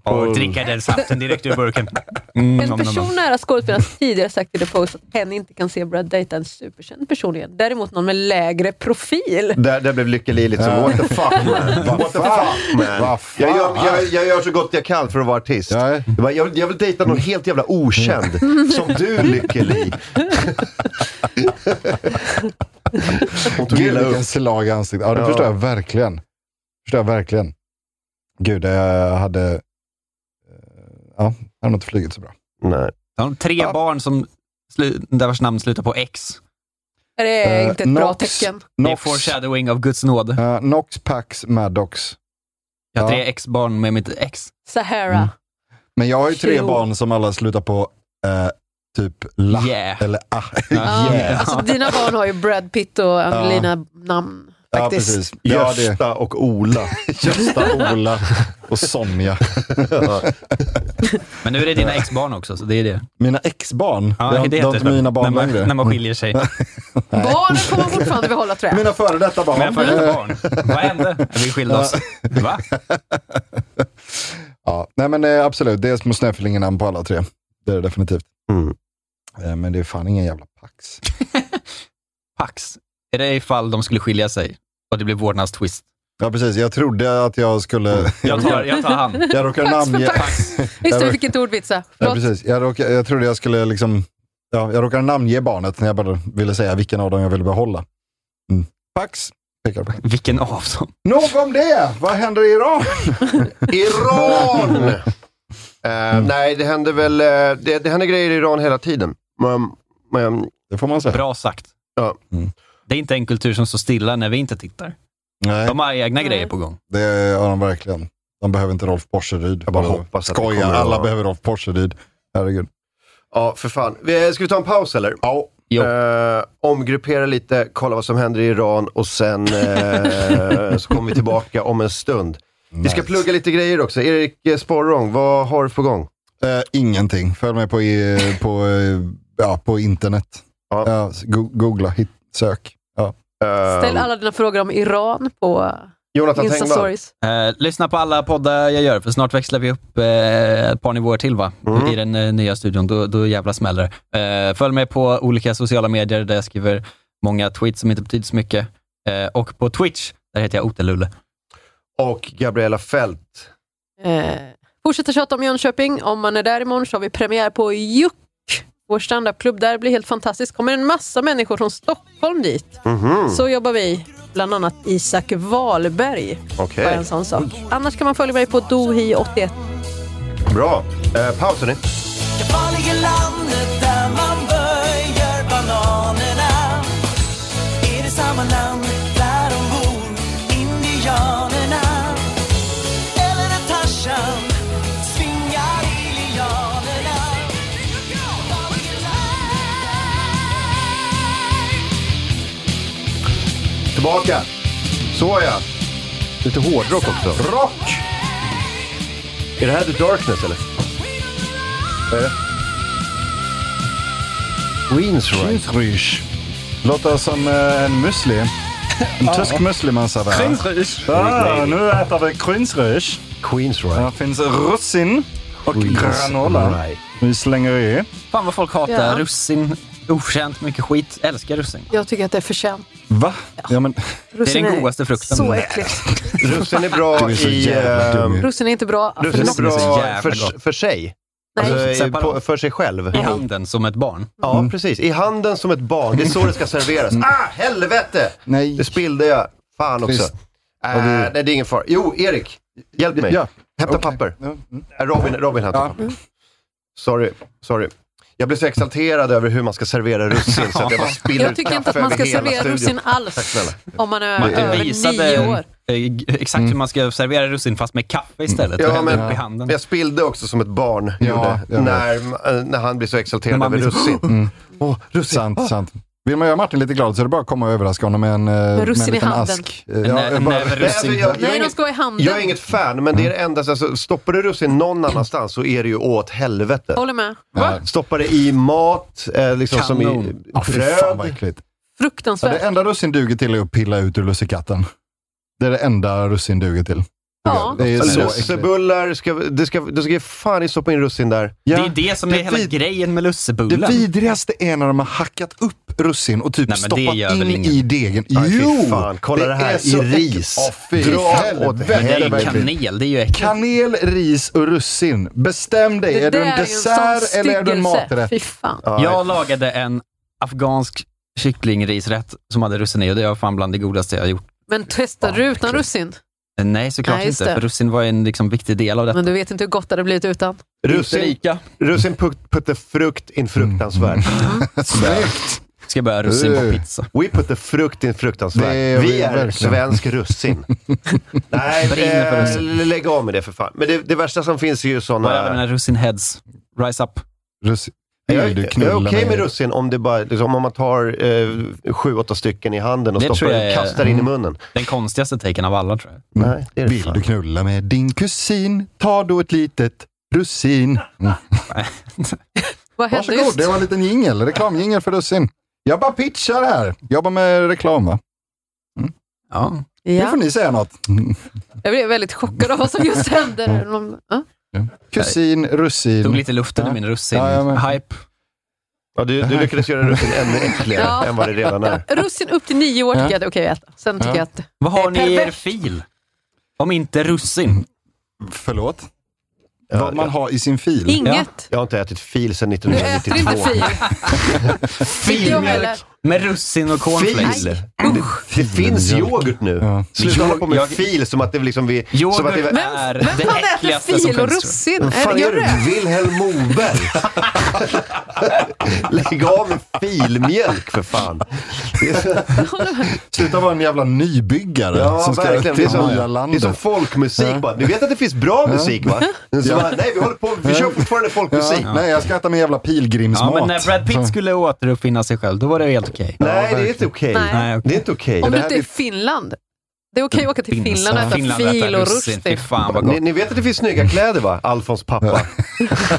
[SPEAKER 4] på...
[SPEAKER 3] Och dricka den saften direkt ur burken.
[SPEAKER 4] Mm.
[SPEAKER 3] Mm,
[SPEAKER 2] En person nära skådespelarens tidigare sagt i The Post att hen inte kan se Brad dejta en superkänd person igen. Däremot någon med lägre profil.
[SPEAKER 1] Där, där blev Lykke Li lite så,
[SPEAKER 4] Ja.
[SPEAKER 1] what the fuck man. What the fuck man.
[SPEAKER 4] Vad fan?
[SPEAKER 1] Jag gör, jag, jag gör så gott jag kan för att vara artist. Jag, bara, jag, jag vill dejta någon helt jävla okänd. Som du Lykke Li. Hon tog
[SPEAKER 4] Gud
[SPEAKER 1] illa upp.
[SPEAKER 4] vilken slag i ansiktet. Ja, det
[SPEAKER 1] Ja.
[SPEAKER 4] förstår jag verkligen. förstår jag verkligen. Gud, jag hade... eh, Ja, jag hade inte flugit så bra.
[SPEAKER 1] Nej.
[SPEAKER 3] De tre barn som slu- där vars namn slutar på X.
[SPEAKER 2] Det är
[SPEAKER 4] Eh,
[SPEAKER 2] inte ett bra
[SPEAKER 4] Knox.
[SPEAKER 2] tecken.
[SPEAKER 3] Det är
[SPEAKER 4] Nox.
[SPEAKER 3] foreshadowing av Guds nåd.
[SPEAKER 4] Uh, Nox, Pax, Maddox.
[SPEAKER 3] Jag har
[SPEAKER 4] Ja.
[SPEAKER 3] tre X-barn med mitt ex.
[SPEAKER 2] Sahara.
[SPEAKER 3] Mm.
[SPEAKER 4] Men jag har ju tre
[SPEAKER 2] Tjo.
[SPEAKER 4] barn som alla slutar på eh, typ la
[SPEAKER 3] Yeah.
[SPEAKER 4] eller a.
[SPEAKER 2] Ja, Alltså, dina barn har ju Brad Pitt och Angelina namn.
[SPEAKER 4] Ja,
[SPEAKER 2] Faktiskt.
[SPEAKER 4] precis. Ja, det
[SPEAKER 1] Gösta och Ola.
[SPEAKER 4] Gösta, Ola och Sonja.
[SPEAKER 3] Men nu är det dina ex-barn också, så det är det.
[SPEAKER 4] Mina ex-barn.
[SPEAKER 3] Ja,
[SPEAKER 4] det har
[SPEAKER 3] det
[SPEAKER 4] det
[SPEAKER 3] heter
[SPEAKER 4] har inte
[SPEAKER 3] det.
[SPEAKER 4] mina
[SPEAKER 3] när
[SPEAKER 4] barn
[SPEAKER 3] man,
[SPEAKER 4] längre.
[SPEAKER 3] när man skiljer sig.
[SPEAKER 2] Barnen får man fortfarande behålla tror jag.
[SPEAKER 4] Mina före detta barn.
[SPEAKER 3] Men för ett barn. Vad hände? Vi skilde oss. Va?
[SPEAKER 4] Ja, nej men eh, absolut. Det är små snöflingor namn på alla tre. Det är det definitivt.
[SPEAKER 1] Mm.
[SPEAKER 4] Eh, Men det är fan ingen jävla pax.
[SPEAKER 3] Pax. Är det ifall de skulle skilja sig och det blir vårdnadstwist?
[SPEAKER 4] Ja, precis. Jag trodde att jag skulle...
[SPEAKER 3] Jag tar, jag tar han.
[SPEAKER 4] Jag råkade
[SPEAKER 2] Pax för
[SPEAKER 4] namnge...
[SPEAKER 3] Pax.
[SPEAKER 2] Visst,
[SPEAKER 4] Jag
[SPEAKER 2] du
[SPEAKER 4] råk-
[SPEAKER 2] fick inte ordvitsa.
[SPEAKER 4] Ja,
[SPEAKER 2] Förlåt.
[SPEAKER 4] precis. Jag, råkade, jag trodde jag skulle liksom... Ja, jag råkade namnge barnet när jag bara ville säga vilken av dem jag ville behålla. Mm. Pax. Pekar på.
[SPEAKER 3] Vilken av dem?
[SPEAKER 4] Nog om det! Vad händer i Iran?
[SPEAKER 1] Iran!
[SPEAKER 4] Mm.
[SPEAKER 1] Eh, Nej, det händer väl eh, det, det händer grejer i Iran hela tiden. Men, men,
[SPEAKER 4] Det får man säga.
[SPEAKER 3] Bra sagt. Mm.
[SPEAKER 1] ja.
[SPEAKER 3] Det är inte en kultur som står stilla när vi inte tittar.
[SPEAKER 4] Nej,
[SPEAKER 3] De har egna grejer på gång.
[SPEAKER 4] det har de verkligen. De behöver inte Rolf Porseryd.
[SPEAKER 1] Jag bara hoppas att det
[SPEAKER 4] Skoja,
[SPEAKER 1] kommer att-
[SPEAKER 4] alla behöver Rolf Porseryd. Herregud.
[SPEAKER 1] ja, för fan. Vi- eh, Ska vi ta en paus eller?
[SPEAKER 4] Ja.
[SPEAKER 3] Jo.
[SPEAKER 1] Eh, omgruppera lite, kolla vad som händer i Iran och sen eh, så kommer vi tillbaka om en stund. Vi ska
[SPEAKER 4] Nice.
[SPEAKER 1] plugga lite grejer också. Erik eh, Sporrong, vad har du på gång?
[SPEAKER 4] Eh, ingenting. Följ mig på, eh, på, eh, ja, på internet.
[SPEAKER 1] Ja.
[SPEAKER 4] Ja, go- googla, hit, sök. Ja.
[SPEAKER 1] Eh,
[SPEAKER 2] Ställ alla dina frågor om Iran på
[SPEAKER 1] Jonathan Tengvall.
[SPEAKER 2] Insta-stories.
[SPEAKER 3] Eh, lyssna på alla poddar jag gör, för snart växlar vi upp eh, ett par nivåer till va?
[SPEAKER 1] Mm.
[SPEAKER 3] i den eh, nya studion. Då, då jävla smäller det. eh, Följ mig på olika sociala medier där jag skriver många tweets som inte betyder så mycket. Eh, och på Twitch, där heter jag Otelulle.
[SPEAKER 1] Och Gabriella Fält.
[SPEAKER 2] Eh, fortsätta tjata om Jönköping. Om man är där imorgon så har vi premiär på Juck. Vår standupklubb där blir helt fantastisk. kommer en massa människor från Stockholm dit.
[SPEAKER 1] Mhm,
[SPEAKER 2] Så jobbar vi. Bland annat Isak Wahlberg.
[SPEAKER 1] Okej,
[SPEAKER 2] Bara en sån sak. Annars kan man följa mig på dohi81.
[SPEAKER 1] bra. Uh, paus hörni.
[SPEAKER 10] Det farliga landet där man böjer bananerna Är det samma land där de bor, indianerna? Eller är Tarzan svingar i lianerna? Farliga land.
[SPEAKER 1] Tillbaka. Såja. Lite hårdrock också. Rock! Är det här The Darkness eller? Vad är det? Queens right.
[SPEAKER 4] Rysch. Låter som eh, en müsli. En tysk müsli man serverar. Ja, Ah, nu äter vi krynsrysch.
[SPEAKER 1] Queens
[SPEAKER 4] Här
[SPEAKER 1] right.
[SPEAKER 4] finns russin och
[SPEAKER 1] Queens
[SPEAKER 4] granola.
[SPEAKER 1] right.
[SPEAKER 4] Vi slänger i.
[SPEAKER 3] Fan vad folk hatar
[SPEAKER 2] Ja.
[SPEAKER 3] russin. Oförtjänt mycket skit. Älskar russin.
[SPEAKER 2] Jag tycker att det är förtjänt.
[SPEAKER 4] Va? Ja, men,
[SPEAKER 3] Det är den godaste frukten.
[SPEAKER 2] Så äckligt.
[SPEAKER 1] Russin är bra
[SPEAKER 4] Du är så
[SPEAKER 1] i...
[SPEAKER 4] jävla
[SPEAKER 1] ehm,
[SPEAKER 4] dum ju.
[SPEAKER 2] Russin är inte bra.
[SPEAKER 1] Russin är
[SPEAKER 3] Russin är så
[SPEAKER 1] bra
[SPEAKER 3] jävla
[SPEAKER 1] för,
[SPEAKER 3] gott.
[SPEAKER 1] för sig.
[SPEAKER 2] Nej.
[SPEAKER 1] Alltså, i-
[SPEAKER 3] Separat.
[SPEAKER 1] på, för sig själv.
[SPEAKER 3] I handen som ett barn.
[SPEAKER 4] Mm.
[SPEAKER 1] Ja, precis. I handen som ett barn. Det är så det ska serveras. Ah, helvete!
[SPEAKER 4] nej.
[SPEAKER 1] Det spillde jag. Fan också.
[SPEAKER 4] Trist.
[SPEAKER 1] Äh,
[SPEAKER 4] du-
[SPEAKER 1] Nej, det är ingen fara. Jo, Erik. Hjälp mig.
[SPEAKER 4] Ja.
[SPEAKER 1] Hämta
[SPEAKER 4] Okej.
[SPEAKER 1] papper.
[SPEAKER 4] Ja, mm.
[SPEAKER 1] Äh, Robin, Robin hämtar
[SPEAKER 4] Ja.
[SPEAKER 1] papper. Sorry, sorry. Jag blev så exalterad över hur man ska servera russin så att jag bara spiller
[SPEAKER 2] Jag
[SPEAKER 1] ut
[SPEAKER 2] tycker inte att
[SPEAKER 1] kaffe
[SPEAKER 2] man ska
[SPEAKER 1] över hela
[SPEAKER 2] servera
[SPEAKER 1] studion.
[SPEAKER 2] russin
[SPEAKER 1] Tack
[SPEAKER 2] alls
[SPEAKER 1] snälla.
[SPEAKER 2] om man är
[SPEAKER 3] Martin
[SPEAKER 2] över nio
[SPEAKER 3] Eh, visade
[SPEAKER 2] år.
[SPEAKER 3] eh, g- exakt hur man ska servera russin fast med kaffe istället. och
[SPEAKER 1] Mm. Ja,
[SPEAKER 3] hällde
[SPEAKER 1] men-
[SPEAKER 3] upp i handen.
[SPEAKER 1] Jag spillde också som ett barn
[SPEAKER 4] Ja,
[SPEAKER 1] gjorde
[SPEAKER 4] jag vet.
[SPEAKER 1] när, när han blev så exalterad
[SPEAKER 3] När man blir
[SPEAKER 1] över
[SPEAKER 3] så-
[SPEAKER 1] russin. Åh, russin.
[SPEAKER 4] Mm. Ah. Sant, sant. Vill man göra Martin lite glad så är det bara att komma och överraska honom med en, eh, med en
[SPEAKER 2] russin i
[SPEAKER 4] liten
[SPEAKER 2] handen.
[SPEAKER 4] ask. Eh, Ja, jag bara-
[SPEAKER 2] Nej, de ska vara i handen.
[SPEAKER 1] Jag är inget fan, men det är det enda. Alltså, stoppar du russin någon annanstans så är det ju åt helvete.
[SPEAKER 2] Håller med.
[SPEAKER 1] Ja. Stoppar det i mat, eh, liksom som i
[SPEAKER 4] Kanon. Ja, fy fan vad
[SPEAKER 1] bröd.
[SPEAKER 4] äckligt. Ja, det
[SPEAKER 2] Fruktansvärt.
[SPEAKER 4] enda russin duger till är att pilla ut ur lussekatten. Det är det enda russin duger till.
[SPEAKER 2] Ja.
[SPEAKER 4] Det är så äckligt.
[SPEAKER 1] Lussebullar, ska, det ska, du ska fan i stoppa in russin där.
[SPEAKER 4] Ja.
[SPEAKER 3] Det är det som är hela grejen med lussebullen.
[SPEAKER 4] Det vidrigaste är när de har hackat upp russin och typ
[SPEAKER 3] Nej, men det
[SPEAKER 4] stoppat
[SPEAKER 3] gör väl
[SPEAKER 4] in
[SPEAKER 3] ingen.
[SPEAKER 4] i degen.
[SPEAKER 1] Nej, fy
[SPEAKER 4] jo!
[SPEAKER 1] fan. Kolla det här
[SPEAKER 4] är
[SPEAKER 1] i
[SPEAKER 4] så äckligt.
[SPEAKER 1] ris.
[SPEAKER 4] Åh, fy
[SPEAKER 1] Dra åt
[SPEAKER 4] helvete.
[SPEAKER 3] Men det är ju
[SPEAKER 4] verkligen.
[SPEAKER 3] kanel, det är ju äckligt.
[SPEAKER 4] Kanel, ris och russin. Bestäm dig.
[SPEAKER 2] Det
[SPEAKER 4] är du
[SPEAKER 2] där
[SPEAKER 4] en
[SPEAKER 2] ju
[SPEAKER 4] dessert
[SPEAKER 2] sån
[SPEAKER 4] eller är du en
[SPEAKER 2] styggelse.
[SPEAKER 4] maträtt?
[SPEAKER 2] Fy fan.
[SPEAKER 3] Jag lagade en afghansk kycklingrisrätt som hade russin i och det var fan bland det godaste jag har gjort. Eh,
[SPEAKER 2] Men testade du utan russin?
[SPEAKER 3] Nej, såklart
[SPEAKER 2] Nej, just
[SPEAKER 3] inte.
[SPEAKER 2] det.
[SPEAKER 3] För russin var en liksom, viktig del av detta.
[SPEAKER 2] Men du vet inte hur gott det hade blivit utan.
[SPEAKER 1] Russin, russin put, put the frukt in fruktansvärd.
[SPEAKER 4] Mm. Snyggt!
[SPEAKER 3] Ska börja russin på
[SPEAKER 4] Eh.
[SPEAKER 1] Uh.
[SPEAKER 3] pizza.
[SPEAKER 1] We put the frukt in
[SPEAKER 4] Det
[SPEAKER 1] fruktansvärd.
[SPEAKER 4] är
[SPEAKER 1] Vi
[SPEAKER 4] vi
[SPEAKER 1] är
[SPEAKER 4] verkligen.
[SPEAKER 1] svensk russin. Nej,
[SPEAKER 3] Brinner för
[SPEAKER 1] eh,
[SPEAKER 3] russin.
[SPEAKER 1] lägg av med det för fan. Men det, det värsta som finns är ju
[SPEAKER 3] Var är mina
[SPEAKER 1] sådana...
[SPEAKER 3] russinheads? Rise up.
[SPEAKER 4] Russin.
[SPEAKER 1] Jag, jag
[SPEAKER 4] Vill du
[SPEAKER 1] är
[SPEAKER 4] knulla
[SPEAKER 1] okej med
[SPEAKER 4] mig?
[SPEAKER 1] russin om, det bara, liksom, om man tar eh, sju, åtta stycken i handen och
[SPEAKER 3] Det
[SPEAKER 1] stoppar,
[SPEAKER 3] tror jag är-
[SPEAKER 1] kastar in i munnen.
[SPEAKER 3] Den konstigaste taken av alla tror jag.
[SPEAKER 1] Nej, det är det
[SPEAKER 4] Mm. Vill
[SPEAKER 1] fan.
[SPEAKER 4] du knulla med din kusin? Ta då ett litet russin. Mm.
[SPEAKER 2] Vad hände
[SPEAKER 4] Varsågod,
[SPEAKER 2] just?
[SPEAKER 4] det var en liten jingel. Reklamjingel för russin. Jag bara pitchar här. Jobbar med reklam va?
[SPEAKER 3] Ja.
[SPEAKER 4] Nu får
[SPEAKER 2] Ja.
[SPEAKER 4] ni säga något. Mm.
[SPEAKER 2] Jag blev väldigt chockad av vad som just hände. där. De- ja.
[SPEAKER 4] Kusin,
[SPEAKER 3] Tog
[SPEAKER 4] russin.
[SPEAKER 3] lite luften ur min
[SPEAKER 4] Mm. Ja, ja, men-
[SPEAKER 3] russin-hype.
[SPEAKER 1] Ja, du, du lyckades göra russin ännu äckligare
[SPEAKER 2] Ja.
[SPEAKER 1] än vad det redan är.
[SPEAKER 2] Russin upp till nio år
[SPEAKER 4] Ja.
[SPEAKER 2] tycker jag att det är okej att äta. Sen tycker
[SPEAKER 4] Ja.
[SPEAKER 2] jag att...
[SPEAKER 3] Vad har
[SPEAKER 2] Det är
[SPEAKER 3] ni i er
[SPEAKER 2] pervers.
[SPEAKER 3] fil? Om inte russin.
[SPEAKER 4] Förlåt?
[SPEAKER 1] Ja,
[SPEAKER 4] Vad man har i sin fil?
[SPEAKER 2] Inget.
[SPEAKER 1] Jag har inte ätit fil sedan
[SPEAKER 2] Du äter inte
[SPEAKER 1] 1992.
[SPEAKER 2] fil. Inte jag heller.
[SPEAKER 3] Med russin och cornflakes.
[SPEAKER 1] Fil? Det finns yoghurt nu.
[SPEAKER 4] Ja.
[SPEAKER 1] Sluta hålla på med
[SPEAKER 3] Jag-
[SPEAKER 1] fil som att det liksom vi... som att
[SPEAKER 3] Yoghurt
[SPEAKER 1] det,
[SPEAKER 3] är
[SPEAKER 2] Vem fan
[SPEAKER 3] det
[SPEAKER 2] äter
[SPEAKER 3] äckligaste som
[SPEAKER 2] fil
[SPEAKER 3] finns.
[SPEAKER 2] och
[SPEAKER 3] tror
[SPEAKER 2] russin?
[SPEAKER 1] Vad
[SPEAKER 2] Är
[SPEAKER 1] fan
[SPEAKER 2] det,
[SPEAKER 1] gör
[SPEAKER 2] gör det?
[SPEAKER 1] du? Vilhelm Moberg! Lägg av med filmjölk för fan.
[SPEAKER 4] Sluta vara en jävla nybyggare
[SPEAKER 1] Ja,
[SPEAKER 4] som ska
[SPEAKER 1] verkligen. Det är,
[SPEAKER 4] till
[SPEAKER 1] som,
[SPEAKER 4] nya
[SPEAKER 1] det är
[SPEAKER 4] landet.
[SPEAKER 1] som folkmusik bara. Du vet att det finns bra musik va? Så bara, nej, vi håller på, vi kör fortfarande
[SPEAKER 4] ja.
[SPEAKER 1] folkmusik.
[SPEAKER 4] Nej, jag ska äta min jävla
[SPEAKER 3] Ja,
[SPEAKER 4] pilgrimsmat.
[SPEAKER 3] men när Brad Pitt
[SPEAKER 4] Så-
[SPEAKER 3] skulle återuppfinna sig själv, då var det helt okej.
[SPEAKER 1] Nej, det är inte okej.
[SPEAKER 2] Nej.
[SPEAKER 3] Nej, okej.
[SPEAKER 1] Det är inte okej.
[SPEAKER 2] Om
[SPEAKER 1] Det
[SPEAKER 2] du
[SPEAKER 1] här
[SPEAKER 2] inte är i Finland. Det är okej att åka till
[SPEAKER 3] Finns-
[SPEAKER 2] Finland och äta
[SPEAKER 3] Finland
[SPEAKER 2] fil
[SPEAKER 3] äter
[SPEAKER 2] och
[SPEAKER 3] russin. Fy
[SPEAKER 2] russin.
[SPEAKER 3] fan vad
[SPEAKER 1] Ni,
[SPEAKER 3] gott.
[SPEAKER 1] ni vet att det finns snygga kläder va? Alfons pappa.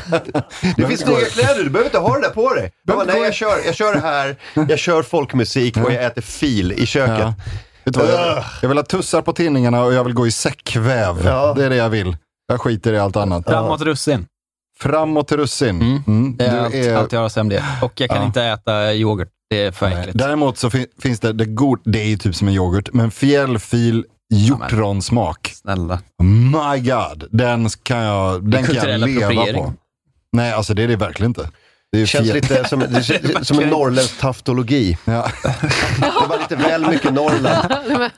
[SPEAKER 1] det finns snygga kläder, du behöver inte ha det där på dig. Jag bara, nej, jag kör, jag kör här, jag kör folkmusik och jag äter fil i köket.
[SPEAKER 4] Ja. Vet du vad, jag, jag vill ha tussar på tinningarna och jag vill gå i säckväv.
[SPEAKER 1] Ja.
[SPEAKER 4] Det är det jag vill. Jag skiter i allt annat.
[SPEAKER 3] Framåt russin.
[SPEAKER 4] Framåt till russin.
[SPEAKER 3] Mm.
[SPEAKER 4] Mm.
[SPEAKER 3] Det
[SPEAKER 4] Du
[SPEAKER 3] är allt,
[SPEAKER 4] är-
[SPEAKER 3] allt jag har att säga om det. Och jag kan
[SPEAKER 4] Ja.
[SPEAKER 3] inte äta yoghurt. Det är för
[SPEAKER 4] Nej.
[SPEAKER 3] äckligt.
[SPEAKER 4] Däremot så fin- finns det, det, god, det är ju typ som en yoghurt, men fjällfil hjortronsmak.
[SPEAKER 3] Snälla.
[SPEAKER 4] My God, den kan jag, den kan jag
[SPEAKER 3] Kulturell
[SPEAKER 4] leva
[SPEAKER 3] appropriering.
[SPEAKER 4] på. Nej, alltså det är det verkligen inte. Det är ju
[SPEAKER 1] Det känns
[SPEAKER 4] fjäll-
[SPEAKER 1] lite som, det känns, som en norrländsk taftologi.
[SPEAKER 4] Ja.
[SPEAKER 1] Det var lite väl mycket Norrland.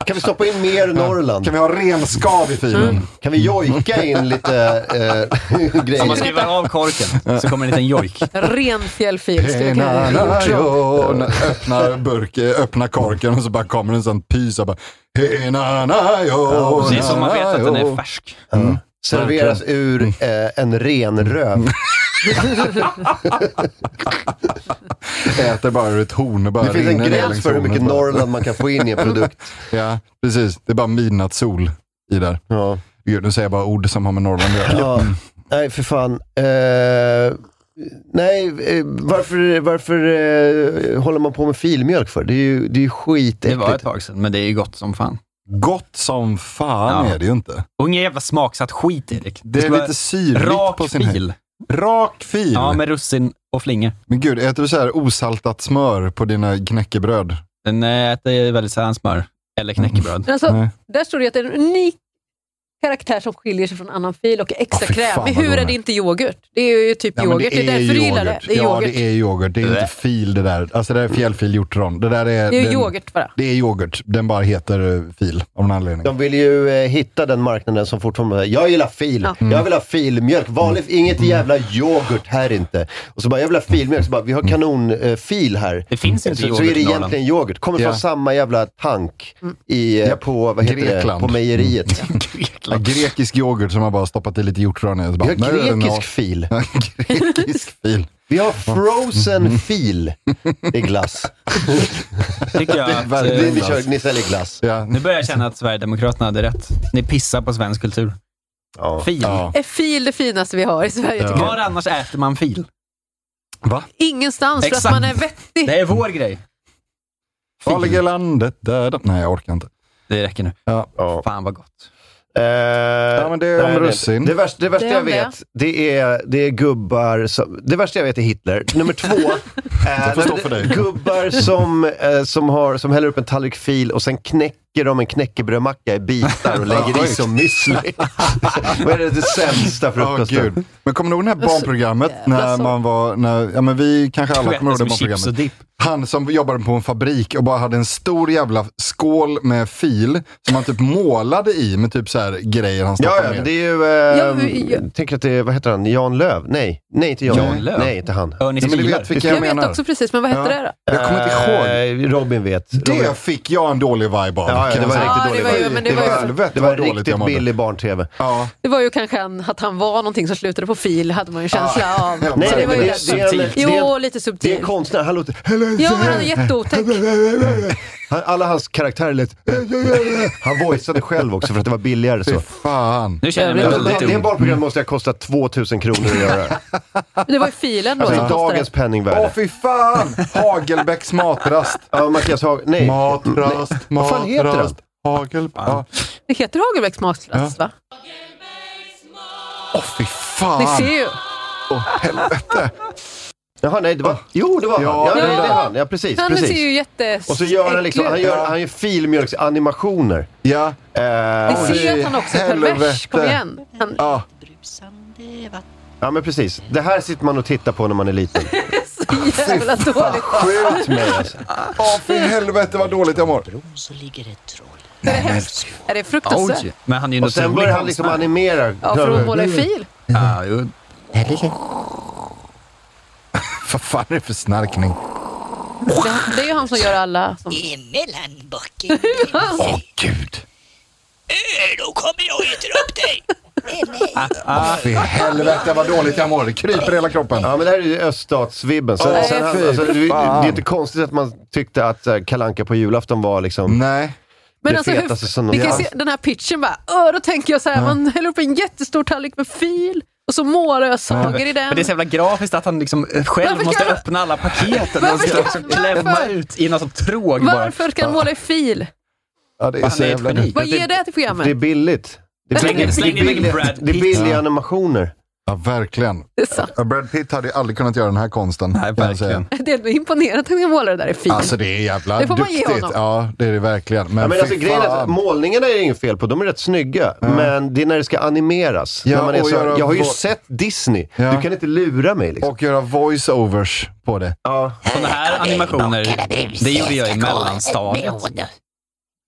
[SPEAKER 1] Kan vi stoppa in mer Norrland?
[SPEAKER 4] Kan vi ha renskav i filen?
[SPEAKER 3] Mm.
[SPEAKER 1] Kan vi jojka in lite eh,
[SPEAKER 3] Om man
[SPEAKER 1] grejer?
[SPEAKER 3] skriver av korken så kommer en liten jojk.
[SPEAKER 2] Renfjällfil skulle jag
[SPEAKER 4] Tjena,
[SPEAKER 2] kalla det.
[SPEAKER 4] najon. Öppnar, burk, eh, öppnar korken och så bara kommer en sån pys och bara Hena najon.
[SPEAKER 3] Det är som man vet att den är färsk.
[SPEAKER 1] Serveras ur eh, en ren röv.
[SPEAKER 4] Äter bara ur ett horn. och Bara
[SPEAKER 1] Det finns en
[SPEAKER 4] rinner ner
[SPEAKER 1] gräns
[SPEAKER 4] längs
[SPEAKER 1] för hur mycket
[SPEAKER 4] hornet bara.
[SPEAKER 1] Norrland man kan få in i en produkt.
[SPEAKER 4] Ja, precis. Det är bara midnattssol i där.
[SPEAKER 1] Ja.
[SPEAKER 4] Gud, nu säger jag bara ord som har med Norrland att göra.
[SPEAKER 1] Ja, nej för fan. Eh, nej, eh, varför, varför eh, håller man på med filmjölk för? Det är ju, det är
[SPEAKER 3] Det
[SPEAKER 1] ju
[SPEAKER 3] var ett
[SPEAKER 1] skitäckligt.
[SPEAKER 3] tag sedan, men det är ju gott som fan.
[SPEAKER 4] Gott som fan
[SPEAKER 3] Ja.
[SPEAKER 4] är det ju inte.
[SPEAKER 3] Och ingen jävla smaksatt skit, Erik.
[SPEAKER 4] Det är
[SPEAKER 3] ska vara
[SPEAKER 4] lite syrligt
[SPEAKER 3] rak
[SPEAKER 4] på sin höjd.
[SPEAKER 3] fil.
[SPEAKER 4] Rak fil.
[SPEAKER 3] Ja, med russin och flingor.
[SPEAKER 4] Men gud, äter du så här osaltat smör på dina knäckebröd?
[SPEAKER 3] Den eh, äter väldigt sällan smör eller knäckebröd.
[SPEAKER 2] Men Alltså,
[SPEAKER 4] Nej.
[SPEAKER 2] där står det att det är en unik karaktär som skiljer sig från annan fil och är extra
[SPEAKER 4] Ja, fy fan,
[SPEAKER 2] krämig.
[SPEAKER 4] vad
[SPEAKER 2] Hur är
[SPEAKER 4] god.
[SPEAKER 2] det inte yoghurt? Det är ju typ
[SPEAKER 4] Ja, men
[SPEAKER 2] yoghurt. Det är,
[SPEAKER 4] ju
[SPEAKER 2] därför du gillar det.
[SPEAKER 4] yoghurt.
[SPEAKER 2] Det är
[SPEAKER 4] Ja,
[SPEAKER 2] yoghurt.
[SPEAKER 4] det är yoghurt. Det är inte fil det där. Alltså det där är fjällfil hjortron. Det där är...
[SPEAKER 2] ju
[SPEAKER 4] den-
[SPEAKER 2] yoghurt bara.
[SPEAKER 4] Det är yoghurt. Den bara heter eh, fil av någon anledning.
[SPEAKER 1] De vill ju eh, hitta den marknaden som fortfarande säger, jag gillar fil,
[SPEAKER 2] Ja.
[SPEAKER 1] jag vill ha filmjölk, vanligt, inget jävla yoghurt här inte. Och så bara, jag vill ha filmjölk, så bara, vi har kanonfil eh, fil här.
[SPEAKER 3] Det finns inte
[SPEAKER 1] så,
[SPEAKER 3] yoghurt
[SPEAKER 1] så är det
[SPEAKER 3] i Norrland.
[SPEAKER 1] egentligen yoghurt, kommer
[SPEAKER 4] Ja.
[SPEAKER 1] från samma jävla tank i, eh,
[SPEAKER 4] Japp.
[SPEAKER 1] på, vad heter
[SPEAKER 4] Grekland.
[SPEAKER 1] det, på mejeriet.
[SPEAKER 4] Ja, grekisk yoghurt som har bara stoppat i lite hjortron i. och så
[SPEAKER 1] Vi
[SPEAKER 4] bara,
[SPEAKER 1] har
[SPEAKER 4] "Nej,
[SPEAKER 1] grekisk
[SPEAKER 4] no."
[SPEAKER 1] fil.
[SPEAKER 4] grekisk fil.
[SPEAKER 1] Vi har frozen fil i glass.
[SPEAKER 3] Tycker jag
[SPEAKER 1] Det är
[SPEAKER 3] att,
[SPEAKER 1] verkligen
[SPEAKER 3] eh,
[SPEAKER 1] Ni kör- ni säljer glass.
[SPEAKER 3] Nu börjar jag känna att Sverigedemokraterna hade rätt. Ni pissar på svensk kultur. Fil.
[SPEAKER 2] Är fil det finaste vi har i Sverige? tycker
[SPEAKER 3] Var
[SPEAKER 2] jag.
[SPEAKER 3] annars äter man fil? Va?
[SPEAKER 2] Ingenstans för
[SPEAKER 3] Exakt.
[SPEAKER 2] att man är vettig.
[SPEAKER 3] Det är vår grej.
[SPEAKER 4] Farliga landet där, där. Nej, jag orkar inte.
[SPEAKER 3] Det räcker nu.
[SPEAKER 4] Ja.
[SPEAKER 3] Fan vad gott.
[SPEAKER 4] ja, men det är
[SPEAKER 1] Eh, Nej,
[SPEAKER 4] om
[SPEAKER 1] det-
[SPEAKER 4] russin.
[SPEAKER 1] Det värsta, det värsta
[SPEAKER 4] Det är
[SPEAKER 1] jag
[SPEAKER 4] om det.
[SPEAKER 1] vet, det är, det är gubbar som... Det värsta jag vet är Hitler. Nummer två, eh,
[SPEAKER 4] Det får stå för dig.
[SPEAKER 1] gubbar som, eh, som, har, som häller upp en tallrik fil och sen knäcker de en knäckebrödmacka i bitar och lägger i
[SPEAKER 4] Sjukt.
[SPEAKER 1] som müsli. Vad är det, det sämsta frukosten?
[SPEAKER 4] Åh, gud. men kommer du ihåg det här
[SPEAKER 2] Alltså,
[SPEAKER 4] barnprogrammet när man var, när, ja men vi kanske alla
[SPEAKER 3] Skvätte
[SPEAKER 4] kommer ihåg
[SPEAKER 3] som
[SPEAKER 4] det
[SPEAKER 3] chips och
[SPEAKER 4] barnprogrammet. Han som jobbade på en fabrik och bara hade en stor jävla skål med fil som han typ målade i med typ så här grejer han
[SPEAKER 1] Ja,
[SPEAKER 4] stoppade
[SPEAKER 1] ja,
[SPEAKER 4] ner.
[SPEAKER 1] det är ju... Eh,
[SPEAKER 4] vi-
[SPEAKER 1] jag tänker att det är, vad heter han, Jan Löv? Nej, nej inte Jan,
[SPEAKER 4] Jan Löv?
[SPEAKER 1] Nej, inte han.
[SPEAKER 4] Örnis Ja, men du vet Pilar. vilka jag Jag vet menar.
[SPEAKER 2] också precis, men vad hette det då?
[SPEAKER 4] Jag kommer inte
[SPEAKER 1] ihåg. Eh, Robin vet. Robin-
[SPEAKER 4] Det fick jag en dålig vibe av.
[SPEAKER 1] Ja, ja, det var riktigt
[SPEAKER 2] det
[SPEAKER 1] dålig
[SPEAKER 2] var ju-
[SPEAKER 1] vibe.
[SPEAKER 2] men det var ju-
[SPEAKER 4] Helvete,
[SPEAKER 1] det var
[SPEAKER 4] vad dåligt jag
[SPEAKER 1] riktigt
[SPEAKER 4] mådde.
[SPEAKER 1] billig barn-tv.
[SPEAKER 4] Ja.
[SPEAKER 2] Det var ju kanske han, att han var någonting som slutade på fil, hade man ju en känsla av.
[SPEAKER 1] Nej, nej,
[SPEAKER 2] det var
[SPEAKER 1] men
[SPEAKER 2] ju
[SPEAKER 1] det- det är- det är-
[SPEAKER 2] Jo, lite
[SPEAKER 1] Det är
[SPEAKER 2] subtilt.
[SPEAKER 1] en konstnär, han låter... Hello,
[SPEAKER 2] Ja, men han är jätteotäck.
[SPEAKER 1] Han- Alla hans karaktärer lät... Han voiceade själv också för att det var billigare. Så.
[SPEAKER 4] fan.
[SPEAKER 3] Nu känner jag mig
[SPEAKER 1] alltså,
[SPEAKER 3] väldigt
[SPEAKER 1] det,
[SPEAKER 3] ung.
[SPEAKER 1] det
[SPEAKER 2] Mm.
[SPEAKER 1] barnprogrammet måste ha kostat 2000 kronor att göra.
[SPEAKER 2] Det var ju filen då.
[SPEAKER 1] Alltså
[SPEAKER 2] som kostade.
[SPEAKER 1] dagens penningvärde.
[SPEAKER 4] Åh fy fan! Hagelbäcks matrast.
[SPEAKER 1] Ja, Mattias Hag... Nej.
[SPEAKER 4] Matrast,
[SPEAKER 1] Nej. Vad fan heter den?
[SPEAKER 4] matrast. Hagelbäck. Ja.
[SPEAKER 2] Det heter Hagelbäcks matras, va?
[SPEAKER 4] Åh fy fan.
[SPEAKER 2] Ni ser ju.
[SPEAKER 4] Åh helvete.
[SPEAKER 1] Jaha, nej, det var... Jo, det var han. Ja,
[SPEAKER 4] Ja,
[SPEAKER 1] ja,
[SPEAKER 4] ja.
[SPEAKER 1] det var han. Ja, precis.
[SPEAKER 2] Han ser ju
[SPEAKER 1] precis.
[SPEAKER 2] jätte...
[SPEAKER 1] Och så gör han liksom... Han
[SPEAKER 2] äcklig ut.
[SPEAKER 1] gör, han gör filmjölksanimationer. Eh,
[SPEAKER 4] Ja.
[SPEAKER 2] Ni ser ju att han också är pervers. Kom igen. Han,
[SPEAKER 4] ja.
[SPEAKER 1] Ja, men precis. Det här sitter man och tittar på när man är liten.
[SPEAKER 2] Så jävla dåligt.
[SPEAKER 1] Skjut mig alltså.
[SPEAKER 4] Åh fy helvete vad dåligt jag mår.
[SPEAKER 2] Är det fruktansvärt?
[SPEAKER 3] Oj. Men han är ju en
[SPEAKER 1] Och sen
[SPEAKER 3] otrolig
[SPEAKER 1] börjar han
[SPEAKER 3] konstnär.
[SPEAKER 1] liksom animera.
[SPEAKER 2] Ja, för att måla i fil.
[SPEAKER 3] Ja, jo.
[SPEAKER 4] Vad fan är det för snarkning?
[SPEAKER 2] Det, det är ju han som gör alla... Som...
[SPEAKER 10] Emellan backen.
[SPEAKER 4] Åh gud.
[SPEAKER 10] Äh, Då kommer jag och äter upp dig.
[SPEAKER 4] Åh fy helvete vad dåligt jag mår. Det kryper i hela kroppen.
[SPEAKER 1] Ja, men det här är ju öststatsvibben. Sen,
[SPEAKER 4] Åh,
[SPEAKER 1] sen han,
[SPEAKER 4] fy
[SPEAKER 1] alltså, det, det
[SPEAKER 4] fan.
[SPEAKER 1] är inte konstigt att man tyckte att uh, Kalanka på julafton var liksom
[SPEAKER 4] Nej.
[SPEAKER 2] Men
[SPEAKER 1] det
[SPEAKER 2] alltså, hur,
[SPEAKER 1] fetaste som
[SPEAKER 2] ni
[SPEAKER 1] de
[SPEAKER 2] kan
[SPEAKER 1] fanns.
[SPEAKER 2] se den här pitchen bara, Åh, då tänker jag så här,
[SPEAKER 1] Ja.
[SPEAKER 2] man häller upp en jättestor tallrik med fil och så målar jag sagor i den.
[SPEAKER 3] Men det är så jävla grafiskt att han liksom eh, själv
[SPEAKER 2] Varför
[SPEAKER 3] måste
[SPEAKER 2] kan-
[SPEAKER 3] öppna alla paketen och
[SPEAKER 2] Varför
[SPEAKER 3] ska liksom
[SPEAKER 2] kan- varför?
[SPEAKER 3] klämma ut i någon sån tråg bara.
[SPEAKER 2] Varför ska han måla i fil?
[SPEAKER 4] Ja, det är
[SPEAKER 3] Han
[SPEAKER 4] så
[SPEAKER 3] är ett
[SPEAKER 4] jävla
[SPEAKER 3] geni.
[SPEAKER 4] dumt.
[SPEAKER 2] Vad ger det till programmet?
[SPEAKER 1] Det är billigt. Det är
[SPEAKER 2] Släng-
[SPEAKER 1] billigt.
[SPEAKER 3] släng
[SPEAKER 1] det är
[SPEAKER 3] iväg
[SPEAKER 1] billigt.
[SPEAKER 3] Brad
[SPEAKER 1] Det är
[SPEAKER 3] Pitt.
[SPEAKER 1] billiga
[SPEAKER 4] Ja.
[SPEAKER 1] animationer.
[SPEAKER 4] Ja, verkligen.
[SPEAKER 2] Det är sant.
[SPEAKER 4] Ja, Brad Pitt hade ju aldrig kunnat göra den här konsten. Nej, verkligen.
[SPEAKER 2] Det är imponerande att han kan måla det där i fil.
[SPEAKER 4] Alltså det är jävla
[SPEAKER 2] Det får man ge
[SPEAKER 4] duktigt.
[SPEAKER 2] honom.
[SPEAKER 4] Ja, det är det verkligen. Men,
[SPEAKER 1] Ja, men
[SPEAKER 4] fy
[SPEAKER 1] alltså, grejen är att
[SPEAKER 4] fan.
[SPEAKER 1] målningarna är det inget fel på, de är rätt snygga. Men det är när det ska animeras.
[SPEAKER 4] Ja,
[SPEAKER 1] när man är
[SPEAKER 4] och
[SPEAKER 1] så,
[SPEAKER 4] göra
[SPEAKER 1] jag har ju
[SPEAKER 4] vår-
[SPEAKER 1] sett Disney,
[SPEAKER 4] Ja.
[SPEAKER 1] du kan inte lura mig. Liksom.
[SPEAKER 4] Och göra voice-overs på det.
[SPEAKER 1] Ja.
[SPEAKER 3] Sådana här animationer, det gjorde jag i mellanstadiet.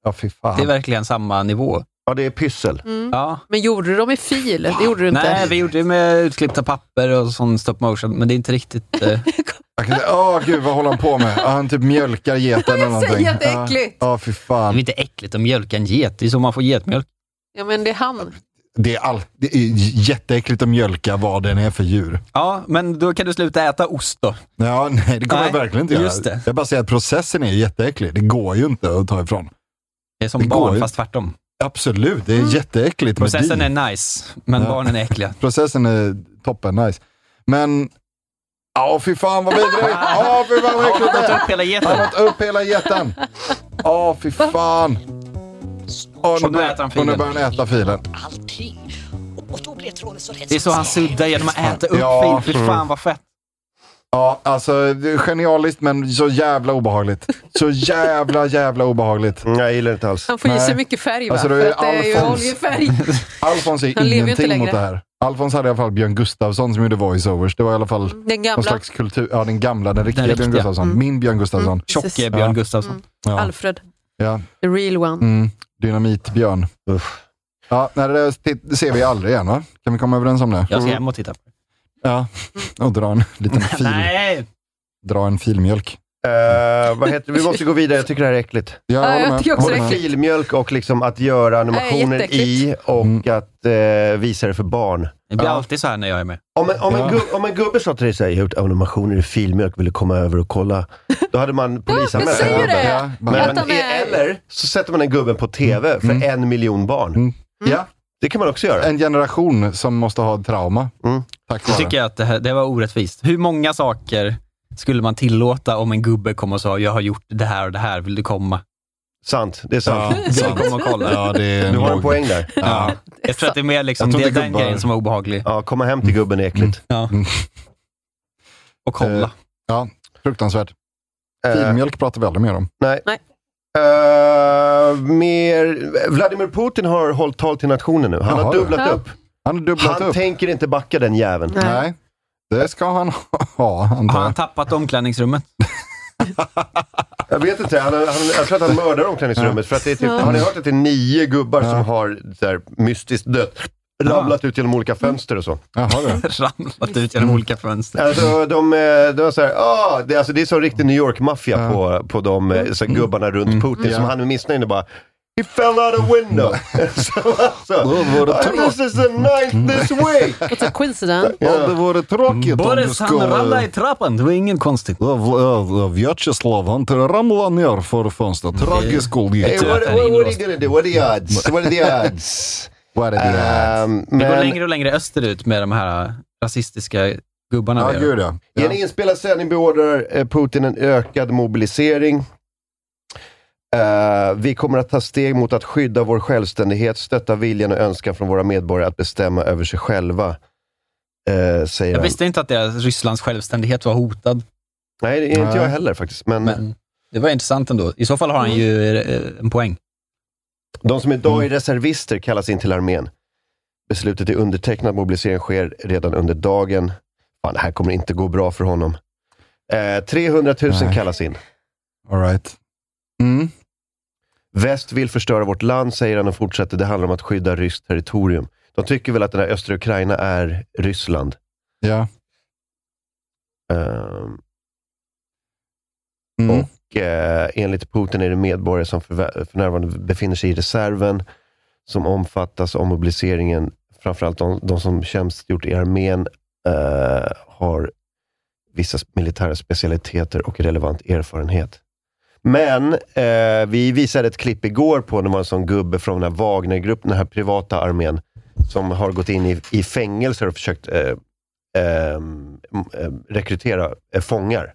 [SPEAKER 4] Ja, fy fan.
[SPEAKER 3] Det är verkligen samma nivå.
[SPEAKER 2] Mm.
[SPEAKER 1] ja, det är pyssel.
[SPEAKER 4] Mm.
[SPEAKER 3] Ja.
[SPEAKER 2] Men gjorde du dem i fil? Det gjorde du inte.
[SPEAKER 3] Nej, vi gjorde det med utklippta papper och sån stop motion, men det är inte riktigt... Eh,
[SPEAKER 4] Jag kan säga, åh gud vad håller han på med? Ja, han typ mjölkar geten eller någonting.
[SPEAKER 2] säger att det är äckligt.
[SPEAKER 4] Ja, ja, fy
[SPEAKER 3] det
[SPEAKER 4] fan.
[SPEAKER 3] är inte äckligt att mjölka en get, det är som man får getmjölk.
[SPEAKER 2] Ja, men det är han.
[SPEAKER 4] Det är, all, det är jätteäckligt att mjölka vad den är för djur.
[SPEAKER 3] Ja, men då kan du sluta äta ost då.
[SPEAKER 4] Ja, nej det kommer
[SPEAKER 3] Nej,
[SPEAKER 4] jag verkligen inte göra.
[SPEAKER 3] just det.
[SPEAKER 4] Jag bara säger att processen är jätteäcklig. Det går ju inte att ta ifrån.
[SPEAKER 3] Det är som
[SPEAKER 4] Det går
[SPEAKER 3] barn,
[SPEAKER 4] ju.
[SPEAKER 3] fast tvärtom.
[SPEAKER 4] Absolut, det är jätteäckligt med
[SPEAKER 3] Mm. Processen
[SPEAKER 4] din.
[SPEAKER 3] är nice, men
[SPEAKER 4] Ja.
[SPEAKER 3] barnen är äckliga.
[SPEAKER 4] Processen är toppen nice. Men, ja fy fan vad vidrigt. Ja, fy fan vad äckligt det
[SPEAKER 3] Ta
[SPEAKER 4] är.
[SPEAKER 3] upp hela
[SPEAKER 4] Han
[SPEAKER 3] geten.
[SPEAKER 4] har åt upp hela geten. Ja, fy fan. Ja, nu
[SPEAKER 3] Och då
[SPEAKER 4] bör-
[SPEAKER 3] äter han
[SPEAKER 4] Och nu
[SPEAKER 3] filen.
[SPEAKER 4] börjar han äta filen.
[SPEAKER 10] Allting. Och, och då blev tråden så rätt
[SPEAKER 3] Det är så han suddar genom att äta upp
[SPEAKER 4] Ja.
[SPEAKER 3] fil. Fy fan vad fett.
[SPEAKER 4] Ja, alltså det är genialiskt men så jävla obehagligt. Så jävla, jävla obehagligt.
[SPEAKER 1] Mm, jag gillar inte alls.
[SPEAKER 2] Han får i
[SPEAKER 4] Nej.
[SPEAKER 2] sig mycket färg va?
[SPEAKER 4] Alltså, det är
[SPEAKER 2] För att det är ju
[SPEAKER 4] Alfons.
[SPEAKER 2] oljefärg.
[SPEAKER 4] Alfons är
[SPEAKER 2] Han lever ju inte
[SPEAKER 4] ingenting mot
[SPEAKER 2] längre.
[SPEAKER 4] det här. Alfons hade i alla fall Björn Gustafsson som gjorde voiceovers. Det var i alla fall
[SPEAKER 2] Den
[SPEAKER 4] någon
[SPEAKER 2] gamla.
[SPEAKER 4] slags kultur. Ja, den gamla, den riktiga,
[SPEAKER 3] riktiga.
[SPEAKER 4] Björn Gustafsson. Min Björn Gustafsson.
[SPEAKER 2] Mm. Precis.
[SPEAKER 3] Tjocke Björn
[SPEAKER 4] Ja.
[SPEAKER 3] Gustafsson.
[SPEAKER 4] Ja,
[SPEAKER 2] Alfred.
[SPEAKER 4] ja.
[SPEAKER 2] The real one.
[SPEAKER 4] Mm. Dynamit-Björn.
[SPEAKER 1] Uff.
[SPEAKER 4] Ja, nej, det där tit- ser vi aldrig igen va? Kan vi komma överens om det?
[SPEAKER 3] Jag ska hem och titta. på det.
[SPEAKER 2] Mm.
[SPEAKER 4] Ja, och dra en liten fil.
[SPEAKER 3] Nej!
[SPEAKER 4] Dra en filmjölk.
[SPEAKER 1] Eh, vad heter, vi måste gå vidare, jag tycker det här är äckligt.
[SPEAKER 2] jag håller jag med. tycker också det är äckligt.
[SPEAKER 1] Filmjölk och liksom att göra animationer
[SPEAKER 2] jätteäckligt.
[SPEAKER 1] i och
[SPEAKER 4] Mm.
[SPEAKER 1] att eh, visa det för barn.
[SPEAKER 3] Det blir alltid så här när jag är med.
[SPEAKER 1] Om en, om, en gubbe, om en gubbe sa till dig såhär, jag har gjort animationer i filmjölk, vill du komma över och kolla? Då hade man polisanmält
[SPEAKER 2] jag säger
[SPEAKER 1] den gubben.
[SPEAKER 2] det.
[SPEAKER 1] Ja,
[SPEAKER 2] Att
[SPEAKER 1] Men,
[SPEAKER 2] de är-
[SPEAKER 1] Eller så sätter man den gubben på
[SPEAKER 4] Mm.
[SPEAKER 1] TV för en miljon barn.
[SPEAKER 2] Mm.
[SPEAKER 1] Ja, det kan man också göra.
[SPEAKER 4] En generation som måste ha trauma. Tack
[SPEAKER 3] Då
[SPEAKER 4] vare.
[SPEAKER 3] tycker jag att Mm. det, här, det var orättvist. Hur många saker skulle man tillåta om en gubbe kom och sa, jag har gjort det här och det här, vill du komma?
[SPEAKER 1] Sant, det är sant.
[SPEAKER 3] Ja, sant. Kom och kolla.
[SPEAKER 4] Ja, det är
[SPEAKER 1] du har en
[SPEAKER 4] låg-
[SPEAKER 1] poäng där.
[SPEAKER 4] Mm. Ja.
[SPEAKER 3] Jag tror att det är mer liksom,
[SPEAKER 1] Jag tror
[SPEAKER 3] det är
[SPEAKER 1] inte
[SPEAKER 3] den
[SPEAKER 1] gubbar-
[SPEAKER 3] grejen som var obehaglig.
[SPEAKER 1] Ja, komma hem till gubben är
[SPEAKER 4] Mm.
[SPEAKER 1] äckligt.
[SPEAKER 3] Och kolla. Eh.
[SPEAKER 4] Eh, ja, fruktansvärt. Mm.
[SPEAKER 1] Eh,
[SPEAKER 4] Filmjölk pratar vi aldrig mer om.
[SPEAKER 1] Nej. Eh, mer, Vladimir Putin har hållit tal till nationen nu. Han
[SPEAKER 4] Jaha,
[SPEAKER 1] har dubblat
[SPEAKER 4] ja.
[SPEAKER 1] upp.
[SPEAKER 4] Han har dubblat
[SPEAKER 1] Han
[SPEAKER 4] upp.
[SPEAKER 1] tänker inte backa den jäveln.
[SPEAKER 4] Nej. det ska han ha, antar
[SPEAKER 3] Har
[SPEAKER 4] jag.
[SPEAKER 3] han tappat omklädningsrummet?
[SPEAKER 1] Jag vet inte, han, han, jag tror att han mördar omklädningsrummet. För att det är typ,
[SPEAKER 3] Ja.
[SPEAKER 1] Har ni hört att det är nio gubbar som har så här, mystiskt dött? Ramlat ut genom olika fönster och så.
[SPEAKER 4] Mm.
[SPEAKER 3] Ramlat ut
[SPEAKER 1] Mm.
[SPEAKER 3] genom olika fönster.
[SPEAKER 1] Alltså, de, eh, de var så här, ah, det, alltså, det är så riktig New York-maffia på, på de eh, så här, gubbarna runt Putin som
[SPEAKER 4] Ja.
[SPEAKER 1] han är missnöjd och bara He fell out a window. så, alltså,
[SPEAKER 4] var det
[SPEAKER 1] "Ah, this is the ninth this week.
[SPEAKER 2] What's a coincidence?
[SPEAKER 4] Ja, det vore tråkigt om du
[SPEAKER 3] Boris, han ramlade i
[SPEAKER 4] skulle...
[SPEAKER 3] trappan, det var inget konstigt.
[SPEAKER 4] Vyacheslav, han ramlade ner för fönstret.
[SPEAKER 3] Mm.
[SPEAKER 4] Tragisk
[SPEAKER 1] Hey,
[SPEAKER 4] olycka.
[SPEAKER 1] what, what, what are you gonna do? What are the odds? What are the odds?
[SPEAKER 4] What
[SPEAKER 3] Eh,
[SPEAKER 4] are the
[SPEAKER 1] Ehm,
[SPEAKER 3] Det går
[SPEAKER 1] men-
[SPEAKER 3] längre och längre österut med de här rasistiska gubbarna. vi
[SPEAKER 4] Ja,
[SPEAKER 3] har.
[SPEAKER 4] gud ja.
[SPEAKER 1] I en inspelad sändning beordrar eh, Putin en ökad mobilisering. Eh, vi kommer att ta steg mot att skydda vår självständighet, stötta viljan och önskan från våra medborgare att bestämma över sig själva, eh, säger
[SPEAKER 3] Jag
[SPEAKER 1] han.
[SPEAKER 3] visste inte att deras, Rysslands självständighet var hotad.
[SPEAKER 1] Nej, det är inte
[SPEAKER 3] Nej.
[SPEAKER 1] jag heller faktiskt. Men,
[SPEAKER 3] Men det var intressant ändå. I så fall har han ju eh, en poäng.
[SPEAKER 1] de som idag är reservister kallas in till armén. Beslutet är undertecknat, mobilisering sker redan under dagen. Fan, det här kommer inte gå bra för honom. Eh, 300 000
[SPEAKER 4] Nej.
[SPEAKER 1] kallas in.
[SPEAKER 4] All right. Mm.
[SPEAKER 1] Väst vill förstöra vårt land, säger han och fortsätter. Det handlar om att skydda ryskt territorium. De tycker väl att den här östra Ukraina är Ryssland.
[SPEAKER 4] Ja.
[SPEAKER 1] Ehm,
[SPEAKER 3] Oh,
[SPEAKER 4] Mm.
[SPEAKER 1] och eh, enligt Putin är det medborgare som för, för närvarande befinner sig i reserven som omfattas av mobiliseringen. Framförallt de, de som tjänstgjort i armén eh, har vissa militära specialiteter och relevant erfarenhet. Men eh, vi visade ett klipp igår på när det var en sån gubbe från den här Wagnergruppen, den här privata armén, som har gått in i, i fängelser och försökt eh, eh, m- eh, rekrytera eh, fångar.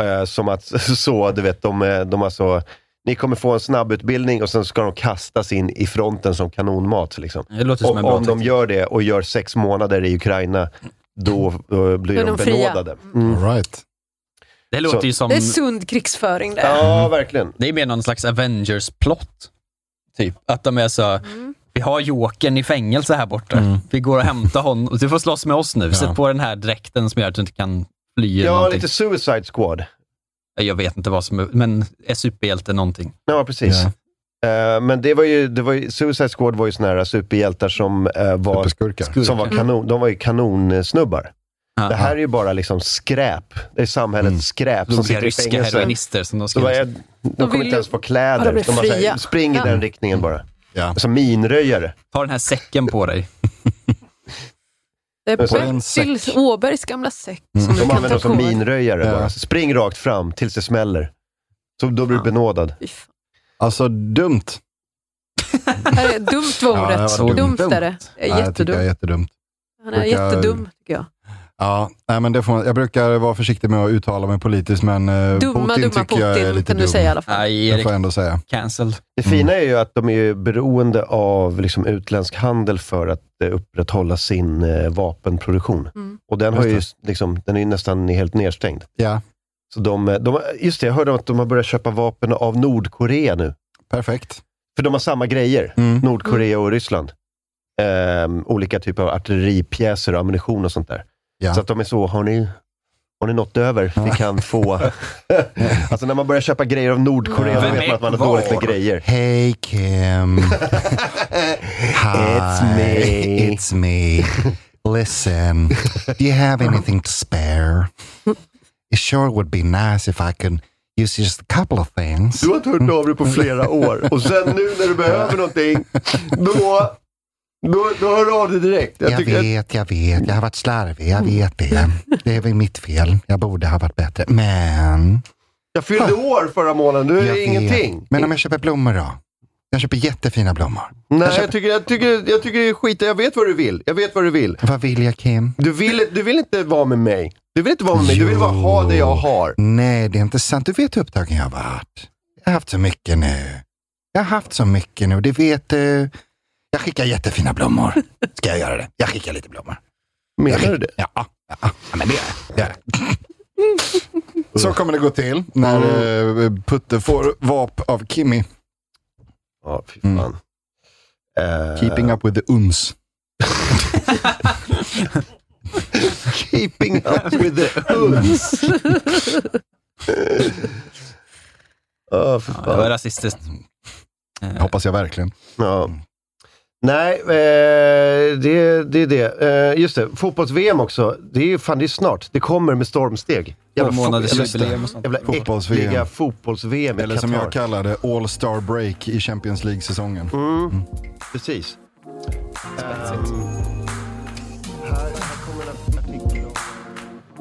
[SPEAKER 1] Eh, som att så, du vet, de, eh, de alltså, ni kommer få en snabbutbildning och sen ska de kastas in i fronten som kanonmat. Liksom.
[SPEAKER 3] Det låter som
[SPEAKER 1] om
[SPEAKER 3] en bra
[SPEAKER 1] om de gör det och gör sex månader i Ukraina, då, eh, blir de,
[SPEAKER 2] Då är de fria.
[SPEAKER 1] benådade. Mm.
[SPEAKER 4] All right.
[SPEAKER 3] Det låter
[SPEAKER 1] Så-
[SPEAKER 3] ju som...
[SPEAKER 2] Det är sund krigsföring där.
[SPEAKER 1] Ja, verkligen.
[SPEAKER 3] Det är mer någon slags Avengers-plott. Typ. Att de är så, vi har Jokern i fängelse här borta.
[SPEAKER 4] Mm.
[SPEAKER 3] Vi går och hämtar honom. Du får slåss med oss nu. Sätt på den här dräkten som gör att du inte kan fly. eller
[SPEAKER 1] Ja,
[SPEAKER 3] någonting.
[SPEAKER 1] lite Suicide Squad.
[SPEAKER 3] Jag vet inte vad som är, men är superhjälte någonting?
[SPEAKER 1] Ja, precis. Eh, men det var ju, det var ju, Suicide Squad var ju såna här superhjältar som eh, var,
[SPEAKER 4] Superskurkar.
[SPEAKER 1] som var, kanon, de var ju kanonsnubbar.
[SPEAKER 3] Ja.
[SPEAKER 1] Det här är ju bara liksom skräp. Det är samhällets skräp som
[SPEAKER 3] Blodiga
[SPEAKER 1] sitter i
[SPEAKER 3] ryska
[SPEAKER 1] fängelse.
[SPEAKER 3] heroinister som de
[SPEAKER 1] De,
[SPEAKER 3] ska... liksom-
[SPEAKER 1] var, de, kommer
[SPEAKER 2] vill
[SPEAKER 1] inte
[SPEAKER 2] ju-
[SPEAKER 1] ens få
[SPEAKER 2] Ja,
[SPEAKER 1] kläder.
[SPEAKER 2] de blir
[SPEAKER 1] bara så här,
[SPEAKER 2] fria.
[SPEAKER 1] spring i
[SPEAKER 2] Ja.
[SPEAKER 1] den riktningen bara.
[SPEAKER 4] Ja.
[SPEAKER 1] Som minröjare.
[SPEAKER 3] Ta den här säcken på dig.
[SPEAKER 2] Det är
[SPEAKER 1] Och sen en
[SPEAKER 2] Bertil Åbergs gamla säck
[SPEAKER 4] Mm.
[SPEAKER 2] som
[SPEAKER 1] De
[SPEAKER 2] du kan
[SPEAKER 1] använder
[SPEAKER 2] ta
[SPEAKER 1] dem som
[SPEAKER 2] på dig.
[SPEAKER 1] minröjare.
[SPEAKER 4] Ja.
[SPEAKER 1] Bara. Spring rakt fram tills det smäller. Så då blir du benådad.
[SPEAKER 4] Alltså, dumt.
[SPEAKER 2] Här är Dumt var
[SPEAKER 4] Ja, det
[SPEAKER 2] ordet.
[SPEAKER 4] var
[SPEAKER 2] dumt.
[SPEAKER 4] dumt.
[SPEAKER 2] är det. Det
[SPEAKER 4] Nej, jag
[SPEAKER 2] är
[SPEAKER 4] tycker
[SPEAKER 2] Eh, jättedumt.
[SPEAKER 4] jag är jättedumt.
[SPEAKER 2] Han är
[SPEAKER 4] brukar-
[SPEAKER 2] jättedum, tycker jag.
[SPEAKER 4] Ja, nej, men det får, man- jag brukar vara försiktig med att uttala mig politiskt, men eh,
[SPEAKER 2] Dumma,
[SPEAKER 4] Putin
[SPEAKER 2] dumma
[SPEAKER 4] tycker jag är
[SPEAKER 2] Putin,
[SPEAKER 4] lite
[SPEAKER 2] kan
[SPEAKER 4] dum.
[SPEAKER 2] du säga i alla fall.
[SPEAKER 3] Nej,
[SPEAKER 4] Det
[SPEAKER 3] Erik.
[SPEAKER 4] får jag ändå säga.
[SPEAKER 3] Cancelled.
[SPEAKER 1] Det
[SPEAKER 4] Mm.
[SPEAKER 1] fina är ju att de är ju beroende av liksom utländsk handel för att eh, upprätthålla sin eh, vapenproduktion.
[SPEAKER 2] Mm.
[SPEAKER 1] Och den, har ju,
[SPEAKER 4] Just
[SPEAKER 1] liksom, den är ju nästan helt nedstängd.
[SPEAKER 4] Ja,
[SPEAKER 1] Så de, eh, de, just det, jag hörde att de har börjat köpa vapen av Nordkorea nu.
[SPEAKER 4] perfekt.
[SPEAKER 1] För de har samma grejer,
[SPEAKER 4] Mm.
[SPEAKER 1] Nordkorea och Ryssland. Ehm, olika typer av artilleripjäser och ammunition och sånt där.
[SPEAKER 4] Ja.
[SPEAKER 1] Så att de är så, har ni, har ni något över? Vi kan få... alltså när man börjar köpa grejer av Nordkorea, då
[SPEAKER 3] Vem
[SPEAKER 1] vet man
[SPEAKER 3] är
[SPEAKER 1] att man har
[SPEAKER 3] kvar?
[SPEAKER 1] dåligt med grejer.
[SPEAKER 4] Hej Kim.
[SPEAKER 1] It's me.
[SPEAKER 4] It's me. Listen, do you have anything to spare? It sure would be nice if I could use just a couple of things.
[SPEAKER 1] Du har inte hört av dig på flera år och sen nu när du behöver någonting, då, då, då hör du av dig direkt.
[SPEAKER 4] Jag,
[SPEAKER 1] tycker att-
[SPEAKER 4] vet, jag vet. Jag har varit slarvig, jag vet det. Det är väl mitt fel. Jag borde ha varit bättre. Men...
[SPEAKER 1] Jag fyllde år förra månaden, nu är det ingenting.
[SPEAKER 4] Men om jag köper blommor då? Jag köper jättefina blommor.
[SPEAKER 1] Nej, jag tycker, jag, tycker, jag tycker det är skit. Jag vet vad du vill. Jag vet vad du vill.
[SPEAKER 4] Vad vill jag, Kim?
[SPEAKER 1] Du vill, du vill inte vara med mig. Du vill inte vara med mig. Du vill bara ha det jag har.
[SPEAKER 4] Nej, det är inte sant. Du vet hur upptagen jag har varit. Jag har haft så mycket nu. Jag har haft så mycket nu, det vet du. Jag skickar jättefina blommor. Ska jag göra det? Jag skickar lite blommor.
[SPEAKER 1] Menar du det?
[SPEAKER 4] Ja, ja, ja men det gör jag. det gör jag. Så kommer det gå till när eh, Putte får vap av Kimmy.
[SPEAKER 1] Ja, fy fan. Eh,
[SPEAKER 4] Keeping up with the uns.
[SPEAKER 1] Keeping up with the uns. Åh, för
[SPEAKER 11] Det
[SPEAKER 1] fan.
[SPEAKER 11] var rasistiskt.
[SPEAKER 4] Hoppas jag verkligen.
[SPEAKER 1] Ja. Nej, eh, det, det är det. Eh, just det, fotbolls-VM också. Det är ju fan, det är snart. Det kommer med stormsteg.
[SPEAKER 12] Två månaders
[SPEAKER 1] fotboll-
[SPEAKER 12] jubileum och sånt.
[SPEAKER 1] Jävla
[SPEAKER 12] Fotbolls-VM.
[SPEAKER 1] äckliga fotbolls-VM i
[SPEAKER 12] Eller som jag
[SPEAKER 1] Qatar.
[SPEAKER 12] kallar det, All-Star Break i Champions League-säsongen.
[SPEAKER 1] Mm. Precis. Ehm.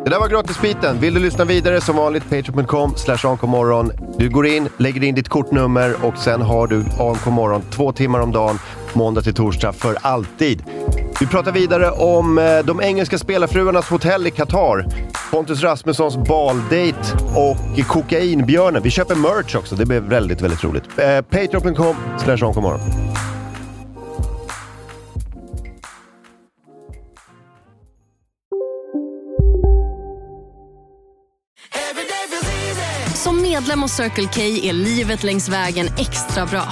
[SPEAKER 1] Det där var gratisbiten. Vill du lyssna vidare som vanligt, patreon.com slash ankomorron. Du går in, lägger in ditt kortnummer och sen har du ankomorron två timmar om dagen, måndag till torsdag, för alltid. Vi pratar vidare om eh, de engelska spelarfruarnas hotell i Qatar, Pontus Rasmussons baldejt och kokainbjörnen. Vi köper merch också, det blir väldigt, väldigt roligt. Eh, patreon.com slash ankomorron.
[SPEAKER 13] Som medlem hos Circle K är livet längs vägen extra bra.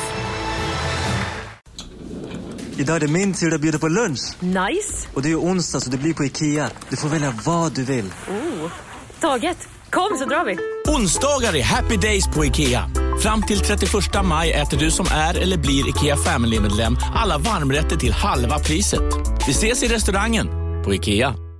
[SPEAKER 14] Idag är det min tur att bjuda på lunch.
[SPEAKER 15] Nice.
[SPEAKER 14] Och det är ju onsdag så det blir på Ikea. Du får välja vad du vill.
[SPEAKER 15] Oh. Taget. Kom så drar vi.
[SPEAKER 10] Onsdagar är happy days på IKEA. Fram till 31 maj äter du som är eller blir IKEA Family-medlem alla varmrätter till halva priset. Vi ses i restaurangen på IKEA.